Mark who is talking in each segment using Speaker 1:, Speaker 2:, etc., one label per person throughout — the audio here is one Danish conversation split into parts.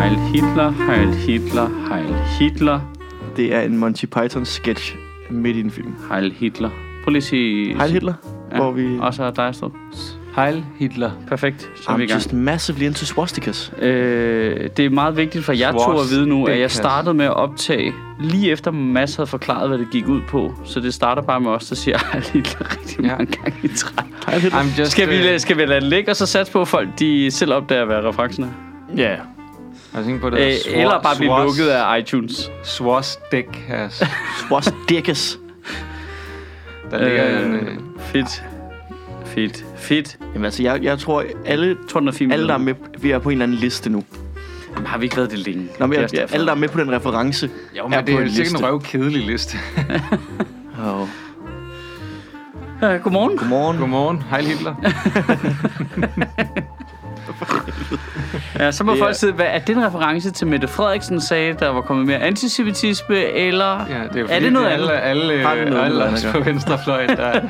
Speaker 1: Heil Hitler, Heil Hitler, Heil Hitler,
Speaker 2: Det er en Monty Python sketch midt i en film.
Speaker 1: Heil Hitler. Prøv lige at sige...
Speaker 2: Hej Hitler, ja. hvor vi...
Speaker 1: Og så Dejstrup.
Speaker 3: Heil Hitler.
Speaker 1: Perfekt, så er vi i
Speaker 2: I'm
Speaker 1: gang.
Speaker 2: just massively into swastikas.
Speaker 1: Øh, det er meget vigtigt for jer to at vide nu, at jeg startede med at optage lige efter Mads havde forklaret, hvad det gik ud på. Så det starter bare med os, der siger Heil Hitler rigtig
Speaker 3: Ja.
Speaker 1: mange gange i træk.
Speaker 2: Hej Hitler.
Speaker 3: I'm just,
Speaker 1: Skal vi,
Speaker 3: øh,
Speaker 1: lade- skal vi lade det ligge, og så satse på, at folk de selv opdager, hvad referencen er?
Speaker 2: Ja.
Speaker 3: Jeg tænker på det.
Speaker 1: Øh,
Speaker 3: der swar-
Speaker 1: eller bare blive
Speaker 3: swars-
Speaker 1: lukket af iTunes.
Speaker 3: Swastikas.
Speaker 2: Swastikas.
Speaker 3: Der ligger
Speaker 1: Øh,
Speaker 3: en... Øh,
Speaker 1: Fedt. Fedt. Fedt.
Speaker 2: Jamen altså, jeg, jeg tror, alle,
Speaker 1: Jeg tror, den er fin.
Speaker 2: alle der er med, vi er på en eller anden liste nu.
Speaker 1: Jamen, har vi ikke været det længe?
Speaker 2: Nå, men
Speaker 1: Det er
Speaker 2: jeg,
Speaker 1: også derfor.
Speaker 2: alle, der er med på den reference,
Speaker 3: jo,
Speaker 2: er
Speaker 3: men det
Speaker 2: på
Speaker 3: er
Speaker 2: en
Speaker 3: jo sikkert en
Speaker 2: liste.
Speaker 3: røv kedelig liste.
Speaker 2: Oh.
Speaker 1: Øh, godmorgen.
Speaker 2: Godmorgen.
Speaker 3: Godmorgen. Heil Hitler.
Speaker 1: Ja, så må
Speaker 2: Det er-
Speaker 1: folk sidde, hvad er det en reference til Mette Frederiksen sagde, der var kommet mere antisemitisme, eller
Speaker 3: Ja, det er, jo
Speaker 1: er
Speaker 3: fordi,
Speaker 1: det noget
Speaker 3: alle,
Speaker 1: andet?
Speaker 3: Alle,
Speaker 2: Har det
Speaker 3: alle,
Speaker 2: noget
Speaker 3: alle
Speaker 2: andet,
Speaker 3: os
Speaker 2: der
Speaker 3: på
Speaker 2: gør?
Speaker 3: venstrefløjen, der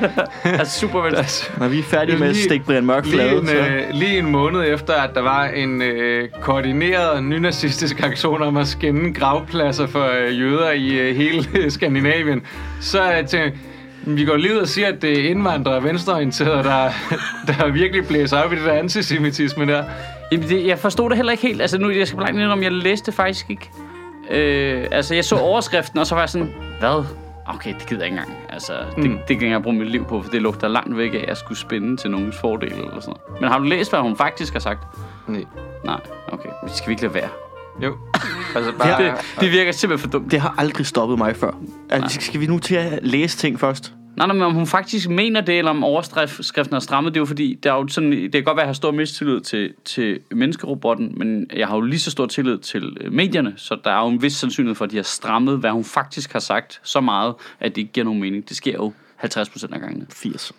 Speaker 1: Er super vel.
Speaker 2: Når vi er færdige
Speaker 3: Det er
Speaker 2: med at
Speaker 3: lige-
Speaker 2: stikke Brian Mørk
Speaker 3: lige,
Speaker 2: flade,
Speaker 3: en,
Speaker 2: så...
Speaker 3: øh, lige en måned efter, at der var en øh, koordineret nynazistisk aktion om at skænde gravpladser for øh, jøder i øh, hele øh, Skandinavien, så øh, tænkte jeg, "Men vi går lige ud og siger, at det er indvandrere og venstreorienterede, der, der virkelig blæser op i det der antisemitisme der.
Speaker 1: Jamen, det, jeg forstod det heller ikke helt. Altså, nu jeg skal blankt om, jeg læste det faktisk ikke. Øh, altså, jeg så overskriften, og så var jeg sådan, hvad? Okay, det gider jeg ikke engang. Altså, det,
Speaker 3: Mm.
Speaker 1: det kan jeg ikke engang bruge mit liv på, for det lugter langt væk af, at jeg skulle spænde til nogens fordel eller sådan noget. Men har du læst, hvad hun faktisk har sagt?
Speaker 3: Nej.
Speaker 1: Nej, okay. Det skal vi ikke lade være.
Speaker 3: Jo. Altså bare...
Speaker 1: Det, det virker simpelthen for dumt.
Speaker 2: Det har aldrig stoppet mig før. Altså, skal vi nu til at læse ting først?
Speaker 1: Nej, nej, men om hun faktisk mener det, eller om overskriften er strammet, det er jo fordi, der er jo sådan, det kan godt være, at jeg har stor mistillid til, til menneskerobotten, men jeg har jo lige så stor tillid til øh, medierne, så der er jo en vis sandsynlighed for, at de har strammet, hvad hun faktisk har sagt, så meget, at det ikke giver nogen mening. Det sker jo 50% af gangene.
Speaker 2: 80.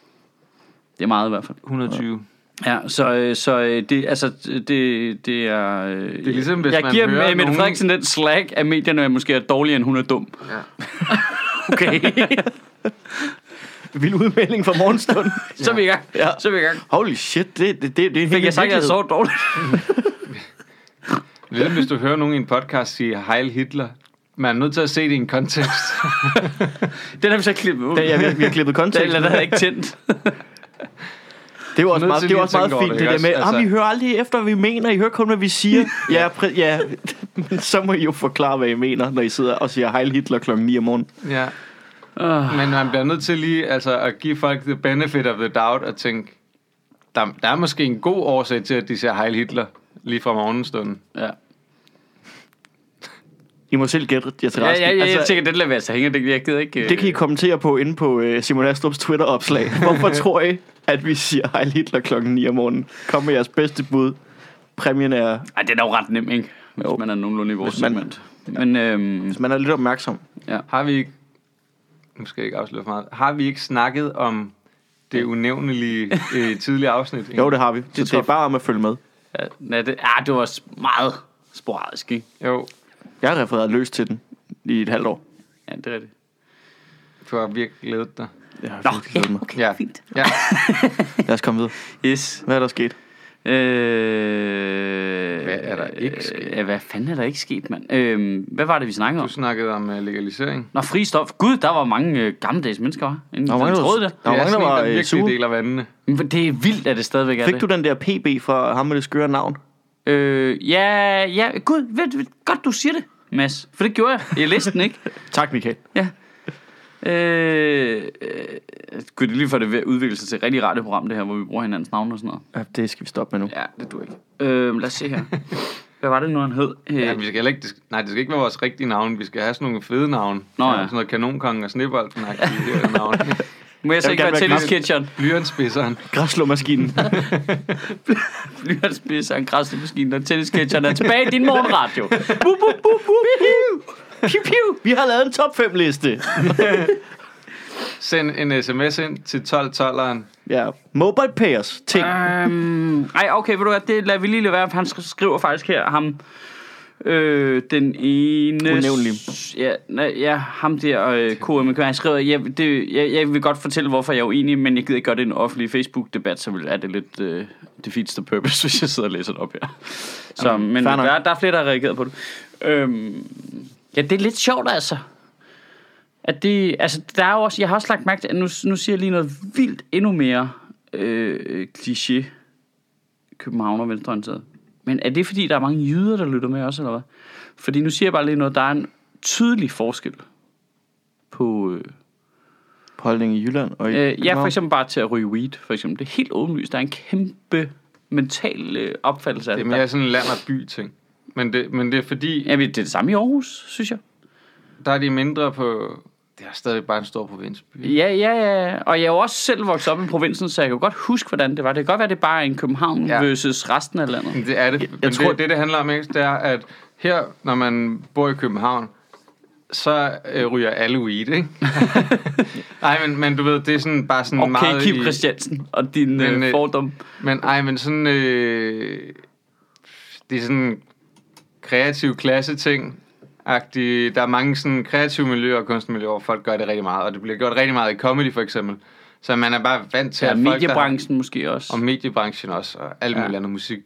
Speaker 1: Det er meget i hvert fald.
Speaker 3: 120.
Speaker 1: Ja, så, øh, så øh, det, altså, det, det er... Det
Speaker 3: er ligesom, hvis
Speaker 1: jeg
Speaker 3: man
Speaker 1: giver
Speaker 3: hører
Speaker 1: Mette
Speaker 3: nogen-
Speaker 1: Frederiksen den slag, at medierne er måske er dårligere, end hun er dum.
Speaker 3: Ja.
Speaker 1: Okay,
Speaker 2: Vild udmelding fra morgenstunden.
Speaker 1: så er vi i gang.
Speaker 2: Ja.
Speaker 1: Så er vi i gang.
Speaker 2: Holy shit, det, det, det, det er en
Speaker 1: Fik
Speaker 2: helt
Speaker 1: jeg sagt, at jeg
Speaker 2: virkelighed.
Speaker 1: sov dårligt?
Speaker 3: Ligesom hvis du hører nogen i en podcast sige Heil Hitler, man er nødt til at se det i en kontekst.
Speaker 1: Den har vi så klippet ud.
Speaker 2: Ja, ja, vi, har- vi har klippet
Speaker 1: Den
Speaker 2: kontekst.
Speaker 1: eller den er ikke tændt.
Speaker 2: Det er jo også
Speaker 3: Nødt
Speaker 2: meget,
Speaker 3: til
Speaker 2: det er
Speaker 3: lige
Speaker 2: også meget
Speaker 3: at tænke over
Speaker 2: fint,
Speaker 3: det,
Speaker 2: det
Speaker 3: ikke
Speaker 2: der med,
Speaker 3: også?
Speaker 2: altså...
Speaker 3: Altså-
Speaker 2: I hører aldrig efter, hvad vi mener, I hører kun, hvad vi siger. ja, præ- ja, men så må I jo forklare, hvad I mener, når I sidder og siger Heil Hitler klokken 9 om morgenen.
Speaker 3: ja.
Speaker 2: Ah.
Speaker 1: Uh,
Speaker 3: Men man bliver nødt til lige altså, at give folk the benefit of the doubt og tænke, der, der er måske en god årsag til, at de ser Heil Hitler lige fra morgenstunden.
Speaker 1: ja.
Speaker 2: I må selv gætte jer til
Speaker 1: Ja,
Speaker 2: resten.
Speaker 1: ja, ja, jeg tænker, den lader vi altså hænge. Det, jeg gider ikke... øh,
Speaker 2: det kan I kommentere på inde på øh, Simon Astrups Twitter-opslag. Hvorfor tror I, at vi siger Heil Hitler klokken 9 om morgenen? Kom med jeres bedste bud. Præmien er,
Speaker 1: Ej, den er jo ret nem, ikke? Hvis
Speaker 2: Jo.
Speaker 1: man er nogenlunde i vores
Speaker 2: Hvis man-
Speaker 1: segment. Men øhm,
Speaker 2: hvis man er lidt opmærksom.
Speaker 3: Har vi ikke... Nu skal jeg ikke afsløre for meget. Har vi ikke snakket om det unævnelige øh, tidlige afsnit?
Speaker 2: Jo, det har vi. Så
Speaker 1: Det
Speaker 2: det, det er
Speaker 1: tror-
Speaker 2: bare om at følge med.
Speaker 1: ja, nej, det, ah, det var også meget sporadisk, ikke?
Speaker 3: Jo,
Speaker 2: Jeg har refereret løs til den i et halvt år.
Speaker 1: Ja, det er det.
Speaker 3: du har virkelig glædet dig.
Speaker 2: Jeg har
Speaker 1: Nå,
Speaker 2: virkelig glædet
Speaker 1: ja,
Speaker 2: mig.
Speaker 1: okay,
Speaker 3: Ja.
Speaker 1: fint.
Speaker 3: Ja.
Speaker 2: Lad os komme videre.
Speaker 1: Yes.
Speaker 2: Hvad er der sket?
Speaker 1: Øh,
Speaker 3: Hvad er der ikke sket?
Speaker 1: Ja, hvad fanden er der ikke sket, mand? Øh, hvad var det, vi snakkede om?
Speaker 3: Du snakkede om øh, legalisering.
Speaker 1: Nå, fri stof. Gud, der var mange øh, gammeldags mennesker, var? Inden
Speaker 2: Der var mange,
Speaker 1: troede
Speaker 2: der,
Speaker 1: det.
Speaker 2: der, var,
Speaker 3: det
Speaker 2: mange, der
Speaker 3: er sådan
Speaker 2: var
Speaker 3: en,
Speaker 2: øh,
Speaker 3: virkelig
Speaker 2: sure.
Speaker 3: deler vandene.
Speaker 1: Men det er vildt, at det stadigvæk er
Speaker 2: Fik
Speaker 1: det.
Speaker 2: du den der PB fra ham med det skøre navn?
Speaker 1: Øh, ja, ja, gud, ved, ved, godt du siger det, Mads. For det gjorde jeg. Jeg læste den, ikke?
Speaker 2: Tak, Michael.
Speaker 1: Ja. Øh, øh, gud, det er lige for det er ved at udvikle sig til et rigtig radioprogram, det her, hvor vi bruger hinandens navne og sådan noget.
Speaker 2: Ja, det skal vi stoppe med nu.
Speaker 1: Ja, det du ikke. Øh, lad os se her. Hvad var det nu, han hed? Øh,
Speaker 3: Ja, vi skal heller ikke, det skal, nej, det skal ikke være vores rigtige navne. Vi skal have sådan nogle fede navne.
Speaker 1: Nå ja.
Speaker 3: Sådan noget kanonkongen og snebolden navne.
Speaker 1: må jeg så
Speaker 2: vil
Speaker 1: ikke være
Speaker 2: gerne være
Speaker 1: tennis
Speaker 2: klar.
Speaker 1: kitchen?
Speaker 3: Blyantspidseren.
Speaker 2: Græslåmaskinen.
Speaker 1: Blyantspids og en græslemaskine, og tennis kitchen er tilbage i din morgenradio. Bup, bup, bup, bup. Piu, piu.
Speaker 2: vi har lavet en top 5 liste.
Speaker 3: Send en sms ind til 1212'eren.
Speaker 2: Ja. Mobile payers. Ting.
Speaker 1: Ah. Øhm, ej, okay, ved du hvad, det lader vi lige lade være, for han sk- skriver faktisk her, ham, Øh, den ene...
Speaker 2: Unævnlig.
Speaker 1: Ja, nej, ja ham der, øh, KMK, han skrev, at jeg, det, jeg, jeg vil godt fortælle, hvorfor jeg er uenig, men jeg gider ikke gøre det i en offentlig Facebook-debat, så vil- er det lidt øh, defeats the purpose, hvis jeg sidder og læser det op her. Så, Jamen, men
Speaker 2: fair nok.
Speaker 1: der, der er flere, der har reageret på det. Øhm, ja, det er lidt sjovt, altså. At det, altså, der er jo også, jeg har også lagt mærke til, at nu, nu siger jeg lige noget vildt endnu mere øh, kliché københavner venstreorienteret. Men er det fordi, der er mange jyder, der lytter med også, eller hvad? Fordi nu siger jeg bare lige noget, der er en tydelig forskel på... Øh,
Speaker 2: På holdningen i Jylland og
Speaker 1: øh,
Speaker 2: i
Speaker 1: ja, for
Speaker 2: København.
Speaker 1: eksempel bare til at ryge weed, for eksempel. Det er helt åbenlyst. Der er en kæmpe mental øh, opfattelse af
Speaker 3: Det
Speaker 1: det.
Speaker 3: er mere sådan en land- og by-ting. Men det, men det er fordi,
Speaker 1: Ja, men det er det samme i Aarhus, synes jeg.
Speaker 3: der er de mindre på... Det er stadig bare en stor provinsby.
Speaker 1: Ja, ja, ja. Og jeg er jo også selv vokset op i provinsen, så jeg kan jo godt huske, hvordan det var. Det kan godt være, det er bare en København ja.
Speaker 3: Ja.
Speaker 1: versus resten af landet.
Speaker 3: Det er det. Men jeg
Speaker 2: tror-
Speaker 3: tror, det, det, det handler om, ikke, det er, at her, når man bor i København, så øh, ryger alle weed, ikke? Nej, men, men du ved, det er sådan bare sådan
Speaker 1: Okay,
Speaker 3: meget...
Speaker 1: Kim
Speaker 3: i-
Speaker 1: Christiansen og din
Speaker 3: Men,
Speaker 1: øh,
Speaker 3: øh,
Speaker 1: fordom.
Speaker 3: Men ej, men sådan... Øh, det er sådan kreativ klasse ting. -agtig. Der er mange sådan kreative miljøer og kunstmiljøer, hvor folk gør det rigtig meget. Og det bliver gjort rigtig meget i comedy, for eksempel. Så man er bare vant til,
Speaker 1: Ja,
Speaker 3: at folk... der har-
Speaker 1: mediebranchen måske også.
Speaker 3: Og mediebranchen også, og alt muligt ja. andet musik.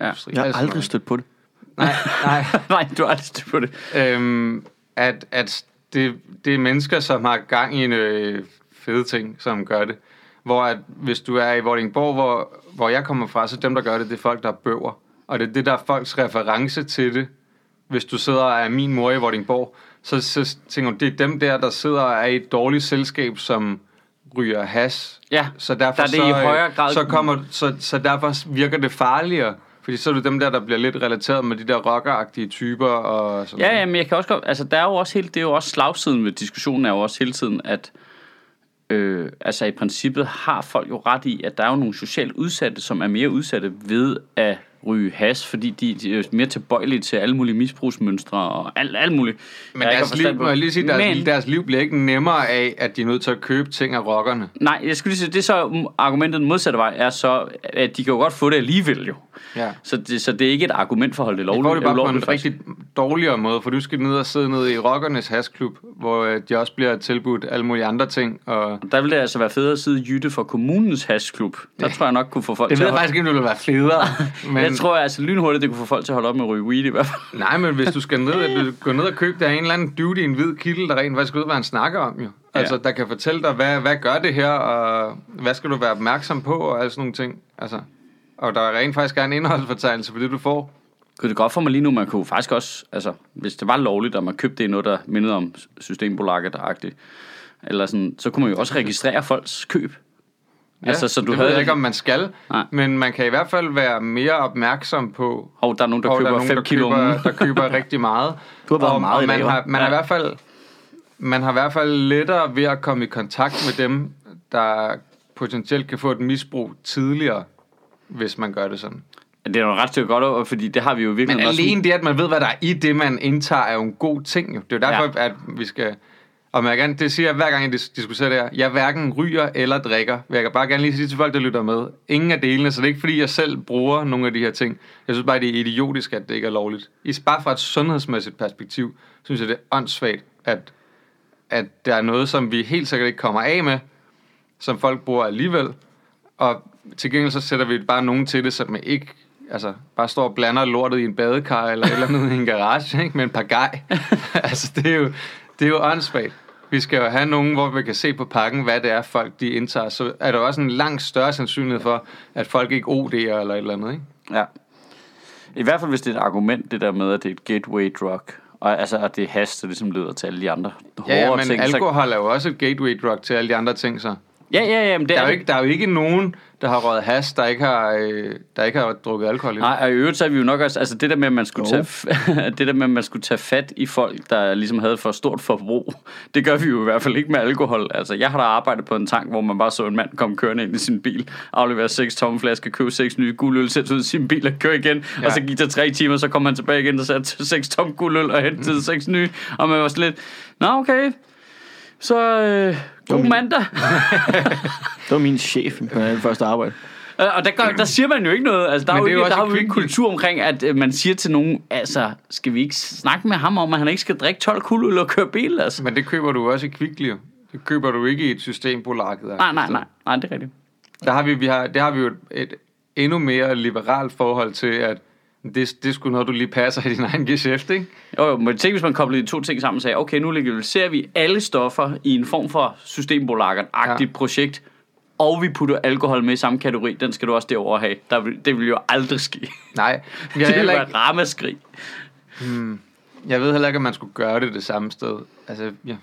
Speaker 1: Ja.
Speaker 2: Jeg har aldrig stødt på det.
Speaker 3: Nej, nej.
Speaker 1: Nej, du har aldrig styr på det.
Speaker 3: øhm, at, at det, det er mennesker, som har gang i en øh, fede ting, som gør det. Hvor at, hvis du er i Vordingborg, hvor, hvor jeg kommer fra, så dem, der gør det, det er folk, der er bøver. Og det er det, der er folks reference til det. Hvis du sidder og er min mor i Vordingborg, så, så tænker du, det er dem der, der sidder og er i et dårligt selskab, som ryger has.
Speaker 1: Ja,
Speaker 3: så derfor
Speaker 1: der er det
Speaker 3: så,
Speaker 1: i
Speaker 3: øh,
Speaker 1: højere grad-
Speaker 3: så kommer så, så derfor virker det farligere. Fordi så er det dem der, der bliver lidt relateret med de der rockeragtige typer og sådan
Speaker 1: Ja, ja, men jeg kan også godt, altså der er jo også hele, det er jo også slagsiden ved diskussionen er jo også hele tiden, at øh, altså i princippet har folk jo ret i, at der er jo nogle socialt udsatte, som er mere udsatte ved at ryge has, fordi de, de er jo mere tilbøjelige til alle mulige misbrugsmønstre og alt, alt muligt.
Speaker 3: Men
Speaker 1: jeg ikke har
Speaker 3: deres liv,
Speaker 1: forstand på.
Speaker 3: må jeg lige sige, deres,
Speaker 1: Men-
Speaker 3: men... deres liv bliver ikke nemmere af, at de er nødt til at købe ting af rockerne.
Speaker 1: Nej, jeg skulle lige sige, det er så mm, argumentet den modsatte vej, er så, at de kan jo godt få det alligevel jo.
Speaker 3: Ja.
Speaker 1: Så det, så det er ikke et argument for at holde det
Speaker 3: Jeg
Speaker 1: lovligt.
Speaker 3: får det bare på
Speaker 1: ulovligt,
Speaker 3: en
Speaker 1: faktisk.
Speaker 3: rigtig dårligere måde, for du skal ned og sidde ned i rockernes hasklub, hvor øh, de også bliver tilbudt alle mulige andre ting. Og...
Speaker 1: Der ville det altså være federe at sidde Jytte for kommunens hashklub. Der tror jeg nok kunne få folk
Speaker 3: Det
Speaker 1: til
Speaker 3: ved
Speaker 1: at
Speaker 3: jeg
Speaker 1: holde-
Speaker 3: faktisk ikke, om det ville være federe.
Speaker 1: Men...
Speaker 3: Men...
Speaker 1: Jeg tror altså lynhurtigt, det kunne få folk til at holde op med at ryge weed i hvert fald.
Speaker 3: Nej, men hvis du skal ned, du går ned og købe der en eller anden dude i en hvid kittel, der rent faktisk ved, hvad han snakker om jo. Altså,
Speaker 1: Ja.
Speaker 3: der kan fortælle dig, hvad, hvad gør det her, og hvad skal du være opmærksom på, og alle sådan nogle ting. Altså, og der er rent faktisk er en indholdsfortegnelse for det, du får.
Speaker 1: Kunne det godt for mig lige nu, man kunne faktisk også, altså hvis det var lovligt, og man købte det i noget, der mindede om systembolaget agtigt eller sådan, så kunne man jo også registrere folks køb. Ja, altså, så du
Speaker 3: det
Speaker 1: havde...
Speaker 3: ved jeg ikke, om man skal,
Speaker 1: Nej.
Speaker 3: men man kan i hvert fald være mere opmærksom på,
Speaker 1: Hov, der er nogen, der
Speaker 3: og der er
Speaker 1: køber
Speaker 3: nogen,
Speaker 1: 5
Speaker 3: der
Speaker 1: kilo om
Speaker 3: køber,
Speaker 1: ugen.
Speaker 3: der køber rigtig meget.
Speaker 2: Du har været
Speaker 3: og,
Speaker 2: meget
Speaker 3: og
Speaker 2: i dag,
Speaker 3: man, har,
Speaker 2: hva'?
Speaker 3: man, har i
Speaker 1: Ja.
Speaker 3: hvert fald, man har i hvert fald lettere ved at komme i kontakt med dem, der potentielt kan få et misbrug tidligere, hvis man gør det sådan.
Speaker 1: Det er jo ret til godt over, fordi det har vi jo virkelig
Speaker 3: Men alene det, at man ved, hvad der er i det, man indtager, er jo en god ting. Jo. Det er jo derfor, ja. at vi skal... Og man gerne, det siger jeg hver gang, jeg dis- diskuterer det her. Jeg hverken ryger eller drikker. Men Jeg kan bare gerne lige sige til folk, der lytter med. Ingen af delene, så det er ikke fordi, jeg selv bruger nogle af de her ting. Jeg synes bare, det er idiotisk, at det ikke er lovligt. I bare fra et sundhedsmæssigt perspektiv, synes jeg, det er åndssvagt, at, at der er noget, som vi helt sikkert ikke kommer af med, som folk bruger alligevel. Og til gengæld så sætter vi bare nogen til det, som ikke altså, bare står og blander lortet i en badekar eller et eller andet i en garage, ikke? med en par gej. altså, det er jo, det er jo åndssvagt. Vi skal jo have nogen, hvor vi kan se på pakken, hvad det er, folk de indtager. Så er der jo også en langt større sandsynlighed for, at folk ikke OD'er eller et eller andet, ikke?
Speaker 1: Ja. I hvert fald, hvis det er et argument, det der med, at det er et gateway drug. Og altså, at det er hash, der ligesom leder til alle de andre hårde
Speaker 3: Ja, ja men
Speaker 1: ting. Så...
Speaker 3: alkohol er jo også et gateway drug til alle de andre ting, så.
Speaker 1: Ja, ja, ja, men det
Speaker 3: Der
Speaker 1: er
Speaker 3: er jo
Speaker 1: det.
Speaker 3: ikke, der er jo ikke nogen, der har røget has, der ikke har, øh, der ikke har drukket alkohol i.
Speaker 1: Nej, og i øvrigt så er vi jo nok også, altså det der med, at man skulle, tage, f- det der med, at man skulle tage fat i folk, der ligesom havde for stort forbrug, det gør vi jo i hvert fald ikke med alkohol. Altså jeg har da arbejdet på en tank, hvor man bare så en mand komme kørende ind i sin bil, aflevere seks tomme flasker, købe seks nye guldøl, sætte ud i sin bil og køre igen, ja. og så gik der tre timer, så kom han tilbage igen og satte seks tomme guldøl og hentede seks nye, og man var sådan lidt, nå okay, så øh, god mandag.
Speaker 2: Det var min chef på den første arbejde.
Speaker 1: Øh, Og der, gør, der siger man jo ikke noget. Altså, der er
Speaker 3: Men
Speaker 1: jo
Speaker 3: det er
Speaker 1: ikke,
Speaker 3: jo
Speaker 1: der
Speaker 3: også
Speaker 1: er
Speaker 3: et
Speaker 1: jo ikke en
Speaker 3: quick-
Speaker 1: kultur omkring, at øh, man siger til nogen, altså, skal vi ikke snakke med ham om, at han ikke skal drikke 12 kul og køre bil, altså?
Speaker 3: Men det køber du også i Kvickly. Det køber du ikke i et systembolaget.
Speaker 1: Nej, nej, nej. Nej, det er rigtigt.
Speaker 3: Der har vi, vi har, det har vi jo et, et endnu mere liberalt forhold til, at det, det er sgu noget, du lige passer i din egen geschæft, ikke?
Speaker 1: Jo, jo, men tænk, hvis man koblede de to ting sammen og sagde, okay, nu legaliserer vi alle stoffer i en form for systembolaget-agtigt
Speaker 3: Ja.
Speaker 1: ja. projekt, og vi putter alkohol med i samme kategori, den skal du også derovre have. Der vil, det vil jo aldrig ske.
Speaker 3: Nej, jeg,
Speaker 1: det vil
Speaker 3: er heller
Speaker 1: være
Speaker 3: ikke,
Speaker 1: et ramaskrig.
Speaker 3: jeg ved heller ikke, om man skulle gøre det det samme sted. Altså, ja.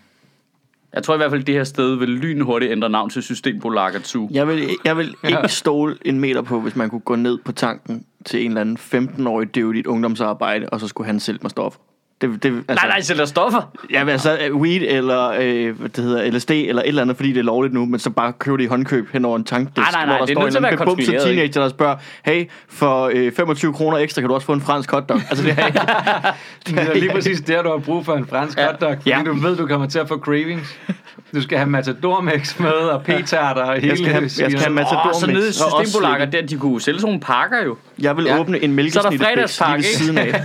Speaker 1: Jeg tror i hvert fald, det her sted vil lynhurtigt ændre navn til Systembolaget Zoo.
Speaker 2: Jeg vil, jeg vil ikke
Speaker 3: Ja.
Speaker 2: stole en meter på, hvis man kunne gå ned på tanken til en eller anden 15-årig døvdigt ungdomsarbejde, og så skulle han sælge mig stof. Det, det, altså,
Speaker 1: Nej, nej, sælger stoffer.
Speaker 2: Ja, men altså øh, weed eller øh, hvad det hedder, LSD eller et eller andet, fordi det er lovligt nu, men så bare købe det i håndkøb hen over en tankdisk,
Speaker 1: Nej, nej, nej,
Speaker 2: hvor der
Speaker 1: det er
Speaker 2: står
Speaker 1: nødt til
Speaker 2: en
Speaker 1: at være
Speaker 2: bebumset
Speaker 1: kontrolleret,
Speaker 2: teenager, der spørger, hey, for øh, 25 kroner ekstra kan du også få en fransk hotdog. Altså, det er ikke...
Speaker 3: Det er lige præcis der, du har brug for en fransk ja. hotdog, fordi ja.
Speaker 2: Ja.
Speaker 3: du ved, du kommer til at få cravings. Du skal have matadormix med, og p-tarter, og hele
Speaker 2: Jeg skal have- jeg skal have
Speaker 3: altså,
Speaker 1: Åh,
Speaker 2: Matador
Speaker 1: så
Speaker 2: Mix.
Speaker 1: nede i
Speaker 2: Og også
Speaker 1: Systembolaget, der de kunne sælge sådan nogle pakker jo.
Speaker 2: Jeg vil
Speaker 3: Ja.
Speaker 2: ja. åbne en
Speaker 1: Så er der
Speaker 2: mælkesnittespiks lige
Speaker 1: fredagspakke,
Speaker 2: ved
Speaker 1: ikke?
Speaker 2: siden af.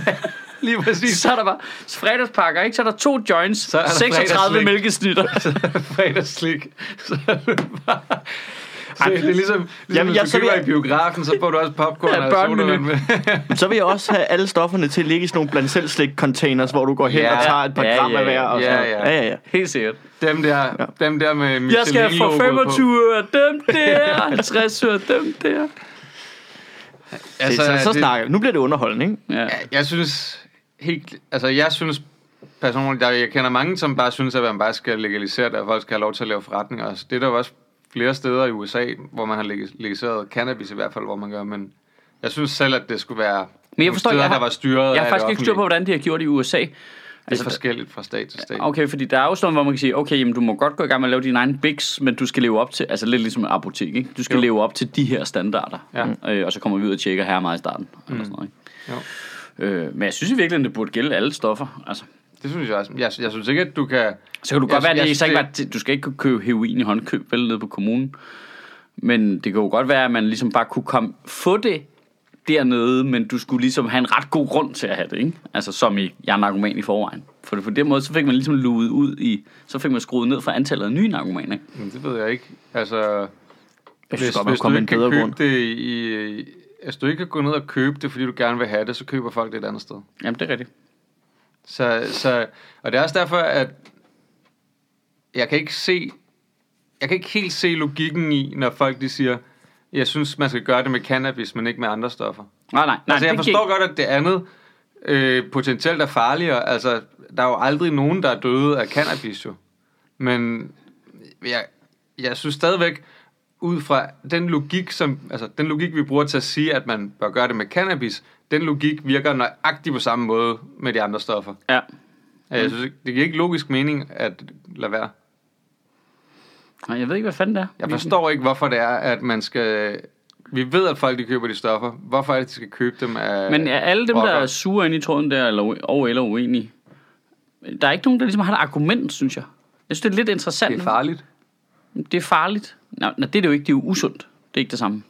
Speaker 3: Lige præcis.
Speaker 1: Så er der bare fredagspakker, ikke? Så er der to joints,
Speaker 3: Så er der
Speaker 1: 36
Speaker 3: fredagsslik.
Speaker 1: mælkesnitter.
Speaker 3: fredagsslik. Så er det bare... Så
Speaker 2: Ej,
Speaker 3: det er ligesom, ligesom
Speaker 2: jamen,
Speaker 3: Jamen,
Speaker 2: jeg-
Speaker 3: hvis
Speaker 2: så
Speaker 3: du
Speaker 2: vil
Speaker 3: køber
Speaker 2: jeg-
Speaker 3: i biografen, så får du også popcorn
Speaker 1: Ja,
Speaker 3: ja, og
Speaker 1: børnemenu.
Speaker 3: sodavand med.
Speaker 2: Men så vil jeg også have alle stofferne til at ligge i sådan nogle blandt selv slik containers, hvor du går hen
Speaker 3: Ja.
Speaker 2: og tager et par
Speaker 1: Ja,
Speaker 2: gram
Speaker 1: ja,
Speaker 2: af hver. Og
Speaker 3: ja,
Speaker 2: sådan noget.
Speaker 3: ja.
Speaker 2: ja, ja, ja.
Speaker 1: Helt sikkert.
Speaker 3: Dem der, ja. dem der med
Speaker 1: Jeg skal få
Speaker 3: Michelin-logoet på.
Speaker 1: 25 øre, dem der, 50 øre, dem der.
Speaker 2: Altså, så, så, så snakker vi. Nu bliver det underholdende, ikke?
Speaker 1: Ja.
Speaker 3: Ja, jeg synes helt, altså jeg synes personligt, der, jeg kender mange, som bare synes, at man bare skal legalisere det, og folk skal have lov til at lave forretninger. Altså, det er der jo også flere steder i USA, hvor man har legis- legaliseret cannabis i hvert fald, hvor man gør, men jeg synes selv, at det skulle
Speaker 1: Men
Speaker 3: være
Speaker 1: jeg
Speaker 3: nogle
Speaker 1: forstår,
Speaker 3: steder,
Speaker 1: jeg har,
Speaker 3: der var styret
Speaker 1: jeg har
Speaker 3: af
Speaker 1: faktisk
Speaker 3: det
Speaker 1: ikke styr på,
Speaker 3: offentlige.
Speaker 1: hvordan de har gjort det i USA.
Speaker 3: det er
Speaker 1: Altså,
Speaker 3: forskelligt fra stat til stat.
Speaker 1: Okay, fordi der er jo sådan noget, hvor man kan sige, okay, jamen, du må godt gå i gang med at lave dine egne bigs, men du skal leve op til, altså lidt ligesom en apotek, ikke? Du skal
Speaker 3: Jo.
Speaker 1: jo. leve op til de her standarder.
Speaker 3: Ja.
Speaker 1: Øh, og så kommer vi ud og tjekker her meget i starten. Mm. Eller sådan noget,
Speaker 3: Jo.
Speaker 1: ikke? Øh, men jeg synes i virkeligheden, det burde gælde alle stoffer. Altså,
Speaker 3: Det synes jeg også. Jeg, jeg synes ikke, at du kan...
Speaker 1: så kan du
Speaker 3: Jeg-
Speaker 1: godt være,
Speaker 3: jeg
Speaker 1: at det, så
Speaker 3: synes,
Speaker 1: ikke
Speaker 3: det-
Speaker 1: var, til- du skal ikke kunne købe heroin i håndkøb, vel nede på kommunen. Men det kan jo godt være, at man ligesom bare kunne komme, få det dernede, men du skulle ligesom have en ret god grund til at have det, ikke? Altså som i, jeg er narkoman i forvejen. For det, på den måde, så fik man ligesom luet ud i, så fik man skruet ned for antallet af nye narkomaner, ikke?
Speaker 3: Jamen, det ved jeg ikke. Altså,
Speaker 2: Jeg synes godt, man kunne komme med en
Speaker 3: ikke
Speaker 2: bedre
Speaker 3: kan købe
Speaker 2: grund.
Speaker 3: det i... Hvis du ikke kan gå ned og købe det, fordi du gerne vil have det, så køber folk det et andet sted.
Speaker 1: Jamen, det er rigtigt.
Speaker 3: Så, så, og det er også derfor, at jeg kan ikke se, jeg kan ikke helt se logikken i, når folk de siger, jeg synes, man skal gøre det med cannabis, men ikke med andre stoffer.
Speaker 1: Nej, nej, nej.
Speaker 3: altså, jeg
Speaker 1: det
Speaker 3: forstår
Speaker 1: gik-
Speaker 3: godt, at det andet øh, potentielt er farligere. Altså, der er jo aldrig nogen, der er døde af cannabis, jo. Men jeg, jeg synes stadigvæk, ud fra den logik, som, altså, den logik, vi bruger til at sige, at man bør gøre det med cannabis, den logik virker nøjagtigt på samme måde med de andre stoffer. Altså,
Speaker 1: Ja.
Speaker 3: Jeg
Speaker 1: Mm.
Speaker 3: synes, ikke- det giver ikke logisk mening at lade være.
Speaker 1: Nej, jeg ved ikke, hvad fanden det er.
Speaker 3: Jeg forstår ikke, hvorfor det er, at man skal... Vi ved, at folk de køber de stoffer. Hvorfor er det, de skal købe dem af...
Speaker 1: Men er alle dem, der
Speaker 3: rockere?
Speaker 1: er sure inde i tråden der, eller, og eller uenige, der er ikke nogen, der ligesom har et argument, synes jeg. Jeg synes, det er lidt interessant.
Speaker 3: Det er farligt.
Speaker 1: Det er farligt. Nej, nej, det er det jo ikke. Det er jo usundt. Det er ikke det samme. Det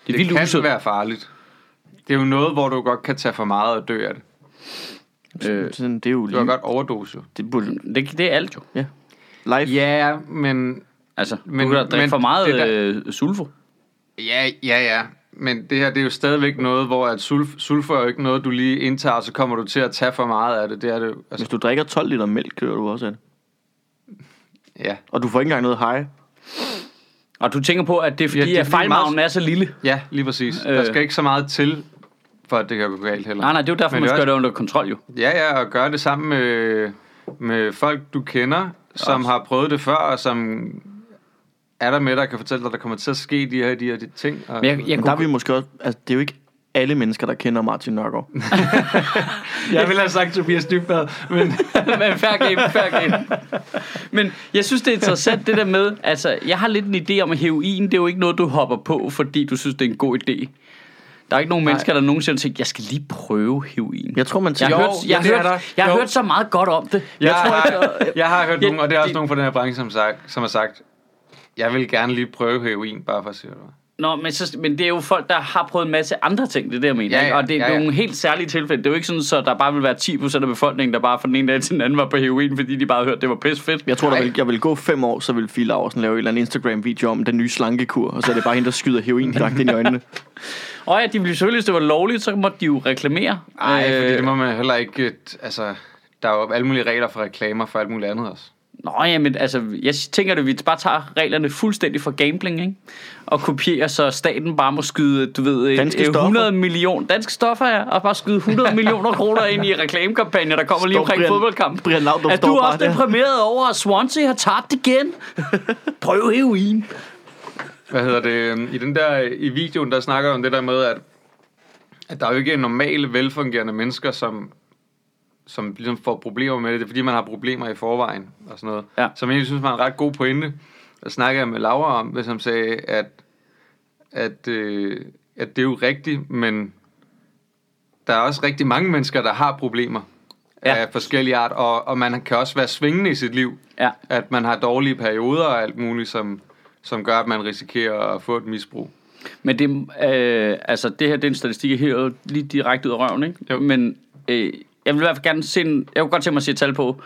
Speaker 1: er
Speaker 3: Det
Speaker 1: vildt
Speaker 3: kan
Speaker 1: usundt.
Speaker 3: være farligt. Det er jo noget, hvor du godt kan tage for meget og dø af det.
Speaker 1: Øh,
Speaker 2: Sådan, det er jo
Speaker 3: Du har
Speaker 2: lige...
Speaker 3: godt overdose. jo.
Speaker 2: Det burde,
Speaker 1: det, det er alt jo.
Speaker 2: ja. Life.
Speaker 3: Ja, men...
Speaker 1: Altså, men,
Speaker 3: Men-
Speaker 1: du kan da drikke
Speaker 3: men
Speaker 1: for meget
Speaker 3: det der-
Speaker 1: øh, sulfo.
Speaker 3: Ja, ja, ja. Men det her, det er jo stadigvæk noget, hvor at sulf, sulfur er jo ikke noget, du lige indtager, og så kommer du til at tage for meget af det. Det er det jo-
Speaker 2: Hvis
Speaker 3: altså,
Speaker 2: du drikker 12 liter mælk, kører du også af det.
Speaker 3: ja.
Speaker 2: Og du får ikke engang noget high.
Speaker 1: Og du tænker på, at det er fordi,
Speaker 3: Ja,
Speaker 1: ja,
Speaker 3: det er
Speaker 1: at
Speaker 3: fordi
Speaker 1: fejlmagen
Speaker 3: meget-
Speaker 1: er så lille.
Speaker 3: ja, lige præcis. Der
Speaker 1: Øh.
Speaker 3: skal ikke så meget til, for at det kan gå galt heller.
Speaker 1: Nej, nej, det er jo derfor,
Speaker 3: Men
Speaker 1: man
Speaker 3: det er
Speaker 1: skal gøre det under kontrol jo.
Speaker 3: Ja, ja, og gøre det sammen med, med folk, du kender, som har prøvet det før, og som er der med dig og kan fortælle dig, der kommer til at ske de her, de her de ting. Og,
Speaker 1: Men jeg, jeg
Speaker 2: Men der er
Speaker 1: kunne,
Speaker 2: vi måske også... Altså, det er jo ikke alle mennesker, der kender Martin Nørgaard.
Speaker 3: jeg ville have sagt Tobias Dybvad, men
Speaker 1: men fair game, fair game. Men jeg synes, det er interessant det der med, altså, jeg har lidt en idé om, at heroin, det er jo ikke noget, du hopper på, fordi du synes, det er en god idé. Der er ikke nogen Nej. mennesker, der nogensinde tænker, jeg skal lige prøve heroin.
Speaker 2: Jeg tror, man
Speaker 1: Jeg
Speaker 2: tænker...
Speaker 1: har,
Speaker 3: Jo,
Speaker 1: hørt, jeg,
Speaker 3: ja, det
Speaker 1: har
Speaker 3: er der.
Speaker 1: hørt, jeg har
Speaker 3: Jo.
Speaker 1: hørt så meget godt om det.
Speaker 3: jeg, har, jeg har hørt
Speaker 1: Ja,
Speaker 3: nogen, og det er også
Speaker 1: det-
Speaker 3: nogen fra den her branche, som, sagt, som har sagt, jeg vil gerne lige prøve heroin, bare for at sige det.
Speaker 1: Nå, men, så, men det er jo folk, der har prøvet en masse andre ting, det er det, jeg mener.
Speaker 3: Ja,
Speaker 1: ikke?
Speaker 3: ja,
Speaker 1: og det er
Speaker 3: ja, ja.
Speaker 1: nogle helt særlige tilfælde. Det er jo ikke sådan, at så der bare vil være 10% af befolkningen, der bare fra den ene dag til den anden var på heroin, fordi de bare hørte, det var pis fedt.
Speaker 2: Jeg tror, der
Speaker 3: Ej.
Speaker 2: vil, jeg vil gå fem år, så vil Fie Laursen lave en eller anden Instagram-video om den nye slankekur, og så er det bare hende, der skyder heroin direkte ind i øjnene.
Speaker 1: Og ja, de ville selvfølgelig, hvis det var lovligt, så måtte de jo reklamere.
Speaker 3: Nej, øh, fordi
Speaker 1: Øh,
Speaker 3: det må man heller ikke... øh, t- Altså, der er jo alle mulige regler for reklamer for alt muligt andet også.
Speaker 1: Nå ja, men altså, jeg tænker, at vi bare tager reglerne fuldstændig for gambling, ikke? Og kopierer, så staten bare må skyde, du ved, et-
Speaker 2: Danske
Speaker 1: et
Speaker 2: stoffer.
Speaker 1: 100 millioner danske stoffer, ja, og bare skyde 100 millioner kroner ind i reklamekampagner, der kommer lige
Speaker 2: Står
Speaker 1: omkring
Speaker 2: Brian-
Speaker 1: fodboldkamp.
Speaker 2: Brian Laudrup
Speaker 1: er
Speaker 2: står
Speaker 1: du
Speaker 2: bare
Speaker 1: også
Speaker 2: der.
Speaker 1: deprimeret over, at Swansea har tabt igen? Prøv heroin.
Speaker 3: Hvad hedder det? øhm, I, den der, I videoen, der snakker om det der med, at, at der er jo ikke normale, velfungerende mennesker, som, som ligesom får problemer med det. Det er fordi, man har problemer i forvejen og sådan noget.
Speaker 1: Ja.
Speaker 3: Som jeg egentlig synes var en ret god pointe. Der snakkede jeg med Laura om, hvis han sagde, at, at, øh, at det er jo rigtigt, men der er også rigtig mange mennesker, der har problemer
Speaker 1: Ja.
Speaker 3: ja. af forskellige art, og, og man kan også være svingende i sit liv
Speaker 1: Ja.
Speaker 3: at man har dårlige perioder og alt muligt, som, som gør, at man risikerer at få et misbrug.
Speaker 1: Men det, øh, altså, det her, det er en statistik her, lige direkte ud af røven, ikke?
Speaker 3: Jo.
Speaker 1: Men øh, jeg vil i hvert fald gerne se en, jeg kunne godt tænke mig at se et tal på,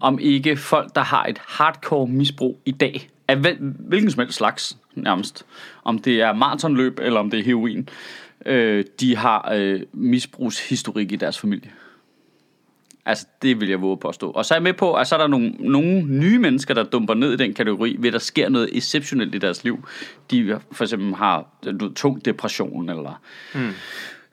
Speaker 1: om ikke folk, der har et hardcore misbrug i dag, af hvil, hvilken som helst slags nærmest, om det er maratonløb eller om det er heroin, øh, de har øh, misbrugshistorik i deres familie. Altså, det vil jeg våge at påstå. Og så er jeg med på, at så er der nogle, nogle nye mennesker, der dumper ned i den kategori, ved at der sker noget exceptionelt i deres liv. De for eksempel har du, ved, tung depression, eller mm.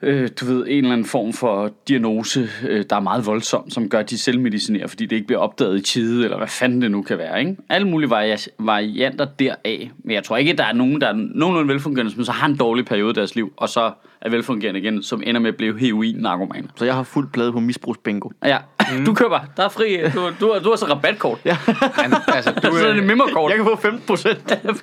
Speaker 1: øh, du ved, en eller anden form for diagnose, øh, der er meget voldsom, som gør, at de selvmedicinerer, fordi det ikke bliver opdaget i tide, eller hvad fanden det nu kan være. Ikke? Alle mulige varia- varianter deraf. Men jeg tror ikke, der er nogen, der er nogenlunde velfungerende, som så har en dårlig periode i deres liv, og så er velfungerende igen, som ender med at blive heroin-narkomaner.
Speaker 2: Så jeg har fuld plade på misbrugsbingo.
Speaker 1: Ja, mm. du køber. Der er fri. Du, du, har- du har så rabatkort. Ja.
Speaker 3: Han, altså, du,
Speaker 1: Du, så er det
Speaker 3: øh,
Speaker 1: mimmerkort.
Speaker 2: Jeg kan få 15 procent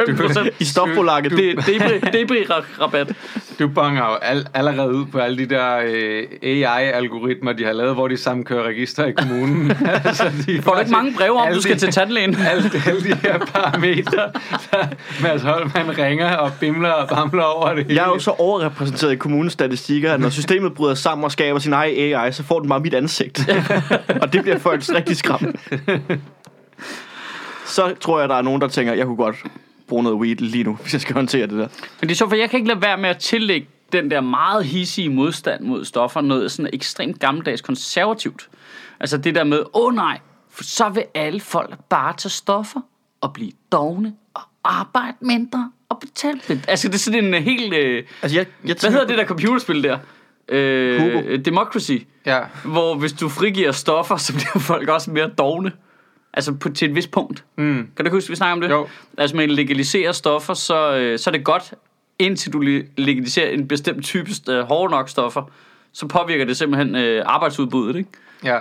Speaker 1: 5 procent.
Speaker 2: i stofbolaget.
Speaker 1: Det er debri- debri-rabat.
Speaker 3: du bonger jo al, allerede ud på alle de der øh, AI-algoritmer, de har lavet, hvor de sammenkører register i kommunen. altså, de
Speaker 1: Får du ikke mange breve om,
Speaker 3: Alle
Speaker 1: du skal
Speaker 3: de-
Speaker 1: til tandlægen?
Speaker 3: alle, alle de her parametre, der Mads Holman ringer og bimler og bamler over det hele.
Speaker 2: Jeg er jo så overrepræsenteret i kommunens statistikker, at når systemet bryder sammen og skaber sin egen AI, så får den bare mit ansigt. og det bliver folk rigtig skræmt. Så tror jeg, der er nogen, der tænker, jeg kunne godt bruge noget weed lige nu, hvis jeg skal håndtere det der.
Speaker 1: Men det er sjovt, for jeg kan ikke lade være med at tillægge den der meget hissige modstand mod stoffer noget sådan ekstremt gammeldags konservativt. Altså det der med, åh oh, nej, for så vil alle folk bare tage stoffer og blive dogne og arbejde mindre og betale lidt. Altså det er sådan en øh, helt... Øh,
Speaker 2: Altså, jeg, jeg
Speaker 1: Hvad hedder det der computerspil der? Øh,
Speaker 2: Hugo.
Speaker 1: Democracy.
Speaker 3: Ja.
Speaker 1: Hvor hvis du frigiver stoffer, så bliver folk også mere dogne. Altså på, til et vist punkt. Mm. Kan du huske, vi snakker om det?
Speaker 3: Jo.
Speaker 1: Altså man legaliserer stoffer, så, øh, så er det godt, indtil du le- legaliserer en bestemt type øh, hårde nok stoffer. Så påvirker det simpelthen øh, arbejdsudbuddet, ikke?
Speaker 3: ja.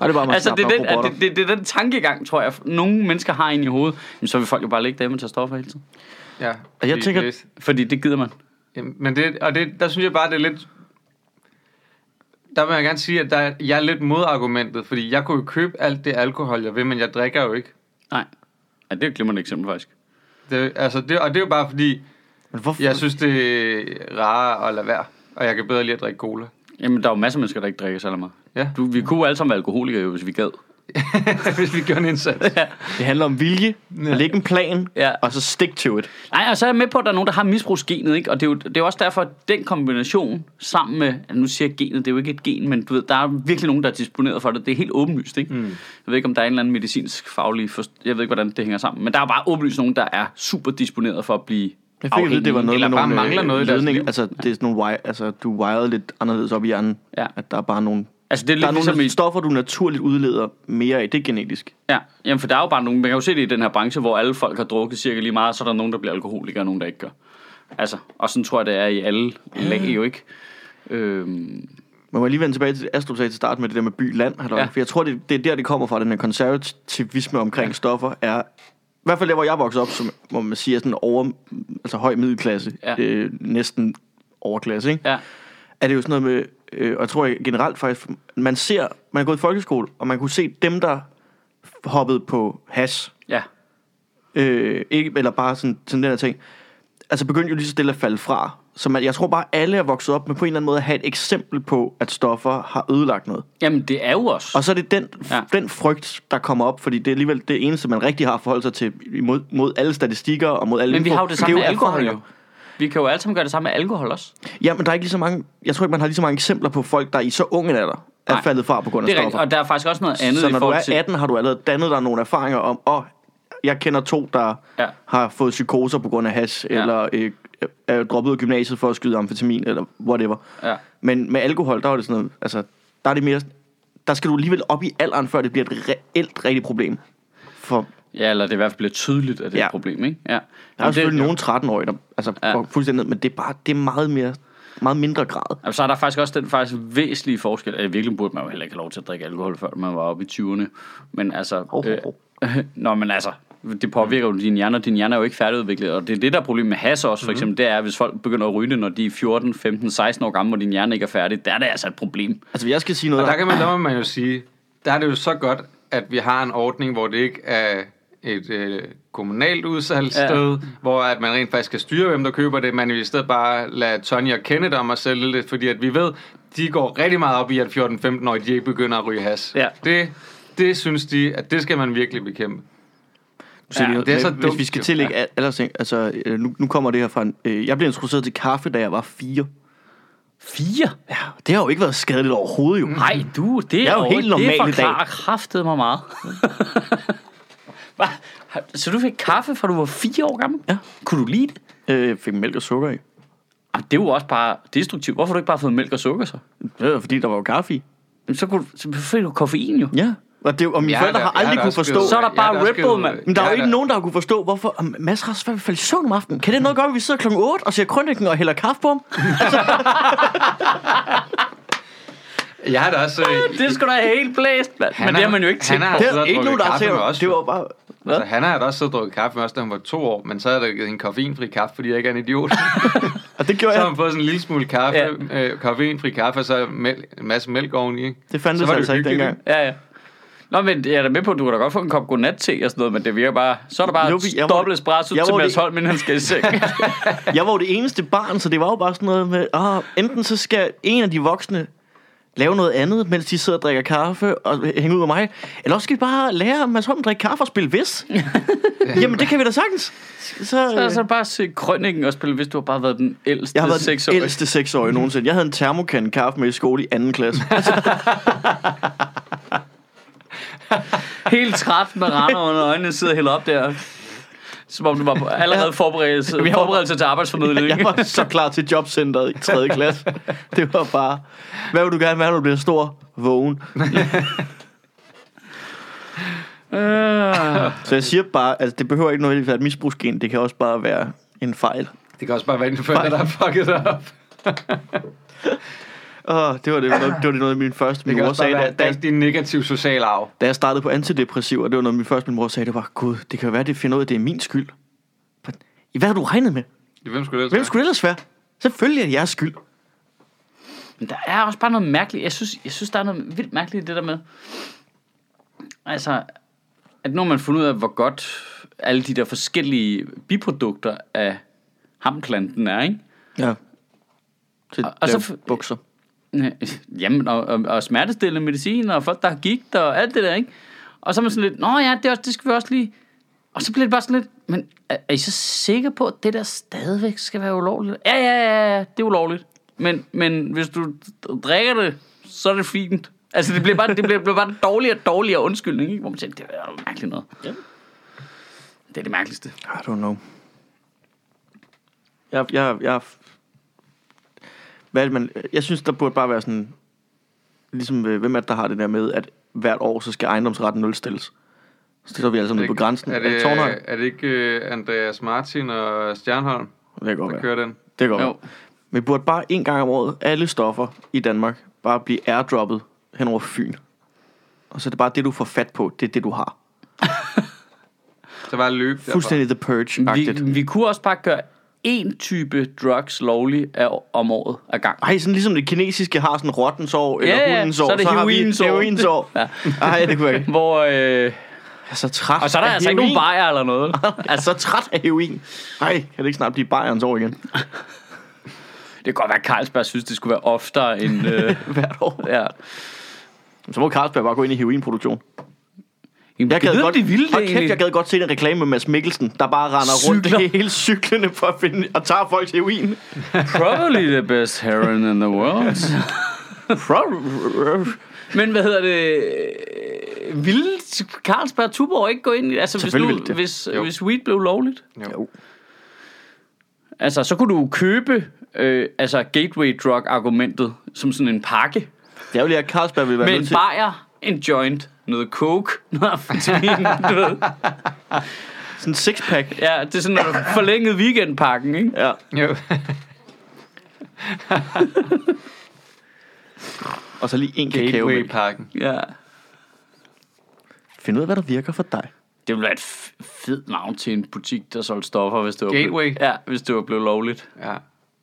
Speaker 2: Nej, det er bare, man
Speaker 1: Altså, det er, den,
Speaker 2: robotter.
Speaker 1: at det, det, det er den tankegang, tror jeg, nogle mennesker har inde i hovedet. Men så vil folk jo bare lægge dem og tage stoffer hele tiden.
Speaker 3: ja.
Speaker 2: Og jeg
Speaker 3: Det-
Speaker 2: tænker-
Speaker 3: det-
Speaker 1: Fordi det gider man.
Speaker 3: Jamen, men det, og det, der synes jeg bare, det er lidt... Der vil jeg gerne sige, at der, jeg er lidt modargumentet, fordi jeg kunne jo købe alt det alkohol, jeg vil, men jeg drikker jo ikke.
Speaker 1: Nej. Ja, det er et glimrende eksempel, faktisk.
Speaker 3: Det, altså det, og det er jo bare fordi,
Speaker 2: Men hvorfor?
Speaker 3: jeg synes, det er rarere at lade være, og jeg kan bedre lide at drikke cola.
Speaker 1: Jamen, der er jo masser af mennesker, der ikke drikker særlig meget.
Speaker 3: Ja.
Speaker 1: Du, vi kunne jo alle sammen være alkoholikere, jo, hvis vi gad.
Speaker 3: Hvis vi gør en indsats.
Speaker 2: Det handler om vilje, at lægge en plan,
Speaker 1: Ja.
Speaker 2: og så stick to it.
Speaker 1: Nej, og så er jeg med på, at der er nogen, der har misbrugsgenet, ikke? Og det er, jo, det er jo også derfor, at den kombination sammen med... ja, Nu siger jeg genet, det er jo ikke et gen, men du ved, der er virkelig nogen, der er disponeret for det. Det er helt åbenlyst, ikke? Mm. Jeg ved ikke, om der er en eller anden medicinsk faglig... Forst- jeg ved ikke, hvordan det hænger sammen. Men der er bare åbenlyst nogen, der er super disponeret for at blive
Speaker 2: Jeg fik at vide, det var noget
Speaker 3: eller
Speaker 2: med
Speaker 3: bare
Speaker 2: nogle øh,
Speaker 3: mangler noget i deres
Speaker 2: ledning.
Speaker 3: liv.
Speaker 2: Altså, det er sådan nogle, wi- altså, du er wired lidt anderledes op i hjernen.
Speaker 1: Ja.
Speaker 2: At der er bare nogle,
Speaker 1: Altså, det er
Speaker 2: der er
Speaker 1: lidt ligesom
Speaker 2: nogle
Speaker 1: i-
Speaker 2: stoffer, du naturligt udleder mere af. Det er genetisk.
Speaker 1: Ja, jamen for der er jo bare nogen, man kan jo se det i den her branche, hvor alle folk har drukket cirka lige meget, så er der nogen, der bliver alkoholikere, og nogen, der ikke gør. Altså, og sådan tror jeg, det er i alle lag jo ikke. Øhm,
Speaker 2: Men må jeg lige vende tilbage til det, Astrup sagde til start med det der med by-land?
Speaker 1: Ja.
Speaker 2: Ja. For jeg tror, det, det er der, det kommer fra, den her konservativisme omkring ja. stoffer, er i hvert fald der, hvor jeg voksede op, som, hvor man siger sådan over, altså høj middelklasse,
Speaker 1: Ja.
Speaker 2: ja. øh, næsten overklasse, ikke?
Speaker 1: ja,
Speaker 2: er det jo sådan noget med, øh, og jeg tror jeg generelt faktisk, man ser, man er gået i folkeskole, og man kunne se dem, der hoppede på hash,
Speaker 1: ja.
Speaker 2: øh, ikke, eller bare sådan, sådan den her ting, altså begyndte jo lige så stille at falde fra. Så man, jeg tror bare, alle er vokset op med på en eller anden måde at have et eksempel på, at stoffer har ødelagt noget.
Speaker 1: Jamen, det er jo også.
Speaker 2: Og så er det den,
Speaker 1: Ja.
Speaker 2: ja. den frygt, der kommer op, fordi det er alligevel det eneste, man rigtig har forholdt sig til mod, mod alle statistikker og mod alle
Speaker 1: Men vi
Speaker 2: info.
Speaker 1: har jo det
Speaker 2: Så
Speaker 1: samme
Speaker 2: er
Speaker 1: med alkohol
Speaker 2: erfaringer.
Speaker 1: jo. Vi kan jo alle sammen gøre det samme med alkohol også.
Speaker 2: Ja, men der er ikke lige så mange, jeg tror ikke, man har lige så mange eksempler på folk, der i så unge alder er
Speaker 1: Nej.
Speaker 2: faldet fra på grund af
Speaker 1: Det er
Speaker 2: stoffer.
Speaker 1: rigtigt, og der er faktisk også noget andet
Speaker 2: så
Speaker 1: i
Speaker 2: når du
Speaker 1: forhold
Speaker 2: er
Speaker 1: til...
Speaker 2: 18, har du allerede dannet dig nogle erfaringer om, åh, oh, jeg kender to, der
Speaker 1: Ja.
Speaker 2: ja. har fået psykoser på grund af hash,
Speaker 1: Ja.
Speaker 2: ja. eller øh, er droppet ud af gymnasiet for at skyde amfetamin, eller whatever.
Speaker 1: Ja.
Speaker 2: Men med alkohol, der er det sådan noget, altså, der er det mere, der skal du alligevel op i alderen, før det bliver et reelt rigtigt problem. For
Speaker 1: Ja, eller det i hvert fald bliver tydeligt, at det er et
Speaker 2: Ja.
Speaker 1: problem, ikke? Ja.
Speaker 2: der er jo
Speaker 1: Jamen, det,
Speaker 2: selvfølgelig nogle 13-årige, der altså,
Speaker 1: Ja.
Speaker 2: ja. går fuldstændig ned, men det er bare, det er meget mere, meget mindre grad.
Speaker 1: Jamen, så er der faktisk også den faktisk væsentlige forskel. Altså, I virkeligheden burde man jo heller ikke have lov til at drikke alkohol, før man var oppe i 20'erne. Men altså...
Speaker 2: Hov, hov,
Speaker 1: Øh, nå, men altså, det påvirker jo din hjerne, og din hjerne er jo ikke færdigudviklet. Og det er det, der er problemet med has også,
Speaker 2: Mhm.
Speaker 1: for eksempel, det er, hvis folk begynder at ryge det, når de er 14, 15, 16 år gamle, og din hjerne ikke er færdig, der er det altså et problem.
Speaker 2: Altså, jeg skal sige noget,
Speaker 3: Og der,
Speaker 2: der,
Speaker 3: kan man, der må man jo sige, der er det jo så godt, at vi har en ordning, hvor det ikke er et øh, kommunalt udsalgssted, ja. hvor at man rent faktisk kan styre, hvem der køber det, man vil i stedet bare lade Tony og Kenneth om at sælge det, fordi at vi ved, de går rigtig meget op i, at 14-15-årige, de ikke begynder at ryge has.
Speaker 1: Ja.
Speaker 3: Det, det synes de, at det skal man virkelig bekæmpe.
Speaker 2: Så
Speaker 1: Ja,
Speaker 2: ja,
Speaker 3: det er så
Speaker 2: hvis
Speaker 3: dumt,
Speaker 2: vi skal
Speaker 3: jo.
Speaker 2: tillægge ja. aldersting, altså øh, nu, nu kommer det her fra en, øh, jeg blev introduceret til kaffe, da jeg var fire.
Speaker 1: Fire?
Speaker 2: Ja, det har jo ikke været skadeligt overhovedet jo.
Speaker 1: Nej, du, det
Speaker 2: Jeg er jo helt normal i dag.
Speaker 1: Det forklarer kraftet mig meget. Hva? Så du fik kaffe, fra du var fire år gammel?
Speaker 2: Ja.
Speaker 1: Kunne du lide det?
Speaker 2: Øh, fik mælk og sukker i.
Speaker 1: Jamen, det er jo også bare destruktivt. Hvorfor har du ikke bare fået mælk og sukker så?
Speaker 2: Det var fordi, der var jo kaffe i.
Speaker 1: Jamen, så, kunne, du- så fik du koffein jo.
Speaker 2: Ja. Og, det, og mine
Speaker 3: Jeg
Speaker 2: forældre
Speaker 3: da-
Speaker 2: har
Speaker 3: jeg
Speaker 2: aldrig
Speaker 3: da
Speaker 2: kunne
Speaker 3: også
Speaker 2: forstå.
Speaker 3: blevet-
Speaker 1: Så er der
Speaker 3: jeg
Speaker 1: bare
Speaker 3: også
Speaker 1: Red Bull,
Speaker 3: blevet-
Speaker 1: mand.
Speaker 2: men der er
Speaker 3: jeg
Speaker 2: jo ikke nogen, der har kunne forstå, hvorfor... Om Mads har svært ved at falde i søvn om aftenen. Kan det noget gøre, at vi sidder klokken 8 og ser krønningen og hælder kaffe på ham?
Speaker 3: Jeg har da også... Øh,
Speaker 1: Det er sgu da helt blæst, mand. Men
Speaker 3: er-
Speaker 1: det har man jo ikke
Speaker 3: han
Speaker 1: tænkt
Speaker 3: er-
Speaker 1: på.
Speaker 2: Det
Speaker 3: sidder
Speaker 2: er
Speaker 3: og
Speaker 2: ikke
Speaker 3: drukker
Speaker 2: nogen, der har
Speaker 3: kaffe
Speaker 2: set.
Speaker 3: med os,
Speaker 2: Det
Speaker 3: jo.
Speaker 2: var bare...
Speaker 3: altså, han har da også siddet og drukket kaffe med os, da hun var to år, men så havde jeg da givet hende koffeinfri kaffe, fordi jeg ikke er en idiot.
Speaker 2: Og det gjorde
Speaker 3: Så har
Speaker 2: jeg.
Speaker 3: man fået sådan en lille smule kaffe,
Speaker 1: Ja.
Speaker 3: ja. øh, koffeinfri kaffe, og så mæl- en masse mælk oveni. Ikke?
Speaker 2: Det fandtes
Speaker 3: Så var det
Speaker 2: altså
Speaker 3: jo
Speaker 2: ikke
Speaker 3: hyggeligt,
Speaker 2: dengang.
Speaker 1: Ja, ja. Nå, men jeg er da med på, at du kan da godt få en kop godnat-te og sådan noget, men det virker bare... Så er der bare
Speaker 2: Jo, vi- jeg var-
Speaker 1: dobbelt espresso
Speaker 2: jeg
Speaker 1: til
Speaker 2: var
Speaker 1: Mads
Speaker 2: det-
Speaker 1: Holm, inden han skal i seng.
Speaker 2: Jeg var jo det eneste barn, så det var jo bare sådan noget med... Ah, enten så skal en af de voksne lave noget andet, mens de sidder og drikker kaffe og hænger ud med mig. Eller også skal vi bare lære Mads Holm at drikke kaffe og spille vis. Jamen, det kan vi da sagtens. Så,
Speaker 1: så er
Speaker 2: så
Speaker 1: så bare at se krønningen og spille, hvis du har bare været den ældste
Speaker 2: jeg har været den
Speaker 1: seksårige.
Speaker 2: ældste seksårige nogensinde. Jeg havde en termokan kaffe med i skole i anden klasse.
Speaker 1: Helt træt med render under øjnene, sidder helt op der. Som om du var på- allerede forberedelse,
Speaker 2: var-
Speaker 1: forberedelse til arbejdsformidling.
Speaker 2: Jeg var så klar til jobcenteret i 3. klasse. Det var bare, hvad vil du gerne være, når du bliver stor? Vågen.
Speaker 1: Øh,
Speaker 2: Så jeg siger bare, altså det behøver ikke nødvendigvis være et misbrugsgen. Det kan også bare være en fejl.
Speaker 3: Det kan også bare være en forældre, der har fucket dig op.
Speaker 2: Åh, det var det, noget, det var det noget, min første
Speaker 3: Det
Speaker 2: min
Speaker 3: kan
Speaker 2: mor
Speaker 3: også bare
Speaker 2: sagde,
Speaker 3: være
Speaker 2: da, da,
Speaker 3: dansk din negative sociale arv.
Speaker 2: da, jeg startede på antidepressiver. Det var noget, min første min mor sagde, det var, gud, det kan jo være, det finder ud af, at det er min skyld. Hvad har du regnet med?
Speaker 3: Hvem skulle det
Speaker 2: Hvem skulle det ellers være? Selvfølgelig er det jeres skyld.
Speaker 1: men der er også bare noget mærkeligt. Jeg synes, jeg synes, der er noget vildt mærkeligt i det der med. Altså, at nu har man fundet ud af, hvor godt alle de der forskellige biprodukter af hamklanten er, ikke?
Speaker 2: Ja. Til
Speaker 1: Og-
Speaker 2: og,
Speaker 1: og så
Speaker 2: så
Speaker 1: f-
Speaker 2: bukser.
Speaker 1: Øh, Jamen, og, og, og smertestillende medicin, og folk, der har gigt, og alt det der, ikke? Og så er man sådan lidt, nå ja, det, er også, det skal vi også lige... Og så bliver det bare sådan lidt, men er, er I så sikre på, at det der stadigvæk skal være ulovligt? Ja, ja, ja, ja, det er ulovligt. Men, men hvis du drikker det, så er det fint. Altså, det bliver bare, det bliver, bliver bare en dårligere og dårligere undskyldning, ikke? Hvor man siger, det er jo mærkeligt noget.
Speaker 2: Ja.
Speaker 1: Det er det mærkeligste.
Speaker 2: I don't know. Jeg, jeg, jeg, hvad er det, man, jeg synes, der burde bare være sådan, ligesom, øh, hvem er det, der har det der med, at hvert år, så skal ejendomsretten nulstilles. Så står vi alle sammen nede på grænsen.
Speaker 3: Er
Speaker 2: Er det,
Speaker 3: det,
Speaker 2: Tornhøj?
Speaker 3: er det ikke øh, Andreas Martin og Stjernholm,
Speaker 2: det kan godt
Speaker 3: der
Speaker 2: være.
Speaker 3: kører den?
Speaker 2: Det kan godt
Speaker 1: Jo.
Speaker 2: være. Vi burde bare en gang om året, alle stoffer i Danmark, bare blive airdroppet hen over Fyn. Og så er det bare det, du får fat på, det er det, du har.
Speaker 3: Så var løb derfra.
Speaker 2: Fuldstændig The
Speaker 1: Vi,
Speaker 2: Purge-agtigt.
Speaker 1: vi kunne også bare gøre én type drugs lovlig af, om året ad gang.
Speaker 2: Ej, sådan ligesom det kinesiske har sådan rottensår, eller
Speaker 1: Ja, ja,
Speaker 2: hundensår,
Speaker 1: så er det
Speaker 2: har vi
Speaker 1: heroinsår.
Speaker 2: heroinsår.
Speaker 1: Ja.
Speaker 2: Ej, det kunne jeg ikke.
Speaker 1: Hvor øh,
Speaker 2: er så træt
Speaker 1: Og så er der
Speaker 2: af
Speaker 1: altså ikke nogen
Speaker 2: heroin.
Speaker 1: bajer eller noget.
Speaker 2: Jeg er så træt af heroin. Nej, kan det ikke snart blive Bayerns år igen?
Speaker 1: Det kan godt være, at Carlsberg synes, det skulle være oftere end... Øh,
Speaker 2: Hvert år.
Speaker 1: ja.
Speaker 2: Så må Carlsberg bare gå ind i heroinproduktion.
Speaker 1: Jamen,
Speaker 2: Jeg
Speaker 1: gad
Speaker 2: gad, godt,
Speaker 1: de ville det
Speaker 2: hold kæft,
Speaker 1: egentlig.
Speaker 2: jeg gad godt se en reklame med Mads Mikkelsen, der bare render
Speaker 1: Cykler.
Speaker 2: rundt hele cyklerne for at finde, og tager folks heroin.
Speaker 1: Probably the best heroin in the world. Men hvad hedder det? øh, Ville Carlsberg og Tuborg ikke gå ind i... Altså, hvis,
Speaker 2: Selvfølgelig ville
Speaker 1: du,
Speaker 2: det.
Speaker 1: hvis,
Speaker 3: Jo.
Speaker 1: hvis weed blev lovligt?
Speaker 2: Jo.
Speaker 1: Altså, så kunne du købe øh, altså gateway drug-argumentet som sådan en pakke.
Speaker 2: Det er jo lige, at Carlsberg vil være
Speaker 1: Med
Speaker 2: nødt
Speaker 1: en
Speaker 2: til...
Speaker 1: bajer, en joint, noget coke, noget amfetamin, du ved.
Speaker 2: Sådan en sixpack.
Speaker 1: Ja, det er sådan en forlænget weekendpakken, ikke?
Speaker 2: Ja.
Speaker 3: Jo.
Speaker 2: Og så lige en kakao. med.
Speaker 3: Gateway-pakken.
Speaker 1: Ja.
Speaker 2: Find ud af, hvad der virker for dig.
Speaker 1: Det ville være et f- fedt navn til en butik, der solgte stoffer, hvis det var
Speaker 3: Gateway.
Speaker 1: Blevet, ja, hvis det var blevet lovligt.
Speaker 3: Ja.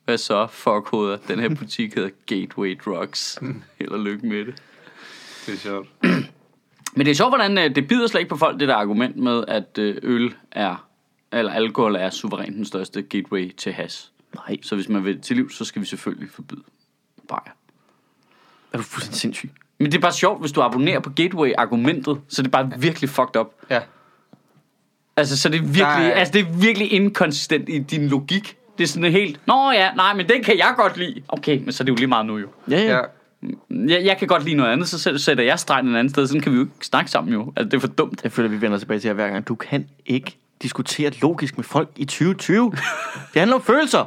Speaker 1: Hvad så, fuckhoveder? Den her butik hedder Gateway Drugs. Held og lykke med det.
Speaker 3: Det er sjovt.
Speaker 1: Men det er sjovt, hvordan øh, det bider slet ikke på folk, det der argument med, at øh, øl er, eller alkohol er suverænt den største gateway til has.
Speaker 2: Nej,
Speaker 1: Så hvis man vil til liv, så skal vi selvfølgelig forbyde bajer.
Speaker 2: er du fuldstændig sindssyg.
Speaker 1: Men det er bare sjovt, hvis du abonnerer på gateway-argumentet, så det er bare virkelig fucked up.
Speaker 3: Ja.
Speaker 1: Altså, så det er virkelig,
Speaker 3: Nej.
Speaker 1: altså, det er virkelig inkonsistent i din logik. Det er sådan helt, nå ja, nej, men den kan jeg godt lide. Okay, men så er det jo lige meget nu jo.
Speaker 2: Ja, ja.
Speaker 3: ja.
Speaker 2: ja.
Speaker 1: Jeg, jeg kan godt lide noget andet, så sæt- sætter jeg stregen et andet sted. Sådan kan vi jo ikke snakke sammen jo. Altså, det er for dumt.
Speaker 2: Jeg føler, vi vender tilbage til her hver gang. Du kan ikke diskutere logisk med folk i 2020. det handler om følelser.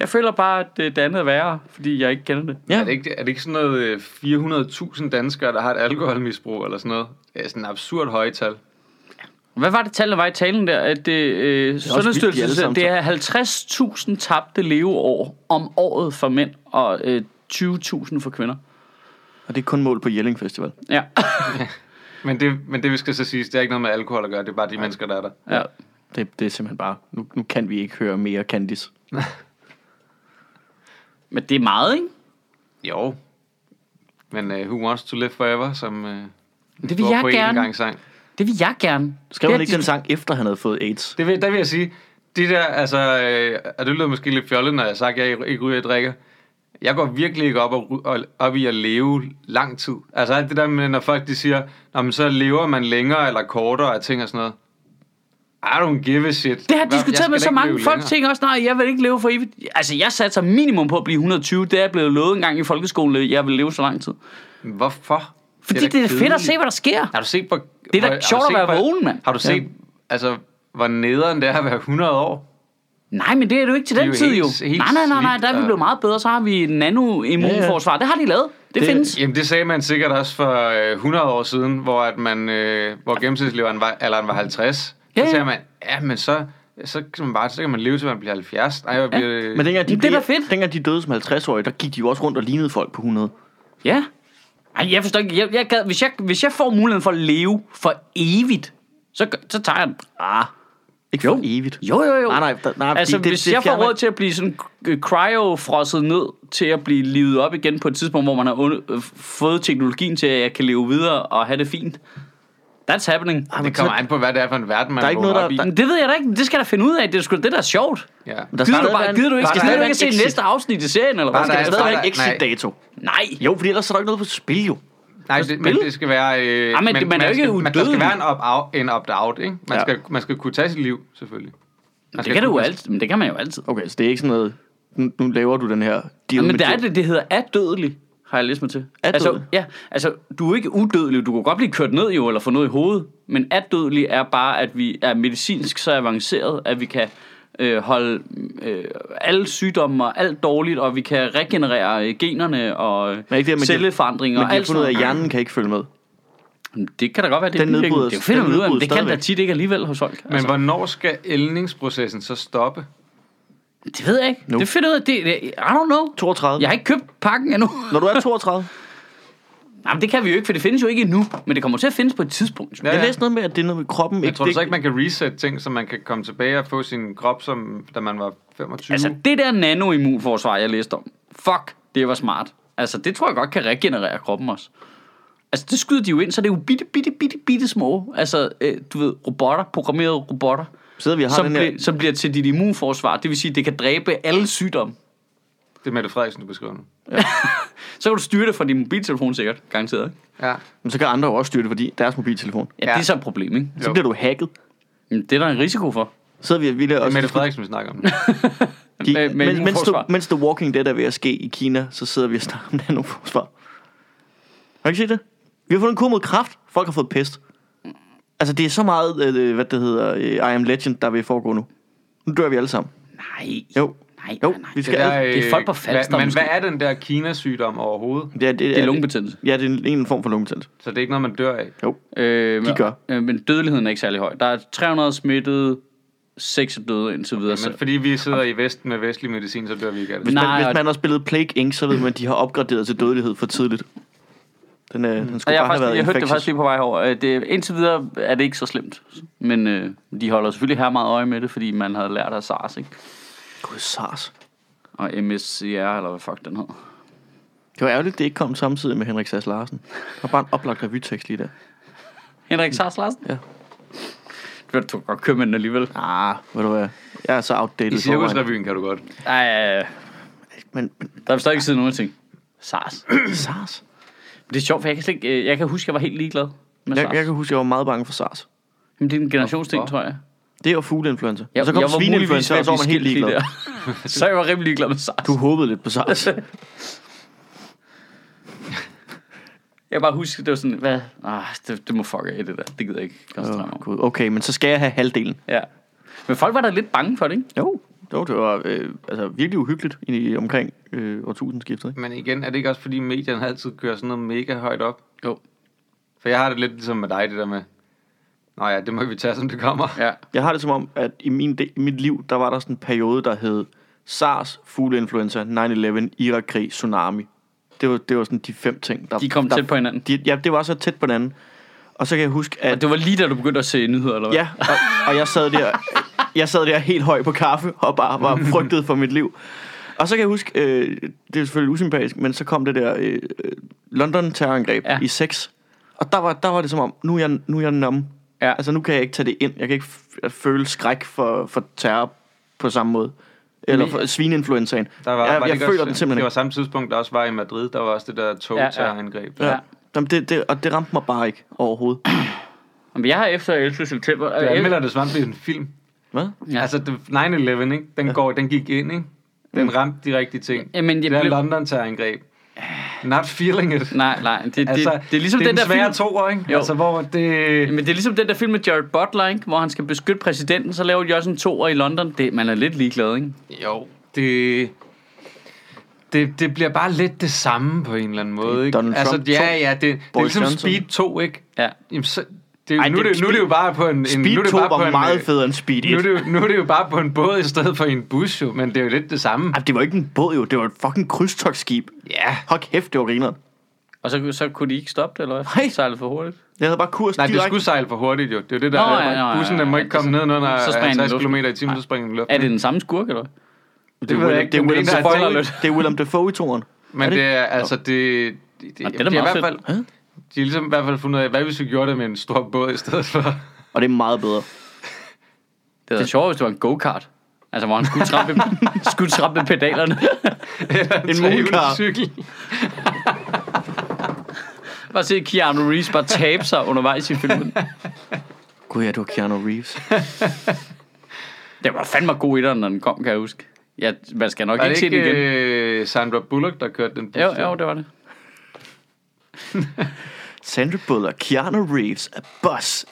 Speaker 1: Jeg føler bare, at det det andet er værre, fordi jeg ikke kender det.
Speaker 2: Ja.
Speaker 3: Er det, ikke, er det ikke sådan noget øh, 400.000 danskere, der har et alkoholmisbrug eller sådan noget? Det er sådan et absurd højtal.
Speaker 1: Hvad var det tal, der var i talen der? At det, øh,
Speaker 2: vildt, de alle
Speaker 1: Sundhedsstyrelsen siger,
Speaker 2: sammen
Speaker 1: at det er 50.000 tabte leveår om året for mænd, og øh, 20.000 for kvinder.
Speaker 2: Og det er kun mål på Jelling Festival.
Speaker 1: Ja.
Speaker 3: Men det, men det vi skal så sige, det er ikke noget med alkohol at gøre, det er bare de mennesker, der er der.
Speaker 1: ja.
Speaker 2: Det, det er simpelthen bare, nu, nu kan vi ikke høre mere Candice.
Speaker 1: Men det er meget, ikke?
Speaker 3: Jo. Men uh, Who Wants to Live Forever, som uh, det
Speaker 1: vil jeg gerne.
Speaker 3: Gang sang.
Speaker 1: Det vil jeg gerne.
Speaker 2: Skrev
Speaker 1: Det er
Speaker 2: han ikke
Speaker 1: de-
Speaker 2: den sang, efter han havde fået AIDS?
Speaker 3: Det vil, der vil jeg sige, de der, altså, øh, og det lyder måske lidt fjollet, når jeg har sagt, at jeg ikke ryger, jeg drikker. Jeg går virkelig ikke op, og, ry- og, op i at leve lang tid. Altså alt det der med, når folk de siger, "Nå, men så lever man længere eller kortere og ting og sådan noget. I don't give a shit.
Speaker 1: Det har jeg
Speaker 3: Hvad-
Speaker 1: diskuteret
Speaker 3: skal
Speaker 1: med
Speaker 3: da
Speaker 1: så
Speaker 3: ikke
Speaker 1: mange
Speaker 3: leve
Speaker 1: folk
Speaker 3: længere.
Speaker 1: tænker også, nej, jeg vil ikke leve for evigt. Altså, jeg satte sig minimum på at blive 120. Det er jeg blevet lovet en gang i folkeskolen, at jeg vil leve så lang tid.
Speaker 3: Hvorfor?
Speaker 1: Fordi
Speaker 3: da
Speaker 1: det er, det er fedt at
Speaker 3: kedeligt.
Speaker 1: se, hvad der sker.
Speaker 3: Har du set, hvor...
Speaker 1: Det er da
Speaker 3: hvor- har du
Speaker 1: sjovt at
Speaker 3: set,
Speaker 1: være
Speaker 3: hvor-
Speaker 1: vågen, mand.
Speaker 3: Har du set, altså, hvor nederen det er at være 100 år?
Speaker 1: Nej, men det er du ikke til den
Speaker 3: jo
Speaker 1: tid, jo.
Speaker 3: helt- helt
Speaker 1: Nej, nej, nej, nej, der er vi
Speaker 3: slidt,
Speaker 1: blevet meget bedre. Så har vi nano-immunforsvar. Det har de lavet. Det,
Speaker 2: Det-
Speaker 1: findes.
Speaker 3: Jamen, det sagde man sikkert også for øh, 100 år siden, hvor, at man, øh, hvor gennemsnitslevealderen var, alderen var 50.
Speaker 1: Ja,
Speaker 3: Så
Speaker 1: ja.
Speaker 3: sagde man, ja, men så, så, kan man bare, så kan man leve til, man bliver 70. Ej, jeg bliver,
Speaker 2: Men
Speaker 3: øh, det,
Speaker 2: dengang de,
Speaker 1: Men det er
Speaker 2: blev,
Speaker 1: da fedt.
Speaker 2: dengang de døde som 50-årige, der gik de jo også rundt og lignede folk på 100.
Speaker 1: Ja. Ej, jeg forstår ikke. Jeg, jeg gad, hvis, jeg, hvis jeg får muligheden for at leve for evigt, så, gør- så tager jeg den.
Speaker 2: Ah, ikke jo. for evigt.
Speaker 1: Jo, jo, jo.
Speaker 2: Nej, nej, der- nej,
Speaker 1: altså,
Speaker 2: fordi det-
Speaker 1: hvis
Speaker 2: det
Speaker 1: jeg
Speaker 2: fjerner-
Speaker 1: får råd til at blive sådan øh, cryofrosset ned til at blive livet op igen på et tidspunkt, hvor man har und- øh, fået teknologien til, at jeg kan leve videre og have det fint. That's happening.
Speaker 2: Ej, men
Speaker 3: det kommer
Speaker 2: så-
Speaker 3: an på, hvad det er for en verden, man
Speaker 2: Der er ikke
Speaker 3: vågner
Speaker 2: noget,
Speaker 3: op i.
Speaker 2: der-
Speaker 1: Men det ved jeg da ikke. Det skal jeg da finde ud af. Det er sgu da det, der er sjovt.
Speaker 3: Ja.
Speaker 2: der
Speaker 1: Gider
Speaker 2: skal
Speaker 1: du,
Speaker 2: stadig være
Speaker 1: bare,
Speaker 2: en-
Speaker 1: gider du ikke,
Speaker 2: der
Speaker 1: skal
Speaker 2: skal
Speaker 1: gider du
Speaker 2: stadig
Speaker 1: ikke at se
Speaker 2: være en
Speaker 1: næste afsnit i serien, eller
Speaker 3: Der
Speaker 1: hvad?
Speaker 2: Der skal
Speaker 3: er-
Speaker 2: stadigvæk
Speaker 3: der
Speaker 2: en
Speaker 3: er-
Speaker 2: exit-dato.
Speaker 1: Nej.
Speaker 2: Jo, fordi ellers er der ikke noget på spil, jo.
Speaker 3: Nej, det, men det skal være... Øh,
Speaker 1: Ah, men man er jo ikke
Speaker 3: skal, der skal
Speaker 1: udødelig.
Speaker 3: være en opt-out, en opt-out ikke? Man,
Speaker 2: Ja.
Speaker 3: skal, man skal kunne tage sit liv, selvfølgelig. Man
Speaker 1: Det
Speaker 3: skal
Speaker 1: kan, du altså.
Speaker 3: kunne
Speaker 1: jo
Speaker 3: passe-
Speaker 1: altid. Men det kan man jo altid.
Speaker 2: Okay, så det er ikke sådan noget, nu, nu laver du den her deal
Speaker 1: Men der
Speaker 2: med
Speaker 1: er
Speaker 2: Joe.
Speaker 1: det, det hedder adødelig, har jeg læst mig til. Altså,
Speaker 2: Adødelig?
Speaker 1: ja, altså, du er ikke udødelig. Du kan godt blive kørt ned jo, eller få noget i hovedet. Men adødelig er bare, at vi er medicinsk så avanceret, at vi kan øh, holde øh, alle sygdomme og alt dårligt, og vi kan regenerere øh, generne og
Speaker 2: Men ikke det,
Speaker 1: øh,
Speaker 2: men de-
Speaker 1: celleforandringer
Speaker 2: Men
Speaker 1: og
Speaker 2: de har
Speaker 1: alt
Speaker 2: fundet ud af,
Speaker 1: sådan
Speaker 2: at
Speaker 1: noget.
Speaker 2: hjernen kan ikke følge med.
Speaker 1: Det kan da godt være, det er
Speaker 2: Den
Speaker 1: bivirkning.
Speaker 2: nedbrydes-
Speaker 1: Det finder
Speaker 2: den
Speaker 1: man ud af, men det
Speaker 2: nedbrydes
Speaker 1: kan da
Speaker 2: stadigvæk.
Speaker 1: tit ikke alligevel hos folk. Altså,
Speaker 3: Men hvornår skal ældningsprocessen så stoppe?
Speaker 1: Det ved jeg ikke.
Speaker 2: Nu.
Speaker 1: Det finder jeg ud af. Det, det, I don't know.
Speaker 2: 32.
Speaker 1: Jeg har ikke købt pakken endnu.
Speaker 2: Når du er 32,
Speaker 1: Nej, men det kan vi jo ikke, for det findes jo ikke endnu. Men det kommer til at findes på et tidspunkt. Ja.
Speaker 3: Ja,
Speaker 2: jeg
Speaker 3: ja.
Speaker 2: læste noget med, at det er noget med kroppen.
Speaker 3: Jeg tror du så ikke, man kan reset ting, så man kan komme tilbage og få sin krop, som da man var 25?
Speaker 1: Altså, det der nanoimmunforsvar, jeg læste om. Fuck, det var smart. Altså, det tror jeg godt kan regenerere kroppen også. Altså, det skyder de jo ind, så det er jo bitte, bitte, bitte, bitte små. Altså, øh, du ved, robotter, programmerede robotter,
Speaker 2: Sidder vi og har
Speaker 1: som,
Speaker 2: den her...
Speaker 1: bliver, som bliver til dit immunforsvar. Det vil sige, at det kan dræbe alle sygdomme.
Speaker 3: Det er Mette Frederiksen, du beskriver nu.
Speaker 1: Så kan du styre det fra din mobiltelefon sikkert, garanteret. Ikke?
Speaker 3: Ja.
Speaker 2: Men så kan andre jo også styre det, fordi deres mobiltelefon.
Speaker 1: Ja, ja,
Speaker 3: Ja.
Speaker 1: det er så et problem, ikke?
Speaker 2: Så
Speaker 3: Jo.
Speaker 2: bliver du hacket.
Speaker 1: Men det er der en risiko for.
Speaker 2: Sidder vi og vi der
Speaker 3: Det er
Speaker 2: også...
Speaker 3: Mette Frederiksen, vi snakker om.
Speaker 2: Gik,
Speaker 1: med- med
Speaker 2: mens, mens, du,
Speaker 1: immunforsvar.
Speaker 2: mens The Walking Dead er ved at ske i Kina, så sidder vi og snakker om nanoforsvar. Har du ikke set det? Vi har fundet en kur mod kraft. Folk har fået pest. Altså, det er så meget, øh, hvad det hedder, øh, I Am Legend, der vil foregå nu. Nu dør vi alle sammen.
Speaker 1: Nej.
Speaker 2: Jo.
Speaker 1: Nej,
Speaker 2: Jo,
Speaker 1: nej, nej.
Speaker 2: vi skal alle...
Speaker 1: det er folk på Falster,
Speaker 3: øh, Men
Speaker 1: måske.
Speaker 3: hvad er den der Kina-sygdom overhovedet?
Speaker 2: Det er, det,
Speaker 1: Det er lungebetændelse.
Speaker 2: Ja, det er en, en form for lungebetændelse.
Speaker 3: Så det er ikke noget, man dør af.
Speaker 2: Jo.
Speaker 1: Øh,
Speaker 2: De gør.
Speaker 1: Øh, men dødeligheden er ikke særlig høj. Der er 300 smittede, 6 er døde indtil videre.
Speaker 3: Men
Speaker 1: Jamen,
Speaker 3: fordi vi sidder i Vesten med vestlig medicin, så dør vi ikke af det.
Speaker 2: Hvis,
Speaker 1: Nej,
Speaker 2: man,
Speaker 1: og-
Speaker 2: hvis man har spillet Plague Inc., så ved man, at de har opgraderet til dødelighed for tidligt. Den, øh, den
Speaker 1: og
Speaker 2: skulle
Speaker 1: jeg, har
Speaker 2: bare have
Speaker 1: faktisk,
Speaker 2: været
Speaker 1: jeg hørte det
Speaker 2: infectious.
Speaker 1: faktisk lige på vej over. Øh, Det, indtil videre er det ikke så slemt. Men øh, de holder selvfølgelig her meget øje med det, fordi man havde lært af SARS, ikke?
Speaker 2: Gud, SARS.
Speaker 1: Og MSCR, eller hvad fuck den hed.
Speaker 2: Det var ærgerligt, det ikke kom samtidig med Henrik Sass Larsen. Der var bare en oplagt revytekst lige der.
Speaker 1: Henrik SARS Larsen?
Speaker 2: Ja.
Speaker 1: Mm. Du kan godt købe med den alligevel.
Speaker 2: Ah, ved du hvad? Jeg er så outdated.
Speaker 3: I
Speaker 2: i forvejen.
Speaker 3: cirkusrevyen kan du godt.
Speaker 1: Ej, øh,
Speaker 2: Men, men
Speaker 1: der er stadig ikke siddet nogen ting. SARS.
Speaker 2: SARS?
Speaker 1: Det er sjovt, for jeg kan, slet ikke, øh, jeg kan huske, at jeg var helt ligeglad med
Speaker 2: Jeg,
Speaker 1: SARS.
Speaker 2: jeg kan huske, at jeg var meget bange for SARS.
Speaker 1: Jamen, det er en generationsting,
Speaker 3: Hvorfor?
Speaker 1: tror jeg.
Speaker 2: Det var fugleinfluenza.
Speaker 1: Jeg,
Speaker 2: og så kom
Speaker 1: jeg var muligvis
Speaker 2: svineinfluenza,
Speaker 1: ved
Speaker 2: og
Speaker 1: at
Speaker 2: så var man
Speaker 1: blive
Speaker 2: helt
Speaker 1: skilt
Speaker 2: ligeglad.
Speaker 1: lige der. så jeg var rimelig ligeglad med SARS.
Speaker 2: Du håbede lidt på SARS.
Speaker 1: Jeg bare husker, det var sådan, hvad? Ah, det, det må fuck af det der. Det gider jeg ikke koncentrere mig
Speaker 2: Åh,
Speaker 1: om.
Speaker 2: Gud. Okay, men så skal jeg have halvdelen.
Speaker 1: Ja. Men folk var da lidt bange for det, ikke?
Speaker 2: Jo, jo det var øh, altså, virkelig uhyggeligt i, omkring øh, årtusindskiftet. Ikke?
Speaker 3: Men igen, er det ikke også fordi medierne altid kører sådan noget mega højt op?
Speaker 1: Jo.
Speaker 3: For jeg har det lidt ligesom med dig, det der med, Nå ja, det må vi tage, som det kommer.
Speaker 1: Ja.
Speaker 2: Jeg har det som om, at i, min de, i mit liv, der var der sådan en periode, der hed SARS, fugleinfluenza, 9-11, Irakkrig, tsunami. Det var, det var sådan de fem ting. Der,
Speaker 1: De kom
Speaker 2: der,
Speaker 1: tæt på hinanden.
Speaker 2: De, ja, det var så tæt på hinanden. Og så kan jeg huske, at...
Speaker 1: Og det var lige da du begyndte at se nyheder, eller hvad?
Speaker 2: Ja, og, og jeg sad der jeg sad der helt høj på kaffe og bare var frygtet for mit liv. Og så kan jeg huske, øh, det er selvfølgelig usympatisk, men så kom det der øh, øh, London-terrorangreb
Speaker 1: Ja.
Speaker 2: ja. i 6. Og der var, der var det som om, nu er jeg, nu er jeg numb.
Speaker 1: Ja.
Speaker 2: Altså nu kan jeg ikke tage det ind. Jeg kan ikke f- føle skræk for, for terror på samme måde. Eller for svineinfluenzaen.
Speaker 3: Der var,
Speaker 2: jeg
Speaker 3: var det
Speaker 2: jeg
Speaker 3: ikke
Speaker 2: føler
Speaker 3: også,
Speaker 2: den simpelthen
Speaker 3: Det var
Speaker 2: ikke.
Speaker 3: samme tidspunkt, der også var i Madrid, der var også det der togterrorangreb.
Speaker 1: Ja.
Speaker 2: Ja. Jamen, det, det, og det ramte mig bare ikke overhovedet.
Speaker 1: Men jeg har efter 11. september...
Speaker 3: Du
Speaker 1: øh,
Speaker 3: anmelder det som om det er en film.
Speaker 2: Hvad?
Speaker 1: Ja.
Speaker 3: Ja. Altså, det- 9-11, ikke? Den, går, den gik ind, ikke? Den ramte de rigtige ting.
Speaker 1: Mm. Ja, men jeg
Speaker 3: det er
Speaker 1: blev-
Speaker 3: London terrorangreb. Not feeling it.
Speaker 1: Nej, nej. Det, det,
Speaker 3: altså,
Speaker 1: altså, det er ligesom
Speaker 3: det er
Speaker 1: den, der
Speaker 3: svære
Speaker 1: film...
Speaker 3: to, ikke?
Speaker 1: Jo.
Speaker 3: Jo. Altså, hvor det...
Speaker 1: Men det er ligesom den der film med Jared Butler, ikke? hvor han skal beskytte præsidenten, så laver de også en toer i London. Det, man er lidt ligeglad, ikke?
Speaker 3: Jo, det... Det, det bliver bare lidt det samme på en eller anden måde, ikke?
Speaker 2: Donald
Speaker 3: altså,
Speaker 2: Trump to.
Speaker 3: ja, ja, det, det er
Speaker 2: Boris
Speaker 3: ligesom
Speaker 2: Johnson.
Speaker 3: Speed 2, ikke?
Speaker 1: Ja.
Speaker 3: Jamen, så, det, er jo-
Speaker 2: Ej,
Speaker 3: nu,
Speaker 2: det-
Speaker 3: det, nu er det jo bare på en... en nu er
Speaker 2: Speed
Speaker 3: det
Speaker 2: 2
Speaker 3: bare på
Speaker 2: var
Speaker 3: en,
Speaker 2: meget
Speaker 3: øh,
Speaker 2: federe end Speed 1.
Speaker 3: Nu er, det jo, nu er det jo bare på en båd i stedet for i en bus, jo, men det er jo lidt det samme.
Speaker 2: Ej, det var ikke en båd jo, det var et fucking krydstogsskib.
Speaker 3: Ja.
Speaker 2: Hold kæft, det var grineren.
Speaker 1: Og så, så kunne de ikke stoppe det, eller hvad?
Speaker 2: Nej.
Speaker 1: Det sejlede for hurtigt.
Speaker 2: Jeg havde bare kurs
Speaker 3: Nej, det
Speaker 2: direkte.
Speaker 3: skulle sejle for hurtigt jo. Det er jo det der.
Speaker 1: Nå,
Speaker 3: Nå,
Speaker 1: ja, nå, ja,
Speaker 3: bussen den må
Speaker 1: ja,
Speaker 3: ikke
Speaker 1: det er
Speaker 3: komme ned under
Speaker 1: så springer den i
Speaker 3: 50
Speaker 1: luften.
Speaker 3: km i timen, så springer den i
Speaker 1: Er
Speaker 3: luften.
Speaker 1: det den samme skurk, eller hvad?
Speaker 3: det ved jeg altså ikke,
Speaker 2: Det er Willem,
Speaker 3: men det er en, der
Speaker 1: spoiler
Speaker 3: er
Speaker 1: lidt.
Speaker 3: død.
Speaker 2: det er Willem Dafoe i toren.
Speaker 3: Men det er altså, det, det, det,
Speaker 1: Nå, det
Speaker 3: det, det,
Speaker 1: er da
Speaker 3: er i
Speaker 1: meget
Speaker 3: hvert fald...
Speaker 1: fedt.
Speaker 2: Hæ?
Speaker 3: De har ligesom i hvert fald fundet ud af, hvad hvis vi gjorde det med en stor båd i stedet for...
Speaker 2: Og det er meget bedre.
Speaker 1: Det var sjovt, hvis det var en go-kart. Altså, hvor han skulle trampe, skulle trampe pedalerne.
Speaker 2: En
Speaker 3: trehjulet
Speaker 2: mooncar.
Speaker 3: cykel.
Speaker 1: bare se Keanu Reeves bare tabe sig undervejs i filmen.
Speaker 2: Gud ja, du var Keanu Reeves.
Speaker 1: Det var fandme god etteren, når den kom, kan jeg huske. Ja, man skal nok
Speaker 3: Var
Speaker 1: ikke
Speaker 3: det
Speaker 1: se den
Speaker 3: ikke
Speaker 1: igen.
Speaker 3: øh, Sandra Bullock, der kørte den bus?
Speaker 1: Jo,
Speaker 3: der?
Speaker 1: jo, det var det.
Speaker 2: Sandra Bullock, Keanu Reeves, a bus.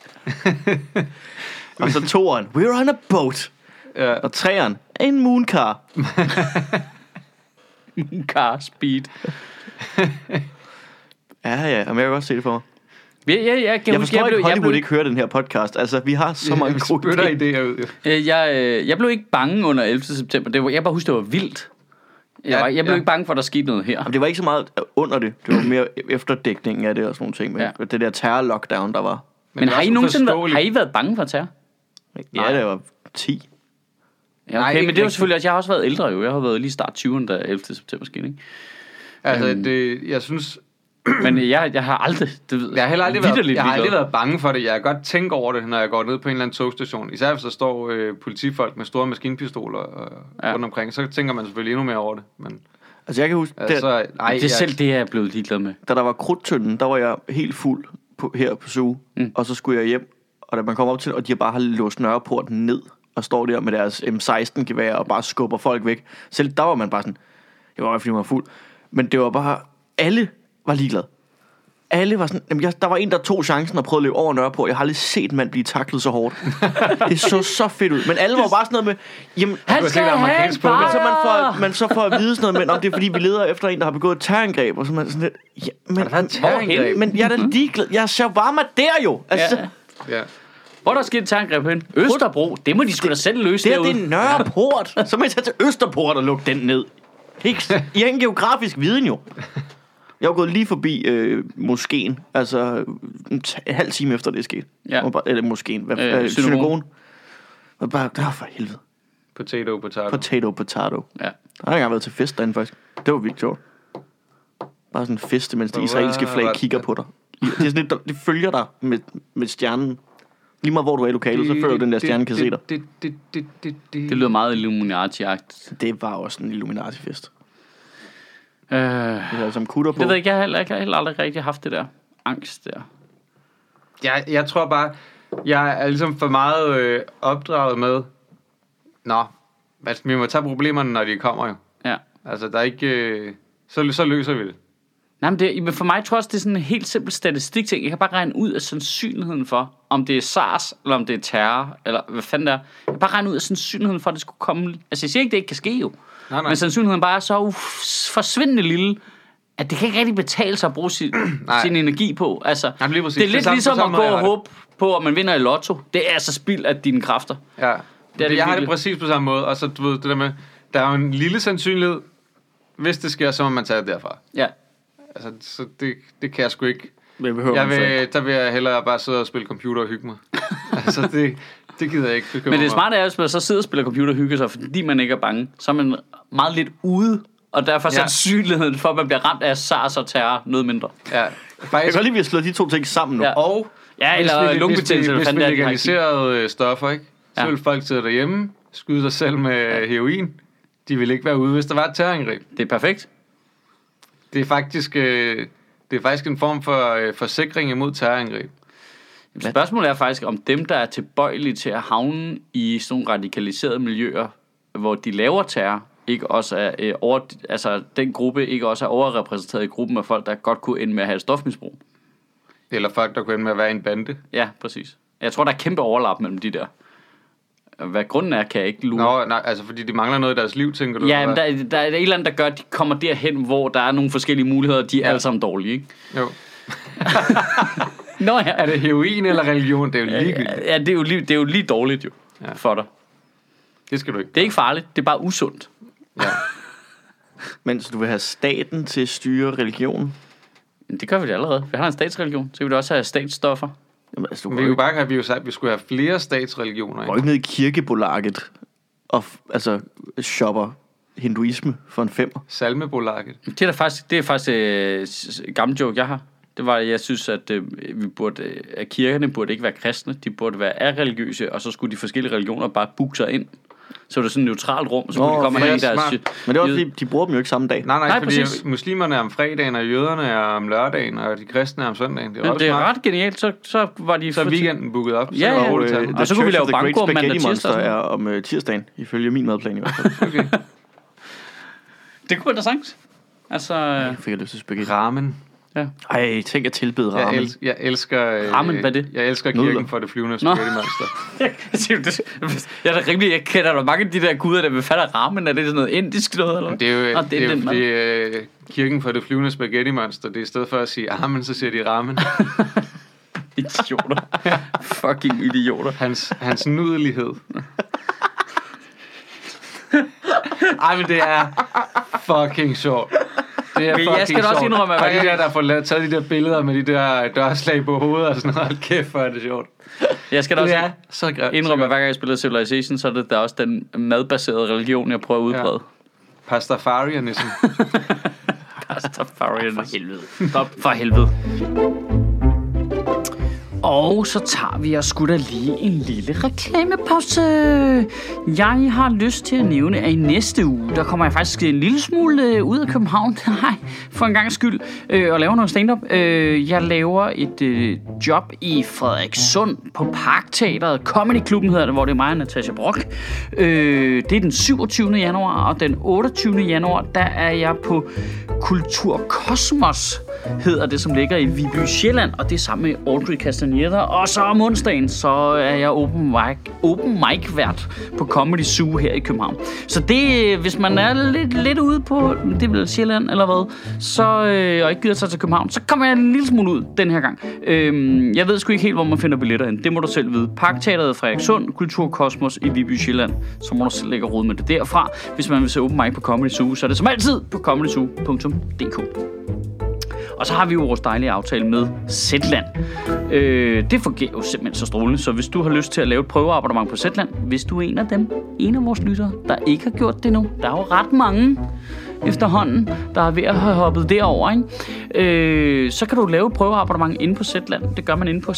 Speaker 2: og så toeren, we're on a boat.
Speaker 3: Ja.
Speaker 2: Og træeren, en mooncar.
Speaker 1: Car speed.
Speaker 2: Ja, ja, og jeg kan godt se det for mig.
Speaker 1: Ja, ja, ja, kan
Speaker 2: Jeg
Speaker 1: huske,
Speaker 2: forstår
Speaker 1: jeg
Speaker 2: ikke,
Speaker 1: blev, jeg
Speaker 2: Hollywood
Speaker 1: blev,
Speaker 2: ikke hører den her podcast. Altså, vi har så mange
Speaker 3: Vi
Speaker 2: gode
Speaker 3: spytter
Speaker 2: idéer.
Speaker 3: idéer ud. jo.
Speaker 1: øh, jeg, øh, jeg blev ikke bange under 11. september. Det var, jeg bare husker, det var vildt. Jeg,
Speaker 3: Ja,
Speaker 1: var, jeg blev
Speaker 3: ja.
Speaker 1: ikke bange for, at der skete noget her.
Speaker 2: Jamen, Det var ikke så meget under det. Det var mere efterdækningen af det og sådan nogle ting. Men
Speaker 1: Ja.
Speaker 2: det der terror-lockdown, der var.
Speaker 1: Men, Men
Speaker 3: det er
Speaker 1: har, I
Speaker 3: også
Speaker 1: nogensinde været, har
Speaker 3: uforståeligt.
Speaker 1: I været bange for terror?
Speaker 2: Nej, ja. det var 10.
Speaker 1: Ja, okay,
Speaker 3: Nej,
Speaker 1: Nej,
Speaker 3: ikke
Speaker 1: men det er jo
Speaker 3: rigtigt.
Speaker 1: selvfølgelig også, jeg har også været ældre jo. Jeg har været lige start 20'erne, da 11. september skete, ikke?
Speaker 3: Altså, det, jeg synes,
Speaker 1: Men øh, jeg, jeg har aldrig, det ved
Speaker 3: Jeg har heller aldrig været,
Speaker 1: vitterligt
Speaker 3: jeg har aldrig
Speaker 1: ligeglad.
Speaker 3: været bange for det. Jeg kan godt tænke over det, når jeg går ned på en eller anden togstation. Især hvis der står øh, politifolk med store maskinpistoler øh,
Speaker 1: Ja.
Speaker 3: ja. rundt omkring, så tænker man selvfølgelig endnu mere over det. Men
Speaker 2: Altså, jeg kan huske, da,
Speaker 3: altså, ej,
Speaker 1: Ej, det er
Speaker 3: jeg,
Speaker 1: selv det, jeg er blevet ligeglad med.
Speaker 2: da der var krudtønden, der var jeg helt fuld på, her på Zoo, mm. og så skulle jeg hjem, og da man kom op til, og de har bare har låst Nørreporten ned, og står der med deres M16-gevær og bare skubber folk væk. Selv der var man bare sådan, det var bare, fordi man var fuld, men det var bare, alle var ligeglade. Alle var sådan, jamen jeg, der var en, der tog chancen og prøvede at løbe over Nørreport. Jeg har aldrig set en mand blive taklet så hårdt. det så så fedt ud. Men alle var bare sådan noget med, jamen,
Speaker 1: Han
Speaker 3: skal have en
Speaker 2: men så man får, man så får at vide sådan noget, men om det er fordi, vi leder efter en, der har begået et terrorangreb, og så er man sådan lidt, ja, men,
Speaker 1: terrorangreb? Mhm.
Speaker 2: men jeg er da ligeglad. Jeg er shawarma der jo. Altså,
Speaker 1: Ja.
Speaker 2: ja.
Speaker 3: Ja.
Speaker 1: Hvor er der sket et terrorangreb hen? Østerbro, det må de sgu da selv løse
Speaker 2: Det her,
Speaker 1: derude.
Speaker 2: det er Nørreport. Så må jeg tage til Østerport og lukke den ned. Ikke? I har ingen geografisk viden jo. Jeg var gået lige forbi øh, moskeen, altså en, t- en halv time efter det er sket.
Speaker 1: Ja.
Speaker 2: Og Bare, eller moskeen, hvad,
Speaker 1: Øh,
Speaker 2: øh, øh,
Speaker 1: synagogen.
Speaker 2: synagogen. Og bare, der for helvede.
Speaker 3: Potato, potato.
Speaker 2: Potato, potato.
Speaker 1: Ja.
Speaker 2: Der har jeg engang været til fest derinde, faktisk. Det var vildt sjovt. Bare sådan en fest, mens det israelske flag kigger på dig. Det er sådan lidt, det følger dig med, med stjernen. Lige meget hvor du er i lokalet, så føler du, den der stjerne kan se dig.
Speaker 3: Det, det, det, det, det,
Speaker 1: Det
Speaker 3: det.
Speaker 1: lyder meget Illuminati-agtigt.
Speaker 2: Det var også en Illuminati-fest.
Speaker 1: Øh,
Speaker 2: Det er som kutter på.
Speaker 1: det ved jeg ikke, jeg har heller, jeg har heller aldrig rigtig haft det der angst der.
Speaker 3: Jeg, jeg tror bare, jeg er ligesom for meget øh, opdraget med, nå, altså, vi må tage problemerne, når de kommer jo.
Speaker 1: Ja.
Speaker 3: Altså, der er ikke... Øh, så, så løser vi det.
Speaker 1: Nej, men det, men for mig tror jeg også, det er sådan en helt simpel statistikting. Jeg kan bare regne ud af sandsynligheden for, om det er SARS, eller om det er terror, eller hvad fanden det er. Jeg kan bare regne ud af sandsynligheden for, at det skulle komme... Altså, jeg siger ikke, det ikke kan ske jo.
Speaker 3: Nej, nej.
Speaker 1: Men sandsynligheden bare er så uf- forsvindende lille, at det kan ikke rigtig betale sig at bruge sin, sin energi på. Altså,
Speaker 3: Jamen, lige præcis.
Speaker 1: det er
Speaker 3: Det er
Speaker 1: lidt
Speaker 3: samme-
Speaker 1: ligesom
Speaker 3: på samme
Speaker 1: at gå
Speaker 3: måde, jeg
Speaker 1: og
Speaker 3: har det.
Speaker 1: håbe på, at man vinder i lotto. Det er altså spild af dine kræfter.
Speaker 3: Ja. Det
Speaker 1: det
Speaker 3: er det jeg har
Speaker 1: virkelig.
Speaker 3: det præcis på samme måde. Og så, du ved, det der med, der er jo en lille sandsynlighed, hvis det sker, så må man tage det derfra.
Speaker 1: Ja.
Speaker 3: Altså, så det, det kan jeg sgu ikke.
Speaker 2: Men behøver
Speaker 3: Jeg
Speaker 2: man så ikke.
Speaker 3: vil, der vil jeg hellere bare sidde og spille computer og hygge mig. altså, det, det gider jeg ikke bekymre
Speaker 1: Men det
Speaker 3: mig om.
Speaker 1: smarte er, hvis man så sidder og spiller computer og hygger sig, fordi man ikke er bange, så er man meget lidt ude, og derfor er
Speaker 3: Ja.
Speaker 1: sandsynligheden for, at man bliver ramt af SARS og terror noget mindre.
Speaker 3: Ja,
Speaker 2: Jeg
Speaker 3: faktisk.
Speaker 2: kan godt lide, at vi har slået de to ting sammen nu.
Speaker 1: Ja.
Speaker 2: Ja.
Speaker 3: Og
Speaker 1: Ja, eller
Speaker 3: hvis vi,
Speaker 1: lungebetændelse, eller
Speaker 3: Hvis vi,
Speaker 1: fanden
Speaker 3: hvis
Speaker 1: det
Speaker 3: vi
Speaker 1: er, de har i Kina.
Speaker 3: legaliserede øh, stoffer, ikke? så
Speaker 1: Ja.
Speaker 3: ja. ville folk sidde derhjemme, skyde sig selv med heroin. De ville ikke være ude, hvis der var et terrorangreb.
Speaker 1: Det er perfekt.
Speaker 3: Det er faktisk, øh, det er faktisk en form for øh, forsikring imod terrorangreb.
Speaker 1: Spørgsmålet er faktisk, om dem, der er tilbøjelige til at havne i sådan nogle radikaliserede miljøer, hvor de laver terror, ikke også er, øh, over, altså den gruppe ikke også er overrepræsenteret i gruppen af folk, der godt kunne ende med at have et stofmisbrug.
Speaker 3: Eller folk, der kunne ende med at være i en bande.
Speaker 1: Ja, præcis. Jeg tror, der er kæmpe overlap mellem de der. Hvad grunden er, kan jeg ikke lure.
Speaker 3: Nå, nej, altså fordi de mangler noget i deres liv, tænker du?
Speaker 1: Ja, men
Speaker 3: eller hvad?
Speaker 1: der, der er et eller andet, der gør, at de kommer derhen, hvor der er nogle forskellige muligheder, de er ja.
Speaker 3: Ja.
Speaker 1: alle sammen dårlige, ikke?
Speaker 3: Jo.
Speaker 1: Nå ja,
Speaker 3: Er det heroin eller religion? Det er jo ligegyldigt.
Speaker 1: ja det, er jo lige, det er jo lige dårligt jo ja.
Speaker 3: Ja.
Speaker 1: for dig.
Speaker 3: Det skal du ikke.
Speaker 1: Det er ikke farligt, det er bare usundt.
Speaker 3: Ja.
Speaker 2: Mens du vil have staten til at styre religion.
Speaker 1: Men det gør vi da allerede. Vi har en statsreligion, så vi vil også have statsstoffer.
Speaker 2: Jamen, altså, du
Speaker 3: Vi
Speaker 2: går jo
Speaker 3: kunne
Speaker 2: ikke,
Speaker 3: bare have, vi, jo sagt, at vi skulle have flere statsreligioner.
Speaker 2: går
Speaker 3: Ikke?
Speaker 2: ikke ned i kirkebolaget og f- altså, shopper hinduisme for en femmer.
Speaker 3: Salmebolaget.
Speaker 1: Det er da faktisk, det er faktisk øh, s- s- en gammel joke, jeg har. Det var, at jeg synes, at, øh, vi burde, øh, at kirkerne burde ikke være kristne. De burde være religiøse, og så skulle de forskellige religioner bare booke sig ind. Så var det sådan et neutralt rum, så kunne
Speaker 2: Nå,
Speaker 1: de komme
Speaker 3: det
Speaker 1: ind
Speaker 3: er
Speaker 1: i deres...
Speaker 3: smart.
Speaker 2: Men det er også fordi, de bruger dem jo ikke samme dag.
Speaker 3: Nej, nej,
Speaker 1: Nej,
Speaker 3: nej fordi
Speaker 1: præcis.
Speaker 3: præcis. muslimerne er om fredagen, og jøderne er om lørdagen, og de kristne er om søndagen. Det er,
Speaker 1: Men
Speaker 3: også
Speaker 1: det er
Speaker 3: smart.
Speaker 1: ret genialt, så, så var de...
Speaker 3: Så er
Speaker 1: for-
Speaker 3: weekenden booket op, så
Speaker 1: Ja,
Speaker 3: ja,
Speaker 1: ja.
Speaker 3: ja.
Speaker 1: Øh,
Speaker 3: roligt tage den.
Speaker 1: og så kunne vi lave
Speaker 2: banko
Speaker 1: banko om mandag, tirsdag og
Speaker 2: Monster
Speaker 1: sådan
Speaker 2: er om øh, tirsdagen, ifølge min madplan i hvert fald.
Speaker 3: Okay.
Speaker 1: Det kunne være interessant. Altså,
Speaker 2: Jeg fik jeg lyst til spaghetti.
Speaker 3: Øh, Ramen.
Speaker 1: ja.
Speaker 2: Ej, tænk at tilbede
Speaker 3: Jeg,
Speaker 2: ramen.
Speaker 3: el- jeg elsker... øh,
Speaker 1: Ramen, hvad er det?
Speaker 3: Jeg elsker
Speaker 2: Nudler.
Speaker 3: kirken for det flyvende
Speaker 1: Nå.
Speaker 3: spaghetti monster.
Speaker 1: jeg er da rimelig, jeg kender da mange af de der guder, der vil fatte ramen. Er det sådan noget indisk noget? Eller? hvad?
Speaker 3: Det er jo,
Speaker 1: Nå,
Speaker 3: det er jo
Speaker 1: den, mand.
Speaker 3: fordi, øh, kirken for det flyvende spaghetti monster, det er i stedet for at sige armen, så siger de ramen.
Speaker 1: Idioter. Fucking idioter.
Speaker 3: Hans, hans nudelighed. Ej, men det er fucking sjovt. Det er
Speaker 1: Men jeg
Speaker 3: fucking
Speaker 1: skal da også
Speaker 3: sjovt.
Speaker 1: indrømme, at
Speaker 3: Og de
Speaker 1: faktisk-
Speaker 3: der, der får lavet, taget de der billeder med de der øh, dørslag på hovedet og sådan noget. Hold Kæft, hvor er det sjovt.
Speaker 1: Jeg skal da
Speaker 3: Det
Speaker 1: også
Speaker 3: er så grimt.
Speaker 1: indrømme, at hver gang jeg spiller Civilization, så er det da også den madbaserede religion, jeg prøver at udbrede.
Speaker 3: Pastafarianism.
Speaker 1: Ja. Rastafarians.
Speaker 4: For helvede.
Speaker 1: Stop for helvede. Og så tager vi og skutter lige en lille reklamepause. Jeg har lyst til at nævne, at i næste uge, der kommer jeg faktisk en lille smule øh, ud af København. Nej, for en gang skyld. Øh, og laver noget stand-up. Øh, jeg laver et øh, job i Frederikssund på Parkteateret. Comedy Klubben hedder det, hvor det er mig og Natasha Brock. Øh, det er den 27. januar, og den 28. januar, der er jeg på Kultur Kosmos hedder det, som ligger i Viby Sjælland, og det er sammen med Audrey Castaneda. Og så om onsdagen, så er jeg open mic, open mic vært på Comedy Zoo her i København. Så det, øh, hvis man er lidt, lidt ude på, det er vel Sjælland eller hvad, så, øh, og ikke gider sig til København, så kommer jeg en lille smule ud den her gang. Øhm, jeg ved sgu ikke helt, hvor man finder billetter hen. Det må du selv vide. Parkteateret Frederikssund, Kulturkosmos i Viby Sjælland. Så må du selv lægge råd med det derfra. Hvis man vil se open mic på Comedy Zoo, så er det som altid på comedyzoo.dk. Og så har vi jo vores dejlige aftale med Zetland. Øh, det fungerer jo simpelthen så strålende, så hvis du har lyst til at lave et prøveabonnement på Zetland, hvis du er en af dem, en af vores lyttere, der ikke har gjort det nu, der er jo ret mange efterhånden, der er ved at have hoppet derover, ikke? Øh, så kan du lave et prøveabonnement inde på Zetland. Det gør man inde på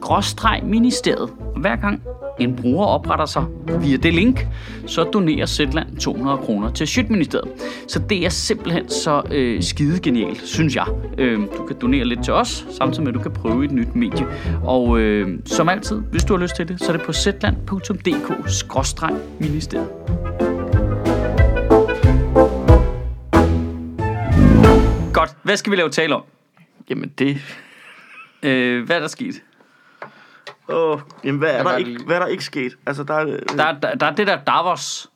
Speaker 1: zetland.dk-ministeriet. Hver gang en bruger opretter sig via det link, så donerer Zetland 200 kroner til Sjøtministeriet. Så det er simpelthen så øh, skide genialt, synes jeg. Øh, du kan donere lidt til os, samtidig med at du kan prøve et nyt medie. Og øh, som altid, hvis du har lyst til det, så er det på zetland.dk-ministeriet. Godt, hvad skal vi lave tale om?
Speaker 2: Jamen det...
Speaker 1: Øh, hvad er der sket?
Speaker 2: Åh, jamen hvad er,
Speaker 3: Jeg
Speaker 2: der
Speaker 3: var
Speaker 2: ikke,
Speaker 3: lige-
Speaker 2: hvad er der ikke sket? Altså der er... Der...
Speaker 1: Der, der, der er det der Davos.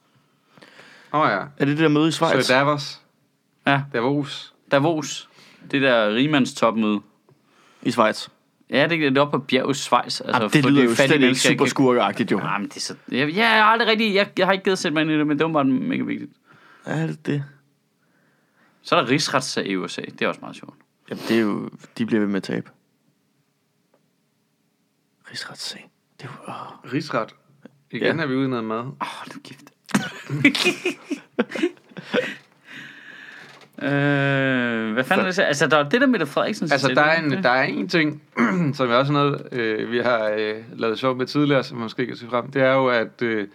Speaker 3: Åh oh, ja.
Speaker 2: Er det det der møde i Schweiz?
Speaker 3: Så Davos.
Speaker 1: Ja,
Speaker 3: Davos.
Speaker 1: Davos. Det der rigmandstopmøde.
Speaker 2: I Schweiz.
Speaker 1: Ja, det, det er oppe på bjerget Schweiz. Altså,
Speaker 2: Altså, det
Speaker 1: fordi
Speaker 2: lyder jo
Speaker 1: fattige
Speaker 2: slet ikke
Speaker 1: mennesker
Speaker 2: super
Speaker 1: kan-
Speaker 2: skurkeagtigt, jo.
Speaker 1: Nej, men det er så... Jeg, jeg, jeg, er aldrig rigtig, jeg, jeg har ikke givet at sætte mig ind i det, men det var bare mega vigtigt.
Speaker 2: Er det det?
Speaker 1: Så er der rigsretssag i USA. Det er også meget sjovt.
Speaker 2: Jamen, det er jo... De bliver ved med at tabe. Rigsretssag. Det er jo... Åh.
Speaker 3: Rigsret. Igen
Speaker 2: Ja.
Speaker 3: ja. er vi ude i noget mad.
Speaker 1: Åh, oh, du er gift. øh, hvad fanden er det så? Altså, der er det der med Frederiksen.
Speaker 3: Altså, der er, en, der er en ting, som er også noget, øh, vi har øh, lavet sjov med tidligere, som måske kan se frem. Det er jo, at øh,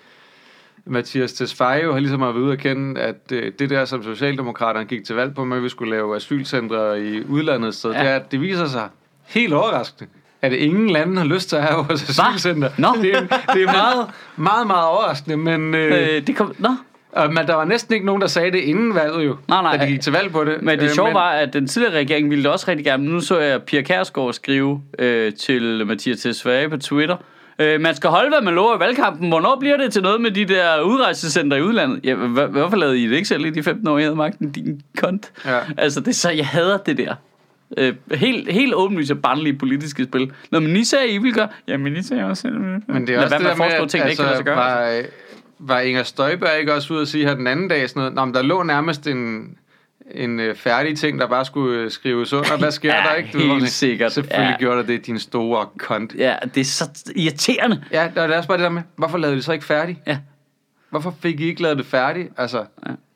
Speaker 3: Mathias Tesfaye jo har ligesom har været ude at kende, at øh, det der, som Socialdemokraterne gik til valg på, med at vi skulle lave asylcentre i udlandet et sted,
Speaker 1: Ja.
Speaker 3: ja. det, er, at det viser sig helt overraskende, at ingen lande har lyst til at have vores asylcenter.
Speaker 1: Nå.
Speaker 3: Det, er, det er meget, meget, meget overraskende, men... Øh,
Speaker 1: Øh, det kom... Nå,
Speaker 3: Og, men der var næsten ikke nogen, der sagde det inden valget jo,
Speaker 1: Nej, nej.
Speaker 3: da de gik til valg på det.
Speaker 1: Men det
Speaker 3: Øh,
Speaker 1: sjove var, at den tidligere regering ville det også rigtig gerne. Men Nu så jeg Pia Kærsgaard skrive øh, til Mathias Tesfaye på Twitter. Øh, man skal holde, hvad man lover i valgkampen. Hvornår bliver det til noget med de der udrejsecenter i udlandet? Ja, hva- hvorfor lavede I det ikke selv i de 15 år, jeg havde magten? Din kont.
Speaker 3: Ja.
Speaker 1: Altså, det er så, jeg hader det der. Øh, helt, helt åbenlyst og barnlige politiske spil. Når man lige sagde, I vil gøre... Jamen, I sagde også...
Speaker 3: Men det er også det der med, at,
Speaker 1: ting, der ikke kan lade sig gøre.
Speaker 3: var, øh, var Inger Støjberg ikke også ude at sige her den anden dag sådan noget? Nå, men der lå nærmest en, en øh, færdig ting, der bare skulle øh, skrives under. Hvad sker
Speaker 1: Ja,
Speaker 3: der ikke?
Speaker 1: helt
Speaker 3: hvor man-
Speaker 1: sikkert.
Speaker 3: Selvfølgelig
Speaker 1: Ja.
Speaker 3: ja. gjorde der det, din store kont.
Speaker 1: Ja, det er så irriterende.
Speaker 3: Ja, og det er også bare det der med, hvorfor lavede I det så ikke færdigt?
Speaker 1: Ja.
Speaker 3: Hvorfor fik I ikke lavet det færdigt? Altså,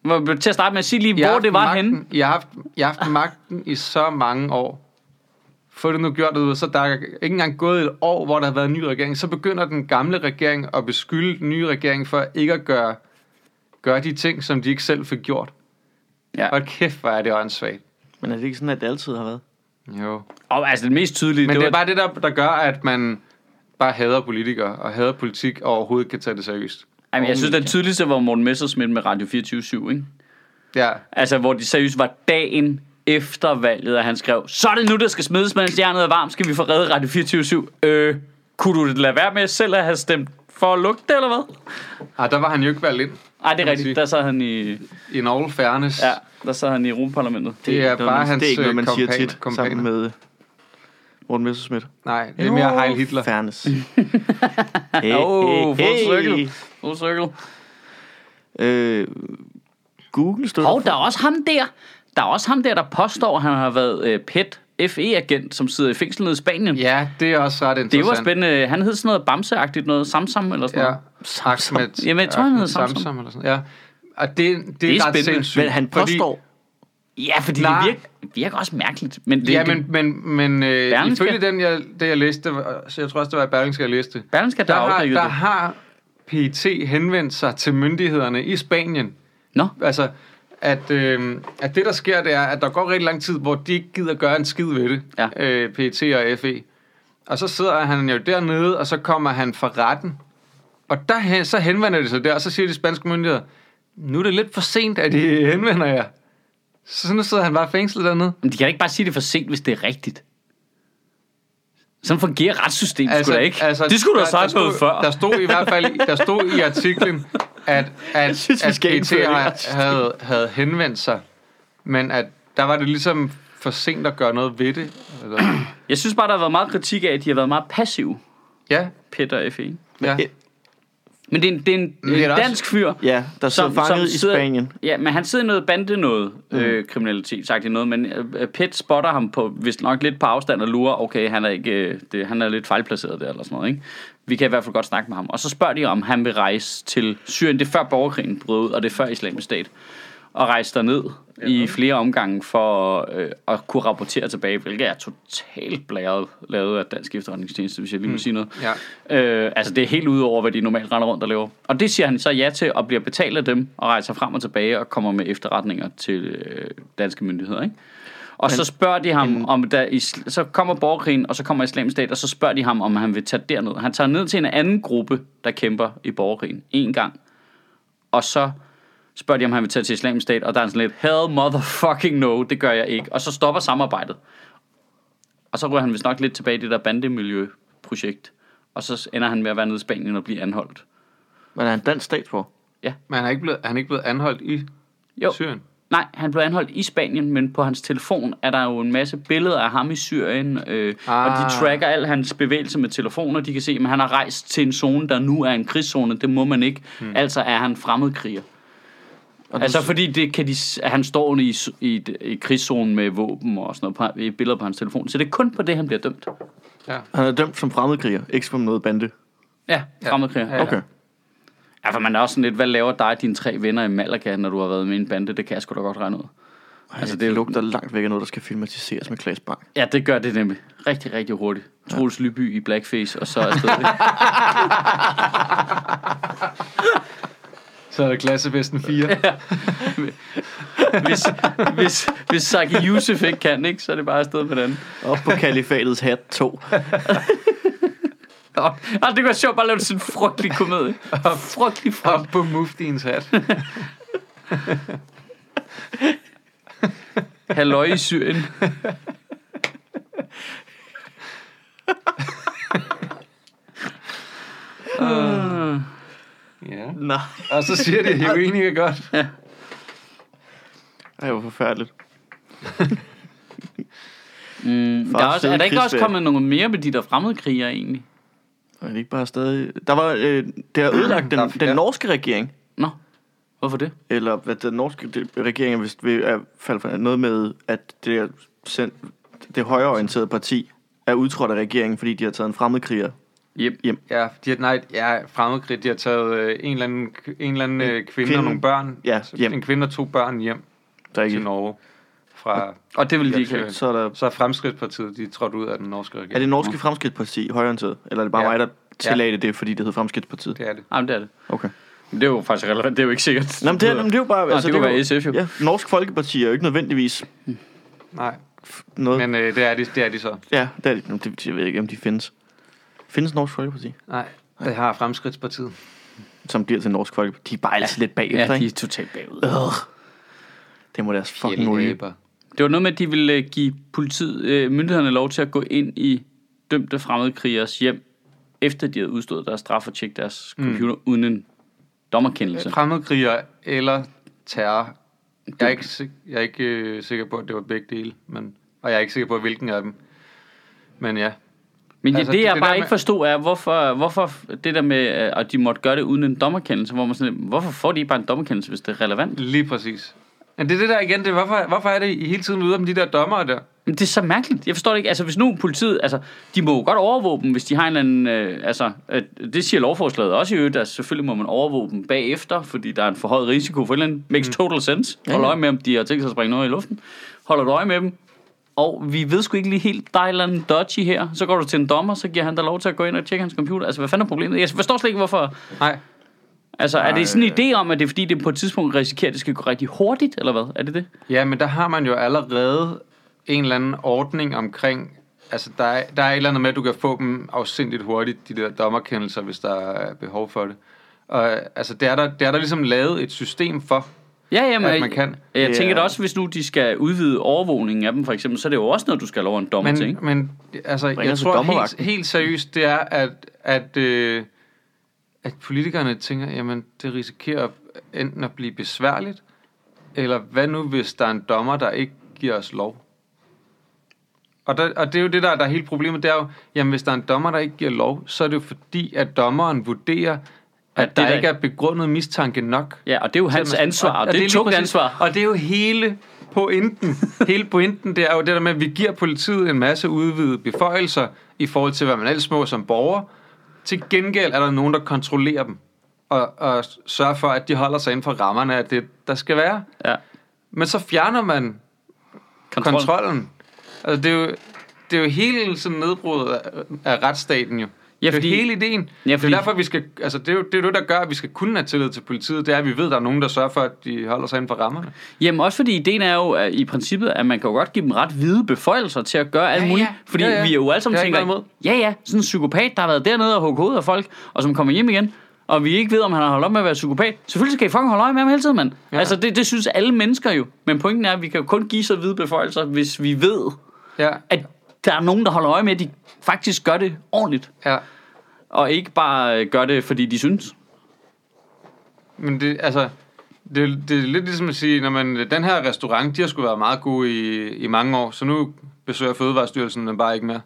Speaker 1: Hvor- Til at starte med at sige lige,
Speaker 3: I har
Speaker 1: hvor
Speaker 3: haft
Speaker 1: det var
Speaker 3: magten,
Speaker 1: henne.
Speaker 3: Jeg har, haft, jeg har haft magten i så mange år. Få det nu gjort, ud, så der er ikke engang gået et år, hvor der har været en ny regering. Så begynder den gamle regering at beskylde den nye regering for ikke at gøre, gøre de ting, som de ikke selv fik gjort.
Speaker 1: Ja.
Speaker 3: Hold kæft, hvor er det åndssvagt.
Speaker 2: Men er det ikke sådan, at det altid har været?
Speaker 3: Jo.
Speaker 1: Og altså, det mest tydelige,
Speaker 3: Men
Speaker 1: det,
Speaker 3: det,
Speaker 1: var,
Speaker 3: er bare det, der, der gør, at man bare hader politikere, og hader politik, og overhovedet ikke kan tage det seriøst.
Speaker 1: Jamen, jeg synes, den tydeligste var Morten Messersmith med Radio 24 ikke?
Speaker 3: Ja.
Speaker 1: Altså, hvor de seriøst var dagen efter valget, at han skrev, så er det nu, der skal smides, mens jernet er varmt, skal vi få reddet Radio 24 øh, kunne du lade være med selv at have stemt for at lukke det, eller hvad?
Speaker 3: Ah, der var han jo ikke valgt ind,
Speaker 1: Nej, det
Speaker 3: man
Speaker 1: er rigtigt.
Speaker 3: sige.
Speaker 1: Der sad han i,
Speaker 3: in all fairness.
Speaker 1: ja, der sad han i Europaparlamentet.
Speaker 3: Det er bare
Speaker 2: man,
Speaker 3: hans
Speaker 2: det er ikke noget,
Speaker 3: øh,
Speaker 2: man siger
Speaker 3: kompan-
Speaker 2: tit
Speaker 3: kompaner.
Speaker 2: sammen med øh, Morten Messerschmidt.
Speaker 3: Nej, det er mere Heil Hitler.
Speaker 2: Fairness. hey,
Speaker 1: Åh, full circle. Full circle.
Speaker 2: Øh, Google støtter...
Speaker 1: Og der er også ham der, der er også ham der, der påstår, at han har været øh, PET, FE-agent, som sidder i fængsel nede i Spanien.
Speaker 3: Ja, det er også ret interessant.
Speaker 1: Det var spændende. Han hed sådan noget bamseagtigt noget, Samsam eller sådan
Speaker 3: Ja.
Speaker 1: noget.
Speaker 3: Ahmed,
Speaker 1: Jamen, jeg tror, han hedder
Speaker 3: Ahmed
Speaker 1: Samsam.
Speaker 3: Samsam eller sådan. Ja. Og det, det, det
Speaker 1: er
Speaker 3: er, ret
Speaker 1: spændende.
Speaker 3: sindssygt.
Speaker 2: Men han påstår,
Speaker 1: Ja, fordi Nej.
Speaker 3: Nej.
Speaker 1: det virker, virker også mærkeligt. Men det,
Speaker 3: Ja,
Speaker 1: ja,
Speaker 3: men, men, men øh,
Speaker 1: Berlingske?
Speaker 3: ifølge den, jeg, det, jeg læste, det var- så jeg tror også, det var i Berlingske, jeg læste,
Speaker 1: Berlingske, der
Speaker 3: der, har,
Speaker 1: afdækkede
Speaker 3: der
Speaker 1: det.
Speaker 3: har PET henvendt sig til myndighederne i Spanien.
Speaker 1: Nå,
Speaker 3: Altså, at, øh, at det, der sker, det er, at der går rigtig lang tid, hvor de ikke gider gøre en skid ved det,
Speaker 1: Ja.
Speaker 3: øh, PET og FE. Og så sidder han jo dernede, og så kommer han fra retten. Og der, hen- så henvender det sig der, og så siger de spanske myndigheder, nu er det lidt for sent, at I henvender jer. Så nu sidder han bare fængslet dernede.
Speaker 1: men de kan da ikke bare sige det er for sent, hvis det er rigtigt. Sådan fungerer retssystemet altså,
Speaker 3: altså,
Speaker 1: sgu da ikke. Altså,
Speaker 3: Altså,
Speaker 1: det skulle du
Speaker 3: der-
Speaker 1: have sagt
Speaker 3: der
Speaker 1: noget
Speaker 3: stod-
Speaker 1: før.
Speaker 3: Der stod i hvert fald der stod i artiklen, at, at,
Speaker 2: synes, vi
Speaker 3: at
Speaker 2: skal
Speaker 3: PET
Speaker 2: indføre det
Speaker 3: havde,
Speaker 2: retssystem.
Speaker 3: havde, havde henvendt sig, men at der var det ligesom for sent at gøre noget ved det. Eller,
Speaker 1: Jeg synes bare, der har været meget kritik af, at de har været meget passive,
Speaker 3: ja,
Speaker 1: Peter og F.E.
Speaker 3: ja.
Speaker 2: Ja.
Speaker 1: Men det er en, det er en,
Speaker 3: Men det er
Speaker 1: en
Speaker 3: da også-
Speaker 1: dansk fyr,
Speaker 2: Ja, der sidder fanget i Spanien.
Speaker 1: Ja, men han sidder i noget bande noget, mm. øh, kriminalitet, sagt i noget, men øh, Pitt spotter ham på, hvis nok lidt på afstand og lurer, okay, han er, ikke, øh, det, han er lidt fejlplaceret der, eller sådan noget, ikke? Vi kan i hvert fald godt snakke med ham. Og så spørger de, om han vil rejse til Syrien. Det er før borgerkrigen brød ud, og det er før islamisk stat. Og rejse derned ja. i flere omgange for øh, at kunne rapportere tilbage, hvilket er totalt blæret lavet af Dansk Efterretningstjeneste, hvis jeg lige må mm. sige noget.
Speaker 3: Ja.
Speaker 1: Øh, altså det er helt ud over, hvad de normalt render rundt og laver. Og det siger han så ja til, og bliver betalt af dem, og rejser frem og tilbage, og kommer med efterretninger til øh, danske myndigheder, ikke? Og så spørger de ham, om der isl- så kommer borgerkrigen, og så kommer islamisk stat, og så spørger de ham, om han vil tage derned. Han tager ned til en anden gruppe, der kæmper i borgerkrigen, en gang. Og så spørger de, om han vil tage til islamisk stat, og der er han sådan lidt, hell motherfucking no, det gør jeg ikke. Og så stopper samarbejdet. Og så ryger han vist nok lidt tilbage i det der bandemiljøprojekt. Og så ender han med at være nede i Spanien og blive anholdt.
Speaker 2: Men er han dansk statsborger?
Speaker 3: Men han er ikke blevet, han er ikke blevet anholdt i
Speaker 1: Jo.
Speaker 3: Syrien.
Speaker 1: Nej, han blev anholdt i Spanien, men på hans telefon er der jo en masse billeder af ham i Syrien, øh, ah.
Speaker 3: Ah.
Speaker 1: og de tracker al hans bevægelser med telefoner. De kan se, at han har rejst til en zone, der nu er en krigszone. Det må man ikke. Hmm. Altså er han fremmedkriger.
Speaker 2: Og
Speaker 1: Altså
Speaker 2: du,
Speaker 1: fordi det kan de, s- at han står i, s- i, et- i krigszonen med våben og sådan noget på, i billeder på hans telefon. Så det er kun på det, han bliver dømt.
Speaker 3: Ja.
Speaker 2: han er dømt som fremmedkriger, ikke som noget bande.
Speaker 1: Ja, fremmedkriger.
Speaker 3: Ja. Altså,
Speaker 2: Okay.
Speaker 1: Ja, for man er også sådan lidt, hvad laver dig og dine tre venner i Malaga, når du har været med i en bande? Det kan jeg sgu da godt regne ud.
Speaker 2: Altså, det, lugter langt væk af noget, der skal filmatiseres med Klaas Bang.
Speaker 1: Ja, det gør det nemlig. Rigtig, rigtig hurtigt. Troels Lyby i blackface, og så afsted.
Speaker 3: Så er det klassevesten 4.
Speaker 1: hvis, hvis, hvis Saki Yusuf ikke kan, ikke, så er det bare afsted med den. anden.
Speaker 2: Op på kalifatets hat 2.
Speaker 1: Nå, altså, det kunne være sjovt bare at lave sådan en frygtelig komedie. Frygtelig,
Speaker 3: Op
Speaker 1: frygtelig.
Speaker 3: på muftiens hat.
Speaker 1: Halløj i Syrien. uh,
Speaker 3: Ja.
Speaker 2: Nej.
Speaker 3: Og så siger de, at heroin ikke er godt.
Speaker 2: Ej, hvor forfærdeligt.
Speaker 1: mm, der er, også, er der ikke også kommet nogen mere med de der fremmedkrigere egentlig?
Speaker 2: Og er det ikke bare stadig... Der var... Øh, det har ødelagt den,
Speaker 3: Der- ja.
Speaker 2: den norske regering.
Speaker 1: Nå, hvorfor det?
Speaker 2: Eller hvad den norske det- regering er vist ved at falde for noget med, at det, er sendt, det højreorienterede parti er udtrådt af regeringen, fordi de har taget en fremmedkriger.
Speaker 1: Yep.
Speaker 3: Ja, de har, nej, ja, fremmedkrig, de har taget øh, en eller anden, en eller anden øh, kvinde,
Speaker 2: kvinde.
Speaker 3: og nogle børn.
Speaker 2: Ja,
Speaker 3: Så
Speaker 2: hjem.
Speaker 3: En kvinde og to børn hjem
Speaker 2: Der er
Speaker 3: til
Speaker 2: ikke,
Speaker 3: Norge. Fra,
Speaker 1: Og det vil de ikke
Speaker 3: Ja,
Speaker 1: have.
Speaker 2: så er der
Speaker 3: så er Fremskridtspartiet, de er trådt ud af den norske regering.
Speaker 2: Er det norske fremskridtsparti højreorienteret? Eller er det bare
Speaker 3: Ja.
Speaker 2: ja. mig, der tillagde ja. det, fordi det hed Fremskridtspartiet?
Speaker 3: Det er det.
Speaker 1: Jamen, det er det.
Speaker 2: Okay.
Speaker 1: Men det er jo faktisk relevant. Det er jo ikke sikkert.
Speaker 2: Nå, men det, er- nå, men det er jo bare...
Speaker 1: Nå, det kunne
Speaker 2: er
Speaker 1: være SF jo.
Speaker 2: Ja, Norsk Folkeparti er jo ikke nødvendigvis
Speaker 3: Nej,
Speaker 2: noget... Men,
Speaker 3: men øh, det, er de, det er de så.
Speaker 2: ja, det er, nå, det, jeg ved ikke, om de findes. Findes Norsk Folkeparti,
Speaker 3: Nej, det har Fremskridtspartiet.
Speaker 2: som bliver til Norsk Folkeparti? De er bare altid lidt bagefter,
Speaker 1: Ja, de er
Speaker 2: ikke?
Speaker 1: totalt bagud.
Speaker 2: Ugh. Det må deres fucking olie.
Speaker 3: Fjellæber.
Speaker 1: Det var noget med, at de ville øh, give politiet, øh, myndighederne lov til at gå ind i dømte fremmedkrigers hjem, efter de havde udstået deres straf og tjekket deres computer uden en dommerkendelse.
Speaker 3: Øh, Fremmedkriger eller terror. Jeg er ikke, sik- jeg er ikke øh, sikker på, at det var begge dele, men, og jeg er ikke sikker på, hvilken af dem. Men ja,
Speaker 1: Men altså,
Speaker 3: Altså,
Speaker 1: det,
Speaker 3: det-
Speaker 1: jeg
Speaker 3: det
Speaker 1: bare
Speaker 3: der
Speaker 1: ikke
Speaker 3: med-
Speaker 1: forstod, er, hvorfor, hvorfor det der med, øh, at de måtte gøre det uden en dommerkendelse, hvor man sådan, lidt, hvorfor får de ikke bare en dommerkendelse, hvis det er relevant?
Speaker 3: lige præcis. Men det er det der igen, det er, hvorfor, hvorfor er det, I hele tiden ude om de der dommere der?
Speaker 1: Men det er så mærkeligt. Jeg forstår det ikke. Altså, hvis nu politiet... Altså, de må jo godt overvåge dem, hvis de har en eller anden... Øh, altså, øh, det siger lovforslaget også i øvrigt, at selvfølgelig må man overvåge dem bagefter, fordi der er en forhøjet risiko for et eller andet. Makes total sense. Hold øje med, om de har tænkt sig at springe noget i luften. Holder du øje med dem. Og vi ved sgu ikke lige helt, der er et eller andet dodgy her. Så går du til en dommer, så giver han dig lov til at gå ind og tjekke hans computer. Altså, hvad fanden er problemet? Jeg forstår slet ikke, hvorfor...
Speaker 3: Nej.
Speaker 1: Altså, er det sådan en idé om, at det er fordi, det på et tidspunkt risikerer, at det skal gå rigtig hurtigt, eller hvad? Er det det?
Speaker 3: Ja, men der har man jo allerede en eller anden ordning omkring... Altså, der er, der er et eller andet med, at du kan få dem afsindigt hurtigt, de der dommerkendelser, hvis der er behov for det. Og altså, det er der, det er der ligesom lavet et system for.
Speaker 1: Ja, jamen,
Speaker 3: At man kan.
Speaker 1: Jeg, jeg
Speaker 2: Det
Speaker 1: tænker
Speaker 2: er-
Speaker 1: da også, hvis nu de skal udvide overvågningen af dem, for eksempel, så er det jo også noget, du skal have lov af en dommer til,
Speaker 3: Men,
Speaker 1: ikke?
Speaker 3: men altså, jeg
Speaker 2: os til
Speaker 3: tror helt,
Speaker 2: dommervagten.
Speaker 3: helt seriøst, det er, at, at, øh, at politikerne tænker, jamen, det risikerer enten at blive besværligt, eller hvad nu, hvis der er en dommer, der ikke giver os lov? Og, der, og det er jo det, der, der er hele problemet, det er jo, jamen, hvis der er en dommer, der ikke giver lov, så er det jo fordi, at dommeren vurderer, at,
Speaker 1: det
Speaker 3: at der
Speaker 1: der-
Speaker 3: ikke er begrundet mistanke nok.
Speaker 1: Ja, og det er jo hans ansvar, og, det er et
Speaker 3: lige
Speaker 1: tungt
Speaker 3: præcis-
Speaker 1: ansvar.
Speaker 3: Og det er jo hele pointen. hele pointen, det er jo det der med, at vi giver politiet en masse udvidede beføjelser i forhold til, hvad man ellers må som borger. Til gengæld er der nogen, der kontrollerer dem og, og sørger for, at de holder sig inden for rammerne af det, der skal være.
Speaker 1: Ja.
Speaker 3: Men så fjerner man
Speaker 1: Kontrol. Kontrol.
Speaker 3: kontrollen. Altså, det er jo, det er jo hele sådan nedbruddet af, af retsstaten jo.
Speaker 1: Ja,
Speaker 3: Ja, fordi,
Speaker 1: fordi-
Speaker 3: det er jo hele ideen.
Speaker 1: Ja,
Speaker 3: Ja, fordi,
Speaker 1: fordi-
Speaker 3: det er derfor, vi skal, altså, det er jo det, er jo det, der gør, at vi skal kunne have tillid til politiet. Det er, at vi ved, at der er nogen, der sørger for, at de holder sig inden for rammerne.
Speaker 1: Jamen også fordi ideen er jo at i princippet, at man kan jo godt give dem ret hvide beføjelser til at gøre alt
Speaker 3: Ja,
Speaker 1: muligt.
Speaker 3: ja.
Speaker 1: Fordi
Speaker 3: Ja, ja.
Speaker 1: vi er jo alle sammen
Speaker 3: Det er ikke
Speaker 1: tænker,
Speaker 3: noget
Speaker 1: ja ja, sådan en psykopat, der har været dernede og hugget hovedet af folk, og som kommer hjem igen, og vi ikke ved, om han har holdt op med at være psykopat. Selvfølgelig skal I fucking holde øje med ham hele tiden, mand. Ja. Altså, det, det synes alle mennesker jo. Men pointen er, at vi kan jo kun give så hvide beføjelser, hvis vi ved,
Speaker 3: Ja,
Speaker 1: at der er nogen, der holder øje med, at de faktisk gør det ordentligt.
Speaker 3: ja.
Speaker 1: Og ikke bare øh, gør det, fordi de synes.
Speaker 3: Men det, altså, det, det er lidt ligesom at sige, når man, den her restaurant, de har sgu været meget gode i, i mange år, så nu besøger Fødevarestyrelsen den bare ikke mere.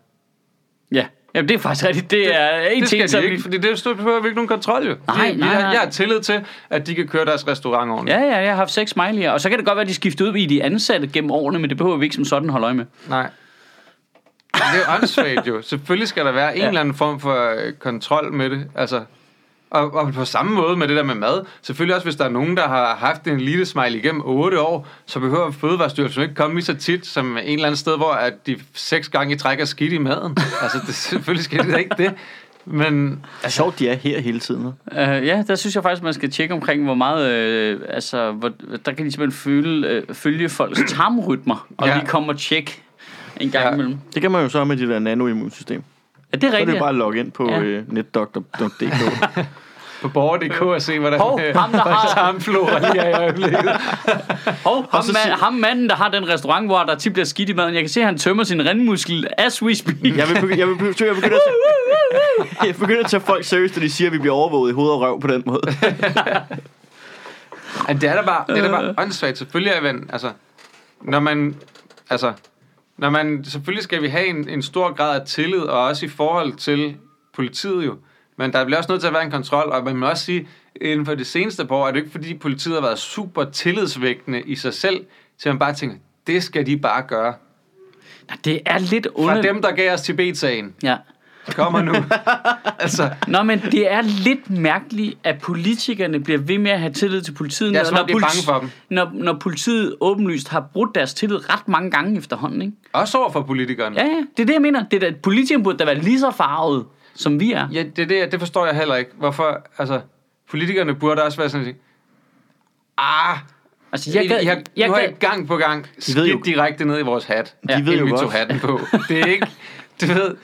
Speaker 1: Ja, Jamen, det er faktisk rigtigt. Det, er en
Speaker 3: Det
Speaker 1: ting,
Speaker 3: skal
Speaker 1: som
Speaker 3: de
Speaker 1: vi...
Speaker 3: ikke, fordi det stort behøver vi ikke nogen kontrol jo.
Speaker 1: Nej,
Speaker 3: Vi- vi
Speaker 1: nej,
Speaker 3: har-
Speaker 1: nej.
Speaker 3: Jeg har tillid til, at de kan køre deres restaurant ordentligt.
Speaker 1: Ja, ja, jeg har haft seks smiley'er. Og så kan det godt være, at de skifter ud i de ansatte gennem årene, men det behøver vi ikke som sådan holde øje med.
Speaker 3: Nej. Men Det er jo åndssvagt jo. Selvfølgelig skal der være en
Speaker 1: Ja.
Speaker 3: ja. eller anden form for øh, kontrol med det. Altså, og, og på samme måde med det der med mad. Selvfølgelig også, hvis der er nogen, der har haft en lille smile igennem 8 år, så behøver Fødevarestyrelsen ikke komme lige så tit som en eller anden sted, hvor at de seks gange i træk er skidt i maden. Altså, det, selvfølgelig skal det da ikke det. Men
Speaker 2: Altså, sjovt, de er her hele tiden.
Speaker 1: Uh, ja, der synes jeg faktisk, man skal tjekke omkring, hvor meget... Øh, altså, hvor, der kan de simpelthen følge, øh, følge folks tarmrytmer, og ja.
Speaker 3: Ja.
Speaker 1: lige komme og tjekke en gang ja.
Speaker 3: Ja.
Speaker 1: imellem.
Speaker 2: Det kan man jo så med det der nanoimmunsystem.
Speaker 1: Er det
Speaker 2: Så er det
Speaker 1: rigtigt?
Speaker 2: jo bare at logge ind på
Speaker 1: Ja.
Speaker 2: ja. øh, netdoktor.dk.
Speaker 3: på borger.dk og se, hvordan
Speaker 1: Hov, ham, der har-
Speaker 3: tarmflora lige er i øjeblikket.
Speaker 1: Hov, ham,
Speaker 2: så
Speaker 1: man,
Speaker 2: sig-
Speaker 1: ham manden, der har den restaurant, hvor der tit bliver skidt i maden, jeg kan se, at han tømmer sin rendmuskel as we
Speaker 3: Mm.
Speaker 1: speak.
Speaker 2: Jeg vil, begy- jeg vil, begy- jeg begynder at tage, jeg begynder at tage folk seriøst, når de siger, at vi bliver overvåget i hoved og røv på den måde.
Speaker 3: Ja, det er da bare, det er da bare åndssvagt. Selvfølgelig er man, altså, når man, altså, når man, selvfølgelig skal vi have en, en stor grad af tillid, og også i forhold til politiet jo. Men der bliver også nødt til at være en kontrol, og man må også sige, inden for det seneste par år, er det ikke fordi politiet har været super tillidsvægtende i sig selv, til man bare tænker, det skal de bare gøre.
Speaker 1: Det er lidt
Speaker 3: Fra
Speaker 1: underligt.
Speaker 3: dem, der gav os Tibet-sagen,
Speaker 1: Ja.
Speaker 3: kommer nu. altså,
Speaker 1: Nå, men det er lidt mærkeligt, at politikerne bliver ved med at have tillid til politiet,
Speaker 3: Ja, som om de er
Speaker 1: politi-
Speaker 3: bange for dem.
Speaker 1: Når, når politiet åbenlyst har brudt deres tillid ret mange gange efterhånden. Ikke?
Speaker 3: også over for politikerne.
Speaker 1: Ja, ja, det er det, jeg mener. Det er da, politikerne burde da være lige så farvet, som vi er.
Speaker 3: Ja, det, er det, det forstår jeg heller ikke. Hvorfor, altså, politikerne burde også være sådan, ah,
Speaker 1: Altså,
Speaker 3: jeg gad, I, I har, jeg nu har
Speaker 1: gad-
Speaker 3: I gang på gang
Speaker 2: ved
Speaker 3: skidt
Speaker 2: jo-
Speaker 3: direkte ned i vores hat.
Speaker 2: De ved
Speaker 3: inden
Speaker 2: jo
Speaker 3: vi
Speaker 2: godt.
Speaker 3: tog hatten på. Det er ikke, du ved,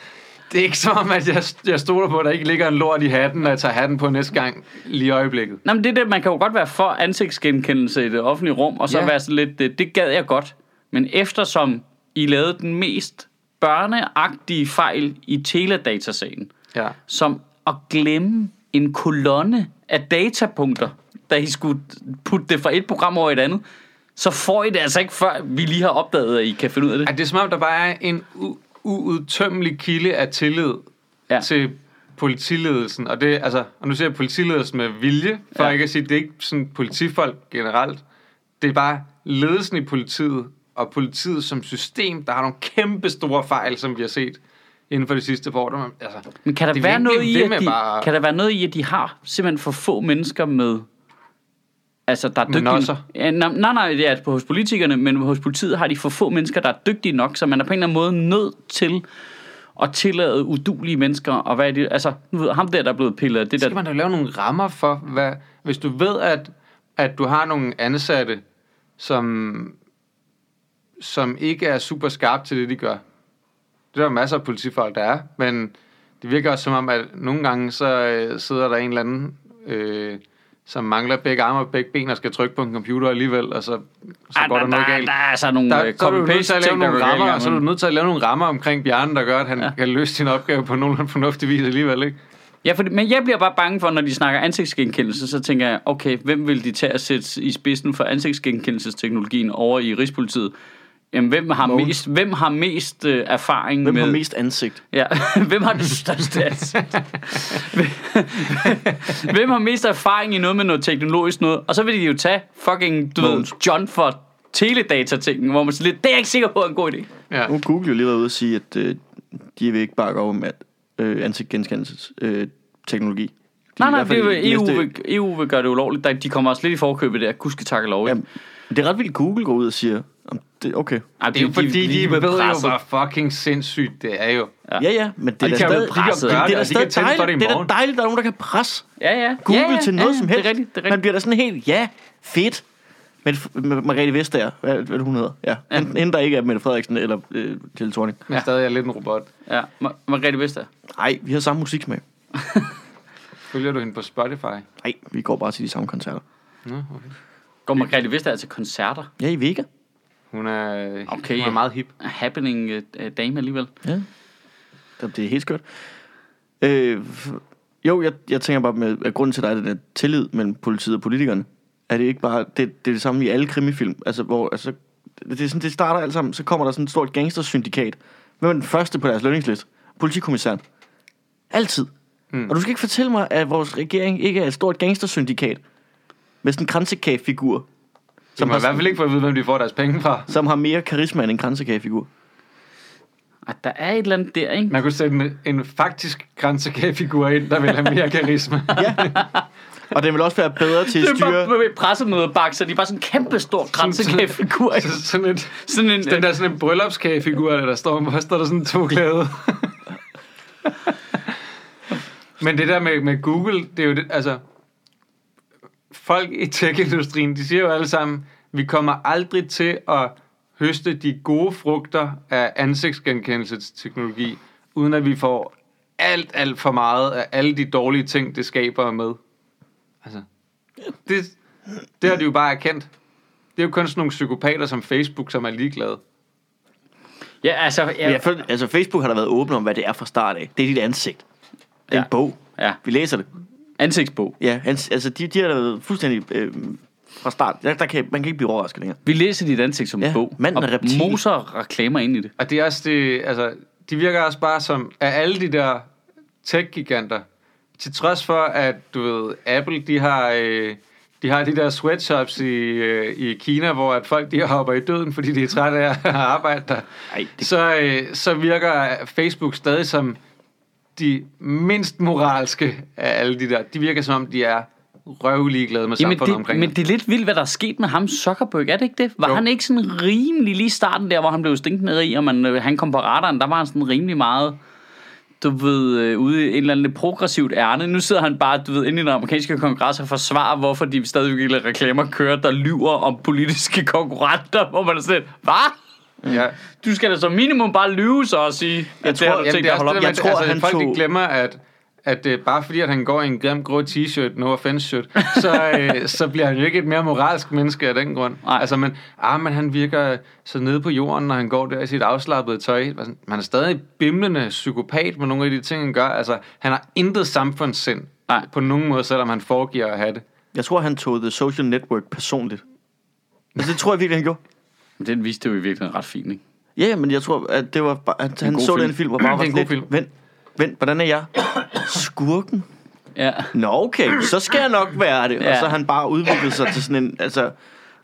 Speaker 3: det er ikke som om, at jeg, jeg stoler på, at der ikke ligger en lort i hatten, når jeg tager hatten på næste gang lige i øjeblikket.
Speaker 1: Nå, men det er det, man kan jo godt være for ansigtsgenkendelse i det offentlige rum, og så ja.
Speaker 3: Ja.
Speaker 1: være sådan lidt, det, det gad jeg godt. Men eftersom I lavede den mest børneagtige fejl i teledatasagen,
Speaker 3: Ja.
Speaker 1: som at glemme en kolonne af datapunkter, da I skulle putte det fra et program over i et andet, så får I det altså ikke, før vi lige har opdaget, at I kan finde ud af det.
Speaker 3: At det er som om, der bare er en u- uudtømmelig kilde af tillid
Speaker 1: Ja.
Speaker 3: ja. til politiledelsen. Og, det, altså, og nu siger jeg politiledelsen med vilje, for
Speaker 1: Ja.
Speaker 3: ja. ikke at sige, det er ikke sådan politifolk generelt. Det er bare ledelsen i politiet og politiet som system, der har nogle kæmpe store fejl, som vi har set inden for de sidste par år. Der, man- altså,
Speaker 1: Men kan der,
Speaker 3: det er
Speaker 1: være
Speaker 3: virkelig
Speaker 1: noget, i,
Speaker 3: ved
Speaker 1: at
Speaker 3: med
Speaker 1: de,
Speaker 3: bare-
Speaker 1: kan der være noget i, at de har simpelthen for få mennesker med... Altså, der er
Speaker 3: Med
Speaker 1: dygtige...
Speaker 3: nosser.
Speaker 1: Ja, nej, nej, nej, det er at hos politikerne, men hos politiet har de for få mennesker, der er dygtige nok, så man er på en eller anden måde nødt til at tillade udulige mennesker, og hvad er det, altså, nu ved, ham der, der er blevet pillet, af det
Speaker 3: skal
Speaker 1: der,
Speaker 3: man da lave nogle rammer for, hvad, hvis du ved, at, at du har nogle ansatte, som, som ikke er super skarpe til det, de gør. Det er der masser af politifolk, der er, men det virker også som om, at nogle gange så øh, sidder der en eller anden, øh, som mangler begge arme og begge ben og skal trykke på en computer alligevel, og så, så
Speaker 1: Ej,
Speaker 3: går der noget
Speaker 1: der,
Speaker 3: galt.
Speaker 1: der er altså nogle
Speaker 3: Der, så er du jo nødt til at lave
Speaker 1: ting, der går
Speaker 3: nogle
Speaker 1: galt
Speaker 3: rammer,
Speaker 1: engang
Speaker 3: så er du
Speaker 1: imellem.
Speaker 3: nødt til at lave nogle rammer omkring Bjarne, der gør, at han
Speaker 1: Ja.
Speaker 3: ja. kan løse sin opgave på nogenlunde fornuftig vis alligevel, ikke?
Speaker 1: Ja, for, men jeg bliver bare bange for, når de snakker ansigtsgenkendelse, så tænker jeg, okay, hvem vil de tage at sætte i spidsen for ansigtsgenkendelsesteknologien over i Rigspolitiet? Jamen, hvem har
Speaker 2: Mogens.
Speaker 1: mest, hvem har mest øh, erfaring
Speaker 2: Hvem
Speaker 1: med...
Speaker 2: har mest ansigt?
Speaker 1: Ja, hvem har det største ansigt? hvem har mest erfaring i noget med noget teknologisk noget? Og så vil de jo tage fucking, du ved,
Speaker 2: Mogens.
Speaker 1: John for teledata-tingen, hvor man så lidt, det er jeg ikke sikker på er en god idé.
Speaker 3: Ja.
Speaker 2: Nu har Google jo lige været ude og sige, at øh, de vil ikke bakke op om at øh, ansigtgenskendelse øh, teknologi. De
Speaker 1: Nej,
Speaker 2: i
Speaker 1: nej,
Speaker 2: hvert fald
Speaker 1: det E
Speaker 2: i
Speaker 1: vil, EU,
Speaker 2: næste-
Speaker 1: vil, EU vil gøre det ulovligt. Der- De kommer også lidt i forkøbet der. Gudske tak og lov. ikke?
Speaker 2: Jamen, det er ret vildt, Google går ud og siger, om det, okay.
Speaker 1: Ej,
Speaker 3: Det er jo fordi, de, de ved
Speaker 1: presset.
Speaker 3: jo, hvor fucking sindssygt det er jo.
Speaker 1: Ja.
Speaker 2: Ja, ja, ja men det er
Speaker 1: de kan
Speaker 2: da
Speaker 1: jo
Speaker 2: stadig,
Speaker 1: blive presset.
Speaker 2: det, det
Speaker 3: De
Speaker 2: er da
Speaker 3: kan
Speaker 2: stadig
Speaker 3: tænde for det i
Speaker 2: dejligt, det er da
Speaker 3: morgen.
Speaker 2: dejligt, der er nogen, der kan presse
Speaker 1: Ja, ja.
Speaker 2: Google
Speaker 1: ja, ja,
Speaker 2: til noget
Speaker 1: ja, ja.
Speaker 2: som helst.
Speaker 1: Det er rigtigt, det er
Speaker 2: Man
Speaker 1: rigtigt.
Speaker 2: bliver da sådan helt, ja, fedt. Men Margrethe Vestager, hvad, hvad er det, hun hedder. Ja. ja. Hende, hende, der ikke er Mette Frederiksen eller øh, Tille Thorning.
Speaker 3: Men ja. stadig er lidt en robot.
Speaker 1: Ja, Ma- Margrethe Vestager.
Speaker 2: Nej, vi har samme musiksmag.
Speaker 3: Følger du hende på Spotify?
Speaker 2: Nej, vi går bare til de samme koncerter.
Speaker 3: Nå, okay.
Speaker 1: Går Margrethe Vestager til koncerter?
Speaker 2: Ja, i Vega.
Speaker 3: Hun er,
Speaker 1: Okay.
Speaker 3: okay. hun er meget hip.
Speaker 1: A happening uh, dame alligevel.
Speaker 2: Ja. Det det er helt skørt. Øh, jo, jeg, jeg tænker bare med, at grunden til dig er den der tillid mellem politiet og politikerne. Er det ikke bare, det, det er det samme i alle krimifilm, altså hvor, altså, det, er sådan, det starter alt sammen, så kommer der sådan et stort gangstersyndikat. Hvem er den første på deres lønningsliste? Politikommissæren. Altid. Mm. Og du skal ikke fortælle mig, at vores regering ikke er et stort gangstersyndikat med sådan en kransekagefigur,
Speaker 3: Som
Speaker 2: som,
Speaker 3: man i hvert
Speaker 2: har,
Speaker 3: fald ikke får at vide, hvem de får deres penge fra.
Speaker 2: som har mere karisma end en kransekagefigur.
Speaker 1: Ej, der er et eller andet der, ikke?
Speaker 3: Man kunne sætte en, en faktisk grænsekagefigur ind, der vil have mere karisma.
Speaker 2: Og den vil også være bedre til
Speaker 1: Det
Speaker 2: at
Speaker 1: er
Speaker 2: styre...
Speaker 1: bare med pressemøde bak, så de er bare sådan en kæmpe stor kransekagefigur. ikke?
Speaker 3: Så Altså sådan et,
Speaker 1: Sådan en, øh,
Speaker 3: den der sådan en bryllupskagefigur, der, der står, hvor står der sådan to klæde. Men det der med, med Google, det er jo det, altså... Folk i tech-industrien, de siger jo alle sammen, vi kommer aldrig til at høste de gode frugter af ansigtsgenkendelsesteknologi, uden at vi får alt, alt for meget af alle de dårlige ting, det skaber med. Altså, det, det har de jo bare erkendt. Det er jo kun sådan nogle psykopater som Facebook, som er ligeglade.
Speaker 1: Ja, altså... Ja,
Speaker 2: Men jeg føler, altså Facebook har da været åben om, hvad det er fra start af. Det er dit ansigt. Det er
Speaker 1: Ja.
Speaker 2: en bog.
Speaker 1: ja.
Speaker 2: Vi læser det.
Speaker 1: ansigtsbog.
Speaker 2: Ja, ans- altså de, de har da været fuldstændig øh, fra start. Der, der kan, man kan ikke blive overrasket længere.
Speaker 1: Vi læser dit ansigt som en
Speaker 2: Ja,
Speaker 1: bog.
Speaker 2: manden
Speaker 1: og
Speaker 2: er reptil.
Speaker 1: moser reklamer ind i det.
Speaker 3: Og det er også det, altså, de virker også bare som, af alle de der tech-giganter, til trods for, at du ved, Apple, de har, øh, de har de der sweatshops i, øh, i Kina, hvor at folk de hopper i døden, fordi de er trætte af at arbejde der.
Speaker 2: Ej, det-
Speaker 3: Så, øh, så virker Facebook stadig som de mindst moralske af alle de der. De virker som om, de er røvelig glade med
Speaker 1: Jamen
Speaker 3: samfundet
Speaker 1: det,
Speaker 3: omkring.
Speaker 1: men det er lidt vildt, hvad der er sket med ham Zuckerberg, er det ikke det? Var jo.
Speaker 3: Jo.
Speaker 1: han ikke sådan rimelig lige i starten der, hvor han blev stinkende rig, og man, øh, han kom på radaren, der var han sådan rimelig meget, du ved, øh, ude i et eller andet lidt progressivt ærne. Nu sidder han bare, du ved, inde i den amerikanske kongres og forsvarer, hvorfor de stadigvæk lader reklamer køre, der lyver om politiske konkurrenter, hvor man er sådan, hvad?
Speaker 3: ja.
Speaker 1: Du skal da som minimum bare lyve så og sige, at det
Speaker 2: tror-
Speaker 1: har du
Speaker 2: jamen,
Speaker 1: tænkt
Speaker 3: det
Speaker 1: dig at
Speaker 3: er også
Speaker 1: holde op.
Speaker 3: det,
Speaker 2: Jeg
Speaker 3: jeg tror,
Speaker 2: tror,
Speaker 3: altså,
Speaker 2: han
Speaker 3: han folk
Speaker 2: tog-
Speaker 3: ikke glemmer, at, at det er bare fordi, at han går i en grim grå t-shirt, no offense shirt, så, øh, så bliver han jo ikke et mere moralsk menneske af den grund.
Speaker 1: Nej.
Speaker 3: Altså, men, ah, men han virker så nede på jorden, når han går der i sit afslappede tøj. Bare sådan, Man er stadig bimlende psykopat med nogle af de ting, han gør. Altså, han har intet samfundssind
Speaker 1: Nej.
Speaker 3: på nogen måde, selvom han foregiver at have det.
Speaker 2: Jeg tror, han tog The Social Network personligt. Altså, det tror jeg virkelig, han gjorde.
Speaker 1: Men Den viste det jo i virkeligheden ret fint, ikke?
Speaker 2: Ja, ja, men jeg tror, at det var bare, at han
Speaker 1: god
Speaker 2: så
Speaker 1: film.
Speaker 2: den film og bare
Speaker 3: Det
Speaker 2: var
Speaker 3: er en
Speaker 2: sådan
Speaker 3: god film.
Speaker 2: lidt, vent, vent, hvordan er jeg? Skurken?
Speaker 1: Ja.
Speaker 2: Nå, okay, så skal jeg nok være det. Ja.
Speaker 1: Ja.
Speaker 2: Og så har han bare udviklet sig til sådan en, altså,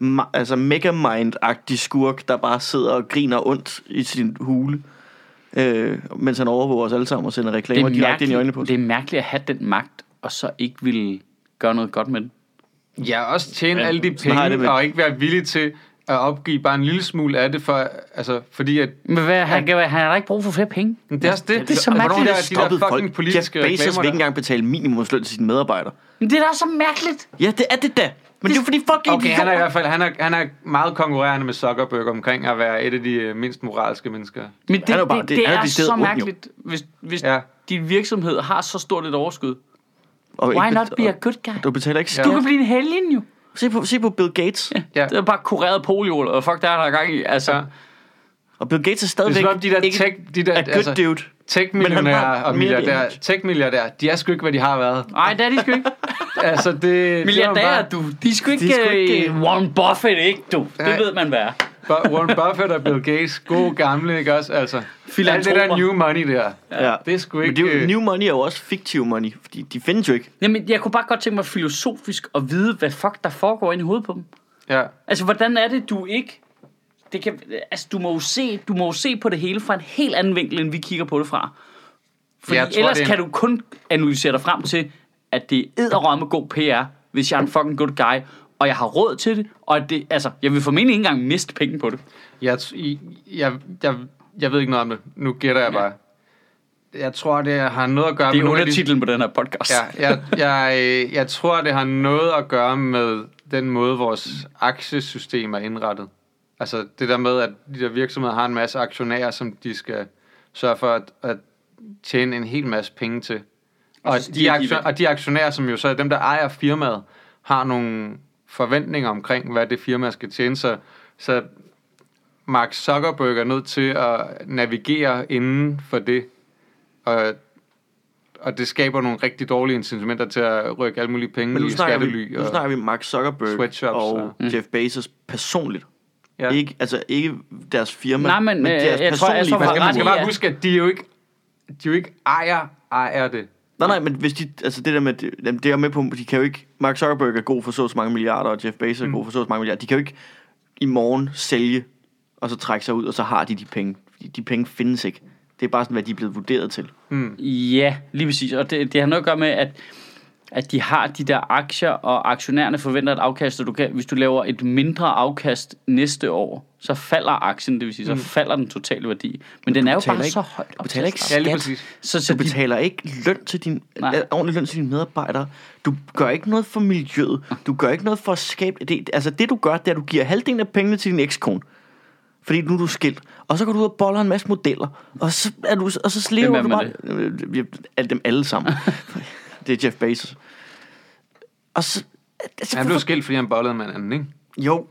Speaker 2: ma- altså megamind-agtig skurk, der bare sidder og griner ondt i sin hule. Øh, mens han overvåger os alle sammen og sender
Speaker 1: Det
Speaker 2: reklamer
Speaker 1: er,
Speaker 2: direkte ind i øjnene
Speaker 1: mærkeligt,
Speaker 2: på os.
Speaker 1: det er mærkeligt at have den magt, og så ikke ville gøre noget godt med den.
Speaker 3: Ja, også tjene
Speaker 1: Ja,
Speaker 3: ja, alle de
Speaker 2: sådan har jeg det
Speaker 3: penge,
Speaker 2: med-
Speaker 3: og ikke være villig til at opgive bare en lille smule af det, for, altså, fordi at...
Speaker 1: Men hvad, han, han har da ikke brug for flere penge.
Speaker 3: Men det er også det.
Speaker 1: Det er så
Speaker 3: Hvornår
Speaker 1: mærkeligt,
Speaker 3: de der,
Speaker 1: at
Speaker 3: de der
Speaker 2: Stoppet
Speaker 3: fucking
Speaker 2: folk. Jeff
Speaker 3: politiske
Speaker 2: Bezos vil ikke
Speaker 3: reklamer.
Speaker 2: engang betale minimumsløn til sine medarbejdere.
Speaker 1: Men det er da så mærkeligt.
Speaker 2: Ja, det er det da. Men det er jo fordi fucking
Speaker 3: Okay, han er i
Speaker 2: idioter.
Speaker 3: hvert fald han er, han er meget konkurrerende med Zuckerberg omkring at være et af de øh, mindst moralske mennesker.
Speaker 1: Men det,
Speaker 2: Han er
Speaker 1: er,
Speaker 2: jo bare-
Speaker 1: det, det,
Speaker 2: det-
Speaker 1: det
Speaker 2: han er
Speaker 1: er,
Speaker 2: jo decideret
Speaker 1: så
Speaker 2: ond, jo.
Speaker 1: mærkeligt, hvis, hvis
Speaker 3: Ja.
Speaker 1: ja. din virksomhed har så stort et overskud.
Speaker 2: Og ikke
Speaker 1: Why not
Speaker 2: bet-
Speaker 1: be a
Speaker 2: og-
Speaker 1: good guy?
Speaker 2: Du betaler ikke skat.
Speaker 1: Du kan blive en helgen jo.
Speaker 2: Se på, se på Bill Gates.
Speaker 3: Ja.
Speaker 1: Det er bare kureret polio, og fuck, der er der gang i. Altså,
Speaker 3: Ja.
Speaker 2: Og Bill Gates er
Speaker 3: Det er
Speaker 2: stadigvæk
Speaker 3: som om de der
Speaker 2: ikke
Speaker 3: tech, de der,
Speaker 2: a good
Speaker 3: altså,
Speaker 2: dude. Men han
Speaker 3: tech-millionærer
Speaker 2: har
Speaker 3: og
Speaker 2: mere
Speaker 3: milliardærer,
Speaker 2: image.
Speaker 3: tech-milliardærer, de er sgu ikke, hvad de har været.
Speaker 1: nej, det er de sgu ikke.
Speaker 3: Altså, det,
Speaker 1: Milliardærer,
Speaker 3: det
Speaker 1: du. De er sgu ikke,
Speaker 2: De er sgu ikke,
Speaker 1: ikke Warren Buffett, ikke du? Det
Speaker 3: Nej.
Speaker 1: ved man hvad er.
Speaker 3: var bare Bu- Warren Buffett og Bill Gates, gode gamle, ikke også? Altså, alt det
Speaker 1: Filantroper.
Speaker 3: der new money der.
Speaker 2: Ja.
Speaker 3: Det er sgu
Speaker 2: Men det
Speaker 3: ikke,
Speaker 2: er jo,
Speaker 3: øh,
Speaker 2: new money er jo også fiktiv money, fordi de findes jo ikke.
Speaker 1: Jamen, jeg kunne bare godt tænke mig filosofisk at vide, hvad fuck der foregår inde i hovedet på dem.
Speaker 3: Ja.
Speaker 1: Altså, hvordan er det, du ikke... Det kan, altså, du må, jo se, du må jo se på det hele fra en helt anden vinkel, end vi kigger på det fra. Fordi
Speaker 3: Jeg
Speaker 1: tror,
Speaker 3: tror,
Speaker 1: ellers
Speaker 3: det er en-
Speaker 1: kan du kun analysere dig frem til, at det er med god PR, hvis jeg er en fucking good guy, og jeg har råd til det, og at det, altså, jeg vil formentlig ikke engang miste penge på det.
Speaker 3: Jeg, t- i- jeg, jeg, jeg ved ikke noget om det. Nu gætter jeg bare. Jeg tror, det har noget at gøre
Speaker 1: Det er
Speaker 3: nogle af de-
Speaker 1: undertitlen på den her podcast.
Speaker 3: Ja, jeg, jeg, øh, jeg tror, det har noget at gøre med den måde, vores aktiesystem er indrettet. Altså det der med, at de der virksomheder har en masse aktionærer, som de skal sørge for at, at tjene en hel masse penge til. Og,
Speaker 1: så
Speaker 3: de,
Speaker 1: stiger de
Speaker 3: aktion,
Speaker 1: væk.
Speaker 3: og de aktionærer, som jo så er dem, der ejer firmaet, har nogle forventninger omkring, hvad det firma skal tjene. Så, så Mark Zuckerberg er nødt til at navigere inden for det. Og, og det skaber nogle rigtig dårlige incitamenter til at rykke alle mulige penge
Speaker 2: Men nu
Speaker 3: i
Speaker 2: snakker, vi,
Speaker 3: skattely.
Speaker 2: nu snakker vi Mark Zuckerberg
Speaker 3: sweatshops
Speaker 2: og
Speaker 3: og-
Speaker 2: Jeff
Speaker 1: Mm.
Speaker 2: Bezos personligt.
Speaker 3: ja.
Speaker 2: Ikke, altså ikke deres firma,
Speaker 1: Nej, men, øh,
Speaker 2: deres
Speaker 1: jeg tror, jeg
Speaker 2: personlige
Speaker 1: står for
Speaker 3: Man skal, man
Speaker 1: ret
Speaker 3: skal
Speaker 1: i,
Speaker 3: bare
Speaker 1: at-
Speaker 3: huske, at de jo ikke, de jo ikke ejer, ejer det.
Speaker 2: Nej, nej, men hvis de, altså det der med, det, jamen, det er jeg med på, de kan jo ikke, Mark Zuckerberg er god for så og så mange milliarder, og Jeff Bezos er
Speaker 3: Mm.
Speaker 2: god for så og så mange milliarder, de kan jo ikke i morgen sælge, og så trække sig ud, og så har de de penge. Fordi De penge findes ikke. Det er bare sådan, hvad de er blevet vurderet til.
Speaker 1: Ja, lige præcis. Og det, det har noget at gøre med, at, at de har de der aktier, og aktionærerne forventer et afkast, og du kan, hvis du laver et mindre afkast næste år, så falder aktien, det vil sige, så falder den totale værdi. Men den er jo
Speaker 2: Mm. betaler
Speaker 1: bare
Speaker 2: ikke-
Speaker 1: så højt. Du
Speaker 2: betaler ikke
Speaker 3: Ja,
Speaker 2: skat.
Speaker 3: lige præcis.
Speaker 1: Så, så
Speaker 2: Du
Speaker 1: de,
Speaker 2: betaler ikke løn til din,
Speaker 1: Nej.
Speaker 2: øh, ordentlig løn til dine medarbejdere. Du gør ikke noget for miljøet. Du gør ikke noget for at skabe... Det, altså det, du gør, det er, at du giver halvdelen af pengene til din ekskone. Fordi nu er du skilt. Og så går du ud og boller en masse modeller. Og så, er du, og så
Speaker 1: Hvem
Speaker 2: lever
Speaker 1: er
Speaker 2: du
Speaker 1: med
Speaker 2: bare... Øh, ja, Alle dem alle sammen. det er Jeff Bezos. Og så... Altså,
Speaker 3: Han blev
Speaker 2: hvorfor-
Speaker 3: skilt, fordi han bollede med en anden, ikke?
Speaker 2: jo,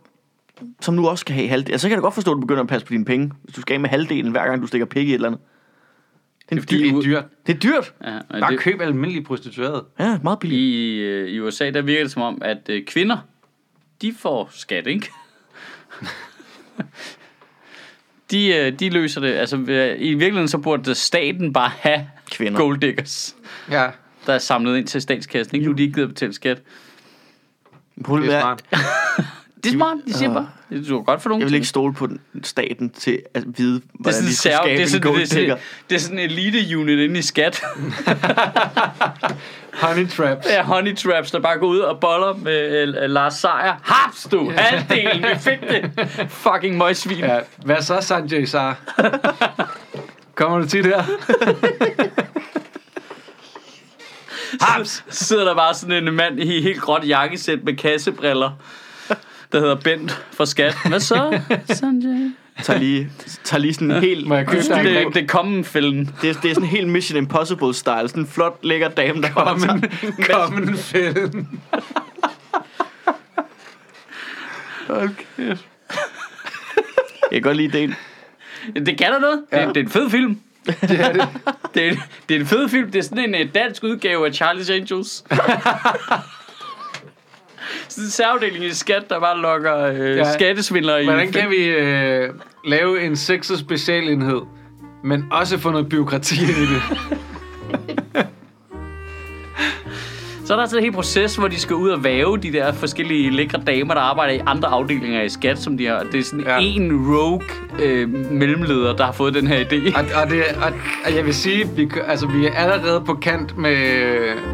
Speaker 2: som nu også skal have halvdelen. Altså, så kan jeg da godt forstå, at du begynder at passe på dine penge. Hvis du skal af med halvdelen, hver gang du stikker pik i et eller andet. Det er, en
Speaker 3: Det er
Speaker 2: dyr-
Speaker 3: dyrt.
Speaker 2: det er dyrt.
Speaker 1: ja, men
Speaker 3: Bare
Speaker 1: det,
Speaker 3: køb almindelige prostituerede.
Speaker 2: Ja, meget billigt.
Speaker 1: i, øh, I USA, der virker det som om, at øh, kvinder, de får skat, ikke? de, øh, de løser det. Altså, øh, i virkeligheden så burde staten bare have
Speaker 2: Kvinder.
Speaker 1: gold diggers.
Speaker 3: Ja,
Speaker 1: der er samlet ind til statskassen, ikke? Nu er de ikke gider at betale skat.
Speaker 2: Problemet
Speaker 3: det er
Speaker 2: er,
Speaker 3: smart.
Speaker 1: Det er smart, de siger bare. Det er jo godt for nogen.
Speaker 2: jeg vil ikke stole på den, staten til at vide,
Speaker 1: det er
Speaker 2: hvordan
Speaker 1: sådan,
Speaker 2: de
Speaker 1: en
Speaker 2: skal
Speaker 1: serv,
Speaker 2: skabe
Speaker 1: det, er
Speaker 2: en
Speaker 1: sådan,
Speaker 2: gold
Speaker 1: det, er
Speaker 2: digger.
Speaker 1: sådan, det er sådan en elite-unit inde i skat.
Speaker 3: Honey traps.
Speaker 1: Der er honey traps, der bare går ud og boller med øh, Lars Seier. Haps du! Halvdelen, vi fik det! Fucking møgsvin. Ja.
Speaker 3: Ja, hvad så, Sanjay Sar? Kommer du tit her?
Speaker 1: Haps! Sidder der bare sådan en mand i helt gråt jakkesæt med kassebriller, der hedder Bent fra skat. Hvad så, Sanjay?
Speaker 2: Tager lige, tager lige sådan en helt...
Speaker 3: Må jeg købe dig en
Speaker 1: Det,
Speaker 3: drink?
Speaker 1: det er kommen fælden.
Speaker 2: Det er, det er sådan en helt Mission Impossible-style. Sådan en flot, lækker dame, der kommer
Speaker 3: Common,
Speaker 2: til.
Speaker 3: common film.
Speaker 1: Okay.
Speaker 2: Jeg kan godt lide det.
Speaker 1: Det kan der noget. Ja. Det, det er en fed film. Det er det. det er en fed film. Det er sådan en øh, dansk udgave af Charlie's Angels. sådan en særafdeling i skat, der bare lokker øh,
Speaker 3: Ja.
Speaker 1: ja. skattesvindlere i.
Speaker 3: Hvordan kan vi øh, lave en sexet specialenhed, men også få noget byråkrati ind i det?
Speaker 1: Så er der altså en hel proces, hvor de skal ud og væve de der forskellige lækre damer, der arbejder i andre afdelinger i skat, som de har. Det er sådan
Speaker 3: Ja.
Speaker 1: en rogue øh, mellemleder, der har fået den her idé.
Speaker 3: Og, og, det, og, og jeg vil sige, vi, kø- altså, vi er allerede på kant med,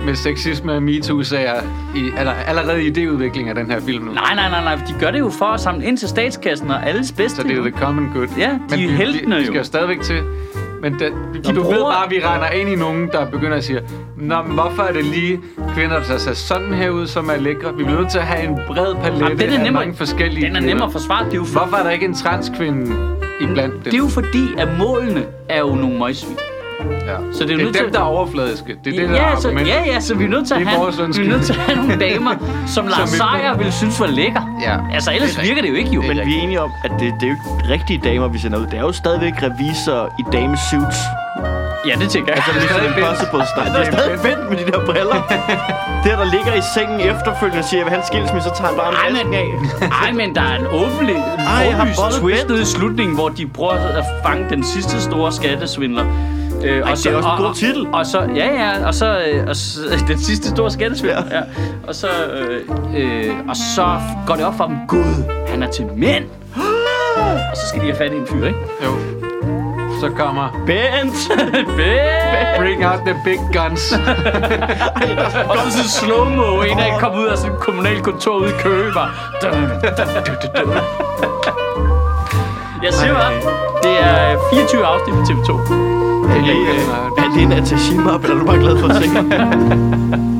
Speaker 3: med sexisme og MeToo-sager, i, eller, allerede i idéudviklingen af den her film nu.
Speaker 1: Nej, nej, nej, nej. De gør det jo for at samle ind til statskassen og alles bedste.
Speaker 3: Så det er jo the common good.
Speaker 1: Ja, de er
Speaker 3: vi-
Speaker 1: heltene
Speaker 3: vi, vi
Speaker 1: jo.
Speaker 3: skal jo stadigvæk til. Men det,
Speaker 1: Nå,
Speaker 3: du ved
Speaker 1: bror.
Speaker 3: bare, at vi regner ind i nogen, der begynder at sige, Nå, men hvorfor er det lige kvinder, der ser sådan her ud, som er lækre? Vi bliver nødt til at have en bred palette
Speaker 1: Jamen, den er
Speaker 3: af
Speaker 1: nemmere,
Speaker 3: mange forskellige
Speaker 1: Den er
Speaker 3: kvinder."
Speaker 1: nemmere at forsvare. Det er jo, for,
Speaker 3: Hvorfor er der ikke en transkvinde iblandt dem?
Speaker 1: det er jo fordi, at målene er jo nogle møgsvin.
Speaker 3: ja.
Speaker 1: så det er jo
Speaker 3: det er
Speaker 1: nødt til
Speaker 3: dem,
Speaker 1: at-
Speaker 3: der er overfladiske. Det er det, der er
Speaker 1: Ja, så,
Speaker 3: argumentet.
Speaker 1: ja, ja, så vi er nødt til
Speaker 3: Det
Speaker 1: at
Speaker 3: er
Speaker 1: have,
Speaker 3: vores
Speaker 1: vi er
Speaker 3: undskyldning.
Speaker 1: nødt til at have nogle damer, som Lars
Speaker 3: vi-
Speaker 1: Seier ville synes var lækker.
Speaker 3: Ja.
Speaker 1: Altså, ellers
Speaker 3: Det er
Speaker 1: virker det jo ikke, jo.
Speaker 2: Men vi er enige om, at det, det er jo ikke rigtige damer, vi sender ud. Det er jo stadigvæk revisorer i damesuits.
Speaker 1: Ja, det tænker jeg.
Speaker 2: Altså, Mission
Speaker 3: stadig fedt.
Speaker 2: Impossible style. Det er stadig fedt med de der briller. det, der ligger i sengen efterfølgende og siger, at han skilsmisse, så tager han bare
Speaker 1: Ej,
Speaker 2: en
Speaker 1: men, øh, ej, men der er en åbenlig,
Speaker 2: jeg har
Speaker 1: åbenlyst
Speaker 2: bollet
Speaker 1: twist
Speaker 2: Ben.
Speaker 1: nede i slutningen, hvor de prøver at fange den sidste store skattesvindler. Øh,
Speaker 2: Ej, det er også en god titel.
Speaker 1: Og, og så, ja, ja, og så, øh, og så den sidste store skattesvindler. Ja. Ja. Og, så, øh, øh, og så går det op for dem, Gud, han er til mænd. og så skal de have fat i en fyr, ikke?
Speaker 3: Jo. Så kommer
Speaker 2: Bent!
Speaker 1: Ben!
Speaker 3: Bring out the big guns.
Speaker 1: Og så sådan slow-mo, en af kom ud af sådan et kommunalt kontor ude i Køge, bare... dum, dum, dum, dum. Jeg siger bare, det er 24 afsnit på TV2.
Speaker 2: Er det, øh, er det en attaché-map, eller er du bare glad for at se?